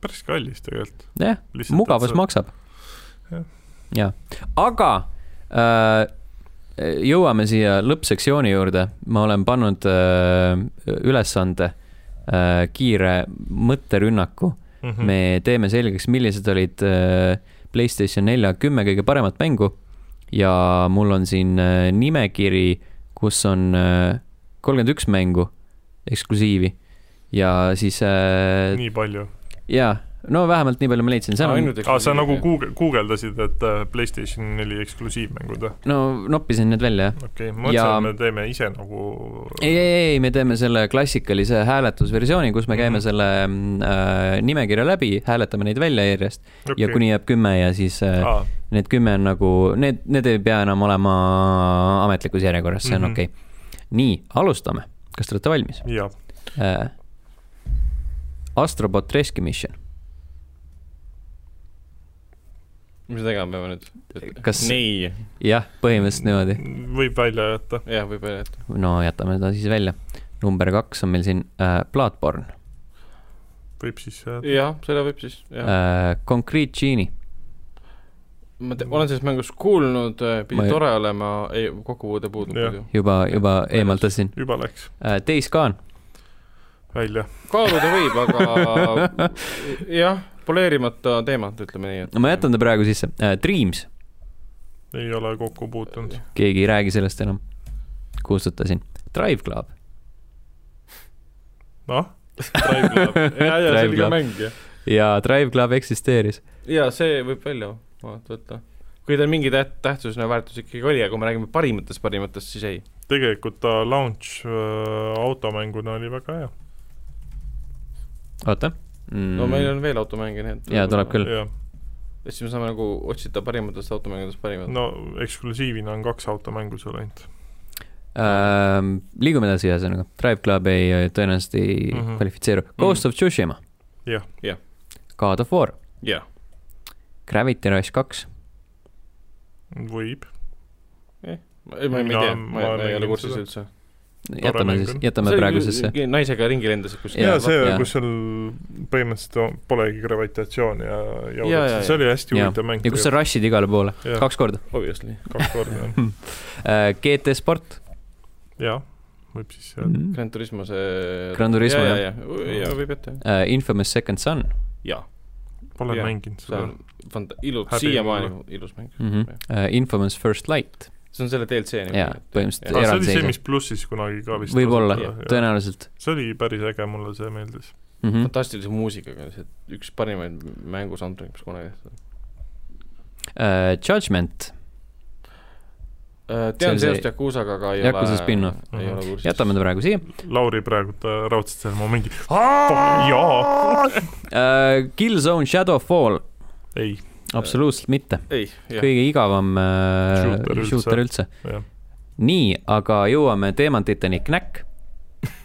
[SPEAKER 3] päris kallis tegelikult .
[SPEAKER 1] jah , mugavus
[SPEAKER 3] maksab .
[SPEAKER 1] maksab
[SPEAKER 3] Jah. .
[SPEAKER 1] jaa , aga äh, jõuame siia lõppsektsiooni juurde , ma olen pannud äh, ülesande äh, kiire mõtterünnaku mm. .
[SPEAKER 3] Mhm.
[SPEAKER 1] me teeme selgeks , millised olid äh, Playstation nelja kümme kõige paremat mängu ja mul on siin äh, nimekiri , kus on äh, kolmkümmend üks mängu eksklusiivi ja siis äh,
[SPEAKER 3] nii palju .
[SPEAKER 1] jaa , no vähemalt nii palju ma leidsin , seal on ,
[SPEAKER 3] aa , sa nagu guuge- , guugeldasid , et äh, Playstation neli eksklusiivmängud ,
[SPEAKER 1] no noppisin need välja , jah .
[SPEAKER 3] okei okay, , ma
[SPEAKER 1] Ja-
[SPEAKER 3] mõtlesin , et me teeme ise nagu
[SPEAKER 1] ei , ei , ei , me teeme selle klassikalise hääletusversiooni , kus me käime mm
[SPEAKER 3] Mhm.
[SPEAKER 1] -hmm. selle mm, äh, nimekirja läbi , hääletame neid välja järjest okay.
[SPEAKER 3] okay.
[SPEAKER 1] ja kuni jääb kümme ja siis äh,
[SPEAKER 3] aa ,
[SPEAKER 1] need kümme on nagu , need , need ei pea enam olema ametlikus järjekorras , see on
[SPEAKER 3] Mhm.
[SPEAKER 1] mm -hmm. okei okay. . nii , alustame , kas te olete valmis
[SPEAKER 3] jaa ,
[SPEAKER 1] äh, ? Astrobot Rescue Mission ,
[SPEAKER 2] mis me tegema peame nüüd ?
[SPEAKER 1] Kas-
[SPEAKER 2] nii ,
[SPEAKER 1] jah , põhimõtteliselt niimoodi .
[SPEAKER 3] võib välja jätta .
[SPEAKER 2] jah , võib-olla jah .
[SPEAKER 1] no jätame ta siis välja . number kaks on meil siin äh, Bloodborne
[SPEAKER 3] võib siis äh, jääda .
[SPEAKER 2] jah , seda võib siis , jah .
[SPEAKER 1] äh, , Concrete Genie ,
[SPEAKER 2] ma te- olen sellest mängust kuulnud ,
[SPEAKER 1] Ma
[SPEAKER 2] pidi
[SPEAKER 1] ei-
[SPEAKER 2] tore olema , ei , kokkupuude puudub
[SPEAKER 3] Jah.
[SPEAKER 2] muidu .
[SPEAKER 1] juba , juba eemaldasin
[SPEAKER 3] juba läks
[SPEAKER 1] äh, . Days Gone ,
[SPEAKER 3] välja .
[SPEAKER 2] kaaluda võib , aga jah , poleerimata teemat , ütleme nii , et
[SPEAKER 1] ma jätan ta praegu sisse äh, , Dreams ,
[SPEAKER 3] ei ole kokku puutunud .
[SPEAKER 1] keegi ei räägi sellest enam . kustutasin , Drive Club ,
[SPEAKER 3] noh ,
[SPEAKER 2] Drive Club , ja , ja see
[SPEAKER 1] Drive
[SPEAKER 2] oli ka
[SPEAKER 1] Club.
[SPEAKER 2] mäng , jah .
[SPEAKER 1] jaa , Drive Club eksisteeris .
[SPEAKER 2] jaa , see võib välja vaata võtta . kui tal mingi täht- , tähtsusena väärtus ikkagi oli , aga kui me räägime parimatest parimatest , siis ei .
[SPEAKER 3] tegelikult ta launch äh, automänguna oli väga hea .
[SPEAKER 1] oota mm.
[SPEAKER 2] no meil on veel automänge , nii et
[SPEAKER 1] Jaa, tuleb küll.
[SPEAKER 3] jah ,
[SPEAKER 2] ja siis me saame nagu otsida parimatest automängudest parimat no. .
[SPEAKER 3] no eksklusiivina on kaks automängu sul ainult .
[SPEAKER 1] äh, . liigume edasi , ühesõnaga , Drive Club ei , tõenäoliselt ei mm
[SPEAKER 3] Mhm.
[SPEAKER 1] -hmm. kvalifitseeru . Ghost mm -hmm. of Tsushima .
[SPEAKER 3] Jah.
[SPEAKER 2] Jah. .
[SPEAKER 1] God of War ,
[SPEAKER 2] jah ,
[SPEAKER 1] Gravity Rush kaks ,
[SPEAKER 3] võib ,
[SPEAKER 2] ma ei , ma ei
[SPEAKER 3] No,
[SPEAKER 2] tea , ma,
[SPEAKER 3] ma
[SPEAKER 2] ma ei
[SPEAKER 3] mängin
[SPEAKER 2] ole kursis
[SPEAKER 3] seda.
[SPEAKER 2] üldse .
[SPEAKER 1] jätame
[SPEAKER 3] mäng
[SPEAKER 1] siis
[SPEAKER 3] on. ,
[SPEAKER 1] jätame praegusesse .
[SPEAKER 2] naisega ringi lendasid kuskil .
[SPEAKER 1] Jaa,
[SPEAKER 3] jaa , see
[SPEAKER 1] jaa. ,
[SPEAKER 3] kus seal põhimõtteliselt on- polegi gravitatsiooni ja
[SPEAKER 2] Jaa, jaa,
[SPEAKER 3] jõudnud , see oli hästi
[SPEAKER 1] Jaa.
[SPEAKER 3] huvitav mäng .
[SPEAKER 1] ja kus sa rush'id igale poole ,
[SPEAKER 3] Jah.
[SPEAKER 1] kaks korda
[SPEAKER 2] Obviously .
[SPEAKER 3] kaks korda jah .
[SPEAKER 1] äh, . GT Sport ,
[SPEAKER 3] jah , võib siis jääda .
[SPEAKER 1] mm. .
[SPEAKER 2] Gran Turismo see .
[SPEAKER 1] Gran Turismo,
[SPEAKER 2] ja ,
[SPEAKER 1] jah.
[SPEAKER 2] ja , ja , ja võib jätta , jah .
[SPEAKER 1] Äh, Infamous Second Son
[SPEAKER 2] jaa ,
[SPEAKER 3] Pole
[SPEAKER 2] jah,
[SPEAKER 3] mänginud
[SPEAKER 2] see
[SPEAKER 3] seda
[SPEAKER 2] on . fant- , ilus ,
[SPEAKER 3] Häbi
[SPEAKER 2] siiamaani ilus mäng .
[SPEAKER 1] mm . -hmm. Infamous First Light ,
[SPEAKER 2] see on selle DLC nimi .
[SPEAKER 1] Jaa, põhimõtteliselt
[SPEAKER 3] Ah, see oli see ,
[SPEAKER 1] eraldiseisev.
[SPEAKER 3] mis plussis kunagi ka vist
[SPEAKER 1] võib-olla
[SPEAKER 3] tasuta- jah. ,
[SPEAKER 1] tõenäoliselt
[SPEAKER 3] see oli päris äge , mulle see meeldis .
[SPEAKER 1] mm . -hmm.
[SPEAKER 2] fantastilise muusikaga , see üks parimaid mängu soundtrack'e , mis kunagi tehtud on
[SPEAKER 1] Uh, Judgment ,
[SPEAKER 2] Äh,
[SPEAKER 1] See on
[SPEAKER 2] tean seost
[SPEAKER 1] see
[SPEAKER 2] Yakuusaga , aga ei ole
[SPEAKER 1] Yakuusa spin-off.
[SPEAKER 2] ei ole
[SPEAKER 3] Mhm.
[SPEAKER 2] kursis .
[SPEAKER 1] jätame ta praegu siia .
[SPEAKER 3] Lauri praegu ta raudselt selle momendi .
[SPEAKER 1] Oh,
[SPEAKER 3] jaa ,
[SPEAKER 1] Äh, Killzone Shadowfall ,
[SPEAKER 3] ei ,
[SPEAKER 1] absoluutselt mitte ,
[SPEAKER 2] ei , jah ,
[SPEAKER 1] kõige igavam uh,
[SPEAKER 3] Shooter üldse.
[SPEAKER 1] shooter üldse .
[SPEAKER 3] jah ,
[SPEAKER 1] nii , aga jõuame teemantideni , Knack ,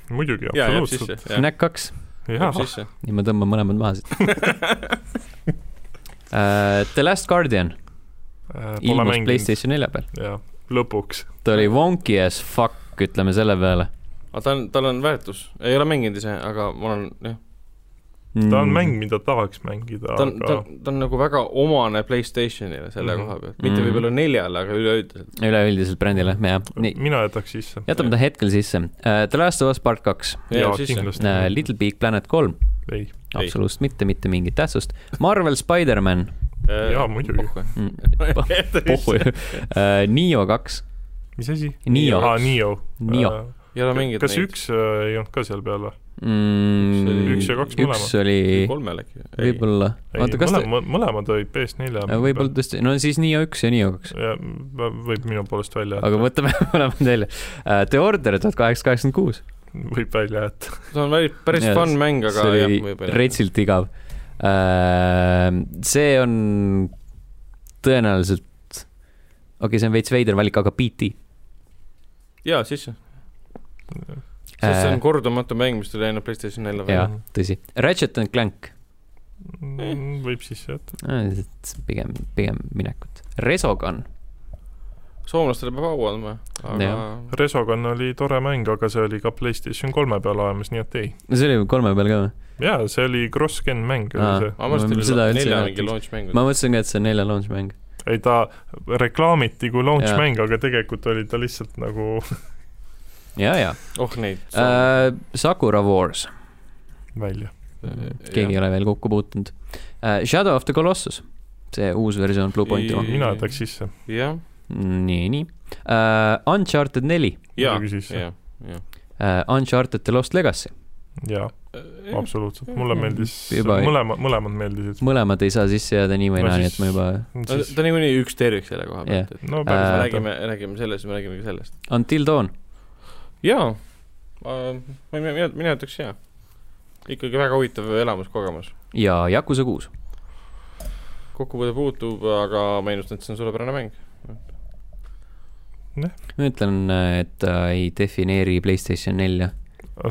[SPEAKER 3] muidugi
[SPEAKER 2] jaa , jääb
[SPEAKER 3] absoluutselt .
[SPEAKER 2] sisse , jääb
[SPEAKER 1] Knack kaks ,
[SPEAKER 3] jaa ,
[SPEAKER 2] sisse .
[SPEAKER 1] nii ma tõmban mõlemad maha siit uh, . The Last Guardian
[SPEAKER 3] Äh, pole
[SPEAKER 1] ilmus
[SPEAKER 3] mänginud ,
[SPEAKER 1] Playstation nelja peal ,
[SPEAKER 3] jah , lõpuks .
[SPEAKER 1] ta oli wonky as fuck , ütleme selle peale .
[SPEAKER 2] aga ta on , tal on väärtus , ei ole mänginud ise , aga ma olen jah ,
[SPEAKER 1] Mm.
[SPEAKER 3] ta on mäng , mida tahaks mängida ,
[SPEAKER 2] ta on , ta
[SPEAKER 3] aga ,
[SPEAKER 2] ta on nagu väga omane Playstationile selle
[SPEAKER 3] Mhm.
[SPEAKER 2] koha pealt , mitte
[SPEAKER 1] Mhm.
[SPEAKER 2] võib-olla neljale , aga üleüldiselt .
[SPEAKER 1] üleüldiselt brändile , jah , nii ,
[SPEAKER 3] mina jätaks sisse .
[SPEAKER 1] jätame ta hetkel sisse uh, . The Last of Us Part kaks
[SPEAKER 2] jääb
[SPEAKER 3] jaa ,
[SPEAKER 2] sisse ,
[SPEAKER 3] kindlasti
[SPEAKER 1] uh, , Little Big Planet kolm ,
[SPEAKER 3] ei ,
[SPEAKER 2] Ei.
[SPEAKER 1] absoluutselt mitte , mitte mingit tähtsust . Marvel Spider-man
[SPEAKER 2] Äh,
[SPEAKER 3] Jaa, muidugi. .
[SPEAKER 1] mm, , pohhu ju uh, , Nio kaks ,
[SPEAKER 3] mis asi ?
[SPEAKER 1] Nio.
[SPEAKER 3] aa , Nio .
[SPEAKER 2] Äh,
[SPEAKER 1] Nio.
[SPEAKER 2] ei ole mänginud
[SPEAKER 3] kas üks äh, ei olnud ka seal peal või ?
[SPEAKER 1] mm, .
[SPEAKER 3] Üks ja kaks
[SPEAKER 1] üks oli
[SPEAKER 2] kolmel äkki ?
[SPEAKER 1] võib-olla ,
[SPEAKER 3] ei ,
[SPEAKER 1] oota , kas ta ,
[SPEAKER 3] mõlemad , mõlemad olid PS4
[SPEAKER 1] võib-olla . tõesti , no siis Nio üks ja Nio kaks ,
[SPEAKER 3] võib minu poolest välja
[SPEAKER 1] aga
[SPEAKER 3] jätta ,
[SPEAKER 1] võtame mõlemad välja uh, . The Order tuhat kaheksasada kaheksakümmend kuus ,
[SPEAKER 3] võib välja jätta .
[SPEAKER 2] see on päris , päris
[SPEAKER 1] Jaa,
[SPEAKER 2] fun mäng , aga
[SPEAKER 1] see
[SPEAKER 2] jah ,
[SPEAKER 1] oli
[SPEAKER 2] võib-olla .
[SPEAKER 1] retsilt igav uh, . see on tõenäoliselt , okei okay, , see on veits veider valik , aga BT
[SPEAKER 2] jaa , sisse . sest
[SPEAKER 1] Äh.
[SPEAKER 2] see on kordumatu mäng , mis tuli enne Playstation nelja välja .
[SPEAKER 1] jah , tõsi . Ratchet and Clank ,
[SPEAKER 3] Mm, võib sisse jätta .
[SPEAKER 1] pigem , pigem minekut . Resogun ,
[SPEAKER 2] soomlastele peab au andma , aga
[SPEAKER 1] Jah.
[SPEAKER 3] Resogun oli tore mäng , aga see oli ka PlayStation kolme peal olemas , nii et ei .
[SPEAKER 1] no see oli ju kolme peal ka või ?
[SPEAKER 3] jaa , see oli cross-gen mäng ,
[SPEAKER 1] Aa.
[SPEAKER 3] oli see .
[SPEAKER 2] ma mõtlesin , et
[SPEAKER 1] Seda
[SPEAKER 2] oli
[SPEAKER 1] üldse ei
[SPEAKER 2] nelja
[SPEAKER 1] mäleta.
[SPEAKER 2] mingi launch mäng .
[SPEAKER 1] ma mõtlesin ka , et see on nelja launch mäng .
[SPEAKER 3] ei , ta reklaamiti kui launch
[SPEAKER 1] Jaa.
[SPEAKER 3] mäng , aga tegelikult oli ta lihtsalt nagu
[SPEAKER 1] ja , ja
[SPEAKER 2] oh neid
[SPEAKER 1] äh, . Sakura Wars ,
[SPEAKER 3] välja .
[SPEAKER 1] keegi ei ole veel kokku puutunud äh, . Shadow of the Colossus , see uus versioon Bluepointi oma .
[SPEAKER 3] Noh, mina jätaks sisse ,
[SPEAKER 2] jah ,
[SPEAKER 1] nii , nii äh, . Uncharted neli
[SPEAKER 2] jaa ,
[SPEAKER 3] Muidugi sisse.
[SPEAKER 2] jaa , jaa .
[SPEAKER 1] äh, , Uncharted The Lost Legacy ,
[SPEAKER 3] jaa , absoluutselt , mulle meeldis ,
[SPEAKER 1] Juba ei-
[SPEAKER 3] mõlemad , mõlemad meeldisid .
[SPEAKER 1] mõlemad ei saa sisse jääda nii või
[SPEAKER 3] No
[SPEAKER 1] naa , nii
[SPEAKER 3] siis-
[SPEAKER 1] et ma juba
[SPEAKER 2] ta Äh, ta niikuinii üks tervik selle koha pealt , et
[SPEAKER 3] no
[SPEAKER 1] Äh,
[SPEAKER 2] me
[SPEAKER 3] päris
[SPEAKER 2] räägime , räägime sellest , me räägime ka sellest .
[SPEAKER 1] Until Dawn ,
[SPEAKER 2] jaa , ma , mina , mina ütleks jaa . ikkagi väga huvitav elamuskogemus .
[SPEAKER 1] ja Yakuza kuus ,
[SPEAKER 2] kokkupuude puutub , aga ma ennustan , et see on suurepärane mäng .
[SPEAKER 1] ma ütlen , et ta ei defineeri Playstation nelja
[SPEAKER 3] hea .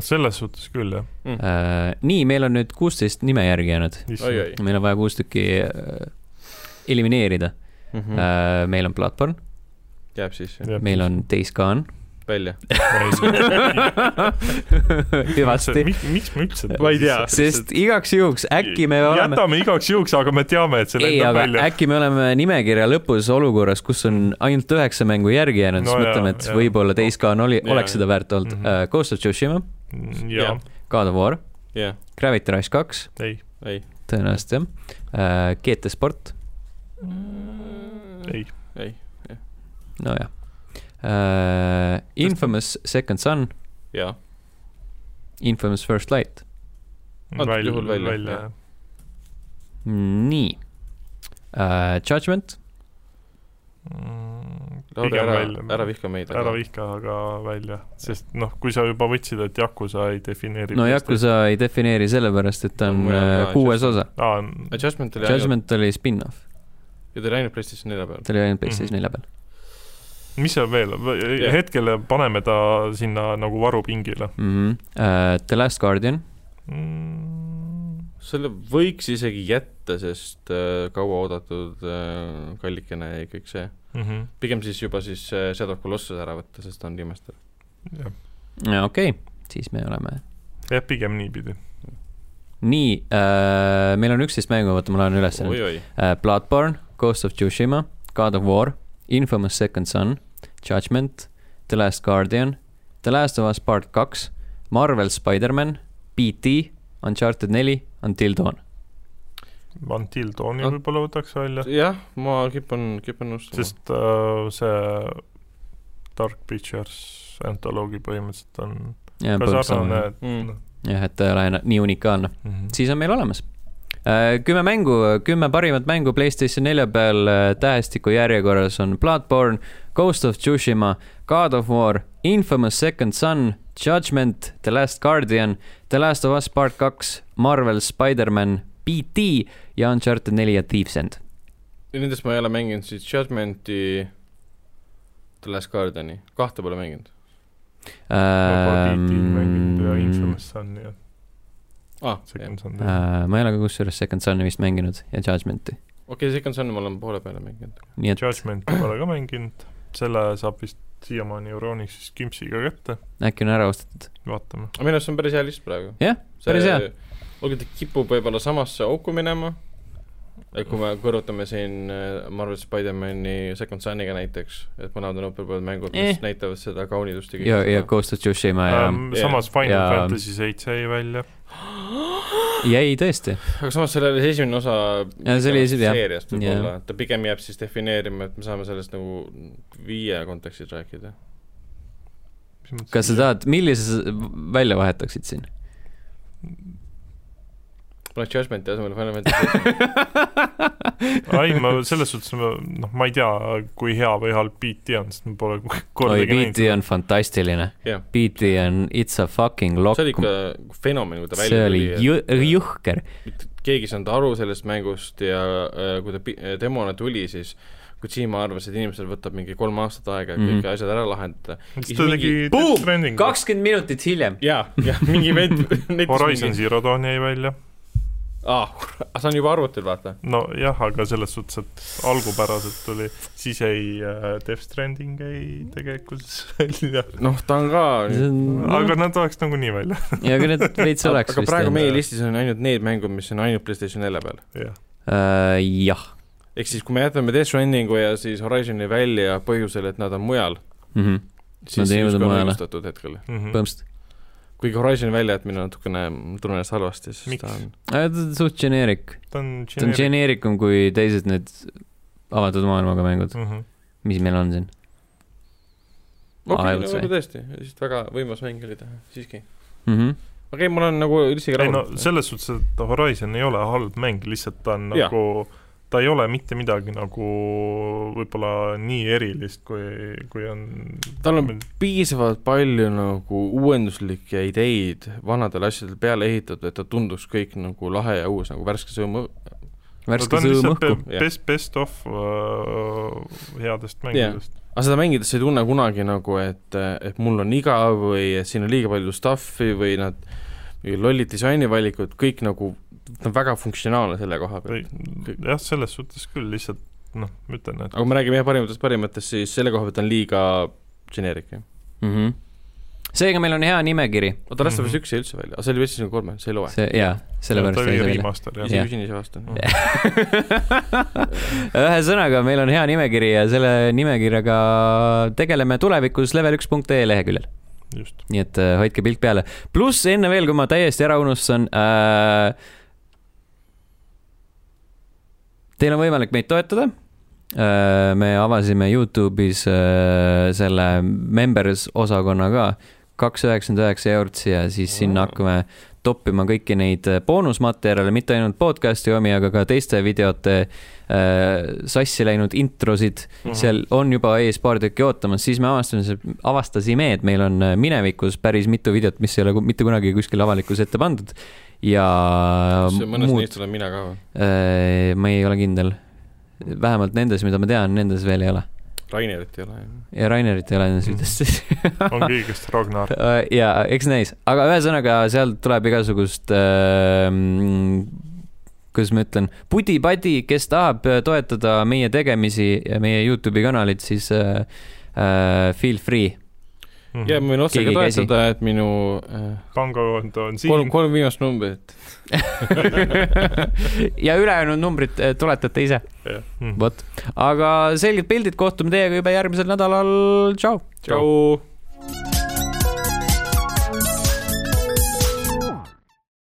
[SPEAKER 3] selles suhtes küll , jah .
[SPEAKER 2] Mm.
[SPEAKER 1] Äh, nii , meil on nüüd kuusteist nime järgi jäänud ,
[SPEAKER 2] oi-oi .
[SPEAKER 1] meil on vaja kuus tükki äh, elimineerida mm. .
[SPEAKER 2] Mhm.
[SPEAKER 1] Äh, meil on Bloodborne ,
[SPEAKER 2] jääb sisse ,
[SPEAKER 1] meil on Days Gone .
[SPEAKER 2] välja .
[SPEAKER 1] hüvasti ,
[SPEAKER 3] miks , miks me üldse
[SPEAKER 2] Ma ei tea.
[SPEAKER 1] sest igaks juhuks äkki me oleme ,
[SPEAKER 3] jätame igaks juhuks , aga me teame , et see
[SPEAKER 1] ei ,
[SPEAKER 3] lendab
[SPEAKER 1] aga
[SPEAKER 3] välja .
[SPEAKER 1] äkki me oleme nimekirja lõpus olukorras , kus on ainult üheksa mängu järgi jäänud ,
[SPEAKER 3] No
[SPEAKER 1] siis
[SPEAKER 3] jaa,
[SPEAKER 1] mõtleme , et
[SPEAKER 3] jaa.
[SPEAKER 1] võib-olla Days Gone oli ,
[SPEAKER 2] Jaa,
[SPEAKER 1] oleks
[SPEAKER 2] jaa.
[SPEAKER 1] seda väärt olnud
[SPEAKER 3] Mhm.
[SPEAKER 1] Äh, Ghost of Tsushima ,
[SPEAKER 3] jaa ,
[SPEAKER 1] God of War ,
[SPEAKER 2] jah ,
[SPEAKER 1] Gravity Rush kaks ,
[SPEAKER 3] ei ,
[SPEAKER 2] ei ,
[SPEAKER 1] tõenäoliselt jah , GT Sport ,
[SPEAKER 3] ei ,
[SPEAKER 2] ei ,
[SPEAKER 1] nojah . Infamous Second Son
[SPEAKER 2] jaa .
[SPEAKER 1] Infamous First Light .
[SPEAKER 2] Antud juhul välja, jah.
[SPEAKER 3] välja .
[SPEAKER 1] nii uh, . Judgment ,
[SPEAKER 2] Lauri ,
[SPEAKER 3] Mm, pigem
[SPEAKER 2] ära
[SPEAKER 3] välja. ,
[SPEAKER 2] ära vihka meid .
[SPEAKER 3] ära vihka , aga välja , sest noh , kui sa juba võtsid , et Yakuza ei defineeri .
[SPEAKER 1] no Yakuza ei defineeri sellepärast , et ta on
[SPEAKER 2] Mul jääb
[SPEAKER 1] äh,
[SPEAKER 2] ka
[SPEAKER 1] kuues osa .
[SPEAKER 3] aa ,
[SPEAKER 2] Adjustment oli ainult ,
[SPEAKER 1] Judgment oli spin-off ,
[SPEAKER 2] ja ta oli ainult PlayStation nelja peal .
[SPEAKER 1] ta oli ainult PlayStation
[SPEAKER 3] Mhm.
[SPEAKER 1] nelja peal .
[SPEAKER 3] mis seal veel ,
[SPEAKER 2] Jah.
[SPEAKER 3] hetkel paneme ta sinna nagu varupingile .
[SPEAKER 1] Mhm. Äh, The Last Guardian ,
[SPEAKER 3] Mm,
[SPEAKER 2] selle võiks isegi jätta , sest äh, kauaoodatud äh, kallikene ja kõik see .
[SPEAKER 3] mhm.
[SPEAKER 2] pigem siis juba siis äh, Shadow of Colossus ära võtta , sest ta on remaster .
[SPEAKER 1] okei , siis me oleme .
[SPEAKER 3] jah , pigem niipidi .
[SPEAKER 1] nii uh, , meil on üksteist mängu , oota , ma loen üles nüüd .
[SPEAKER 2] oi-oi ,
[SPEAKER 1] Uh, Bloodborne , Ghost of Tsushima , God of War , Infamous Second Son , Judgment , The Last Guardian , The Last of Us Part kaks , Marvel Spider-man , BT , Uncharted neli , Until Dawn .
[SPEAKER 3] Until Dawni
[SPEAKER 2] Ah.
[SPEAKER 3] võib-olla võtaks välja ,
[SPEAKER 2] jah , ma kipun , kipun nõustuma .
[SPEAKER 3] Noh. sest äh, see Dark Pictures antoloogi põhimõtteliselt on ka sarnane
[SPEAKER 1] jah ,,
[SPEAKER 3] et
[SPEAKER 2] Mm.
[SPEAKER 3] noh
[SPEAKER 1] et ta ei ole ena- nii noh. unikaalne .
[SPEAKER 3] mhm.
[SPEAKER 1] siis on meil olemas . kümme mängu , kümme parimat mängu Playstation nelja peal äh, tähestiku järjekorras on Bloodborne , Ghost of Tsushima , God of War , Infamous Second Son , Judgment , The Last Guardian , The Last of Us Part kaks , Marvel Spider-man , BT ja Uncharted neli ja Thieves End .
[SPEAKER 2] Nendest ma ei ole mänginud siis Judgmenti , The Last Guardiani , kahte pole mänginud .
[SPEAKER 3] Vaba Tiitil
[SPEAKER 1] Ehm,
[SPEAKER 3] mänginud
[SPEAKER 1] ähm,
[SPEAKER 3] ja Infamous Sun ja
[SPEAKER 2] aa , okei ,
[SPEAKER 3] Second Sun .
[SPEAKER 1] äh, ma ei ole ka kusjuures Second Sun'i vist mänginud ja Judgment'i ,
[SPEAKER 2] Second Sun'i ma olen poole peale mänginud .
[SPEAKER 1] nii et
[SPEAKER 3] Judgment'i pole ka mänginud , selle saab vist siiamaani Euronixist kimpsiga kätte ,
[SPEAKER 1] äkki on ära ostetud .
[SPEAKER 3] vaatame .
[SPEAKER 2] aga minu arust see on päris hea list praegu .
[SPEAKER 1] Jah, päris hea. .
[SPEAKER 2] olgu , ta kipub võib-olla samasse auku minema , kui me kõrvutame siin äh, Marvel Spider-mani Second Sun'iga näiteks , et mõlemad on õppepooled mängud , mis
[SPEAKER 1] Eh.
[SPEAKER 2] näitavad seda kaunidust ja
[SPEAKER 1] ja , ja Ghost of Tsushima ja um,
[SPEAKER 3] Um, samas Final
[SPEAKER 1] ja-
[SPEAKER 3] Fantasy seitse jäi välja ,
[SPEAKER 1] jäi tõesti .
[SPEAKER 2] aga samas sellel oli see esimene osa
[SPEAKER 1] Ja see oli esi- jah.
[SPEAKER 2] seeriast võib-olla
[SPEAKER 1] Jah. ,
[SPEAKER 2] ta pigem jääb siis defineerima , et me saame sellest nagu viie kontekstis rääkida .
[SPEAKER 3] mis mõttes .
[SPEAKER 1] kas sa ? tahad , millise sa välja vahetaksid siin ?
[SPEAKER 2] paneks Judgmenti asemel Final Fantasy
[SPEAKER 3] ei , ma selles suhtes , noh , ma ei tea , kui hea või halb BT on , sest ma pole
[SPEAKER 1] oi ,
[SPEAKER 3] kordagi näinud
[SPEAKER 1] BT . on fantastiline .
[SPEAKER 2] Jah.
[SPEAKER 1] BT on It's a fucking lock
[SPEAKER 2] see . oli ikka fenomen , kui ta
[SPEAKER 1] see
[SPEAKER 2] välja
[SPEAKER 1] oli
[SPEAKER 2] tuli ,
[SPEAKER 1] jõ- jõhker .
[SPEAKER 2] keegi ei saanud aru sellest mängust ja äh, kui ta pi- äh, demona tuli , siis Kojima arvas , et inimesel võtab mingi kolm aastat aega mm.
[SPEAKER 1] Mhm.
[SPEAKER 2] kõik asjad ära lahendada .
[SPEAKER 3] siis ta tegi
[SPEAKER 2] mingi-
[SPEAKER 1] Boom!
[SPEAKER 3] Death Strandingu .
[SPEAKER 1] kakskümmend minutit hiljem .
[SPEAKER 2] ja , ja mingi vend
[SPEAKER 3] Horizon . Zero Dawn jäi välja ,
[SPEAKER 2] aa , see on juba arvutil , vaata .
[SPEAKER 3] nojah , aga selles suhtes , et algupäraselt tuli , siis jäi äh, Death Stranding jäi tegelikult välja ,
[SPEAKER 2] noh , ta on ka
[SPEAKER 3] aga
[SPEAKER 1] aga
[SPEAKER 3] nad oleks nagunii välja ,
[SPEAKER 1] need veits oleks
[SPEAKER 2] aga
[SPEAKER 1] vist
[SPEAKER 2] praegu
[SPEAKER 1] jah .
[SPEAKER 2] meie listis on ainult need mängud , mis on ainult Playstation 4 peal .
[SPEAKER 3] jah .
[SPEAKER 1] Äh, jah .
[SPEAKER 2] ehk siis , kui me jätame Death Strandingu ja siis Horizon'i välja põhjusel , et nad on mujal , Mhm. siis
[SPEAKER 1] Nad ei jõudnud
[SPEAKER 2] justkui on
[SPEAKER 1] mujale.
[SPEAKER 2] õigustatud hetkel .
[SPEAKER 1] Mhm.
[SPEAKER 3] Mhm.
[SPEAKER 1] põhimõtteliselt .
[SPEAKER 2] kuigi Horizon'i väljajätmine natukene , tunnen ennast halvasti , sest
[SPEAKER 3] Miks?
[SPEAKER 2] ta on
[SPEAKER 1] ta on suht generic .
[SPEAKER 3] ta on
[SPEAKER 1] ta on
[SPEAKER 3] geneeriline .
[SPEAKER 1] generikum kui teised need avatud maailmaga mängud ,
[SPEAKER 2] Mm-hmm.
[SPEAKER 1] mis meil on siin .
[SPEAKER 2] okei ,
[SPEAKER 1] Aevalt sai.
[SPEAKER 2] no nagu tõesti , lihtsalt väga võimas mäng oli ta siiski .
[SPEAKER 1] mhmh ,
[SPEAKER 2] okei okay, , mul on nagu isegi
[SPEAKER 3] ei no
[SPEAKER 2] rahul .
[SPEAKER 3] selles suhtes , et Horizon ei ole halb mäng , lihtsalt ta on
[SPEAKER 2] Jaa.
[SPEAKER 3] nagu , ta ei ole mitte midagi nagu võib-olla nii erilist , kui , kui on
[SPEAKER 2] tal on piisavalt palju nagu uuenduslikke ideid vanadel asjadel peale ehitatud , et ta tunduks kõik nagu lahe ja uus , nagu värske sõõm õh- .
[SPEAKER 1] värske sõõm õhku .
[SPEAKER 2] Jah.
[SPEAKER 3] best , best of uh, headest mängudest yeah. .
[SPEAKER 2] aga seda mängides sa ei tunne kunagi nagu , et , et mul on igav või et siin on liiga palju stuff'i või nad , lollid disainivalikud , kõik nagu , ta on väga funktsionaalne selle koha
[SPEAKER 3] või
[SPEAKER 2] pealt .
[SPEAKER 3] jah , selles suhtes küll , lihtsalt noh , ma ütlen , et
[SPEAKER 2] aga kui me räägime jah , parimatest parimatest , siis selle koha pealt on liiga generic , jah .
[SPEAKER 1] Mhm. seega meil on hea nimekiri .
[SPEAKER 2] oota , las ta vist
[SPEAKER 3] Mhm.
[SPEAKER 2] üks jäi üldse välja , aga see oli vist sinu kolme , see ei loe .
[SPEAKER 1] see , jaa , sellepärast
[SPEAKER 3] ta oli
[SPEAKER 1] jäi see välja .
[SPEAKER 3] remaster jah Mhm,
[SPEAKER 1] Jah.
[SPEAKER 2] ise küsin , ise vastan .
[SPEAKER 1] ühesõnaga , meil on hea nimekiri ja selle nimekirjaga tegeleme tulevikus level1.ee leheküljel ,
[SPEAKER 3] yeah. , just .
[SPEAKER 1] nii et äh, hoidke pilk peale . pluss enne veel , kui ma täiesti ära unustan äh, . Teil on võimalik meid toetada äh, . me avasime Youtube'is äh, selle members osakonna ka , kaks üheksakümmend üheksa eurot ja siis sinna
[SPEAKER 2] Wow.
[SPEAKER 1] hakkame toppima kõiki neid äh, boonusmaterjale , mitte ainult podcast'i omi , aga ka teiste videote äh, sassi läinud introsid . seal on juba ees paar tükki ootamas , siis me avastasime , avastasime , et meil on äh, minevikus päris mitu videot , mis ei ole ku- mitte kunagi kuskil avalikkuse ette pandud ja
[SPEAKER 2] mõnes
[SPEAKER 1] muud ,
[SPEAKER 2] neist olen mina ka või ?
[SPEAKER 1] Äh, ma ei ole kindel . vähemalt nendes , mida ma tean , nendes veel ei ole
[SPEAKER 2] Rainerit ei ole , jah .
[SPEAKER 1] ja Rainerit ei ole nendes
[SPEAKER 3] Mhm.
[SPEAKER 1] videotes
[SPEAKER 3] on kõigest Ragnar ,
[SPEAKER 1] ja eks näis , aga ühesõnaga seal tuleb igasugust äh, , kuidas ma ütlen , pudi-padi , kes tahab äh, toetada meie tegemisi ja meie Youtube'i kanalit , siis äh, äh, feel free .
[SPEAKER 3] Mhm.
[SPEAKER 2] ja ma võin otsega
[SPEAKER 1] Mm-hmm. Keegi ei käsi.
[SPEAKER 2] toetada , et minu äh,
[SPEAKER 3] pangakonto on
[SPEAKER 2] kolm ,
[SPEAKER 3] siin ,
[SPEAKER 2] kolm viimast numbrit .
[SPEAKER 1] ja ülejäänud numbrid äh, tuletate ise ,
[SPEAKER 3] jah .
[SPEAKER 1] vot . aga selged pildid , kohtume teiega juba järgmisel nädalal , tšau .
[SPEAKER 2] tšau .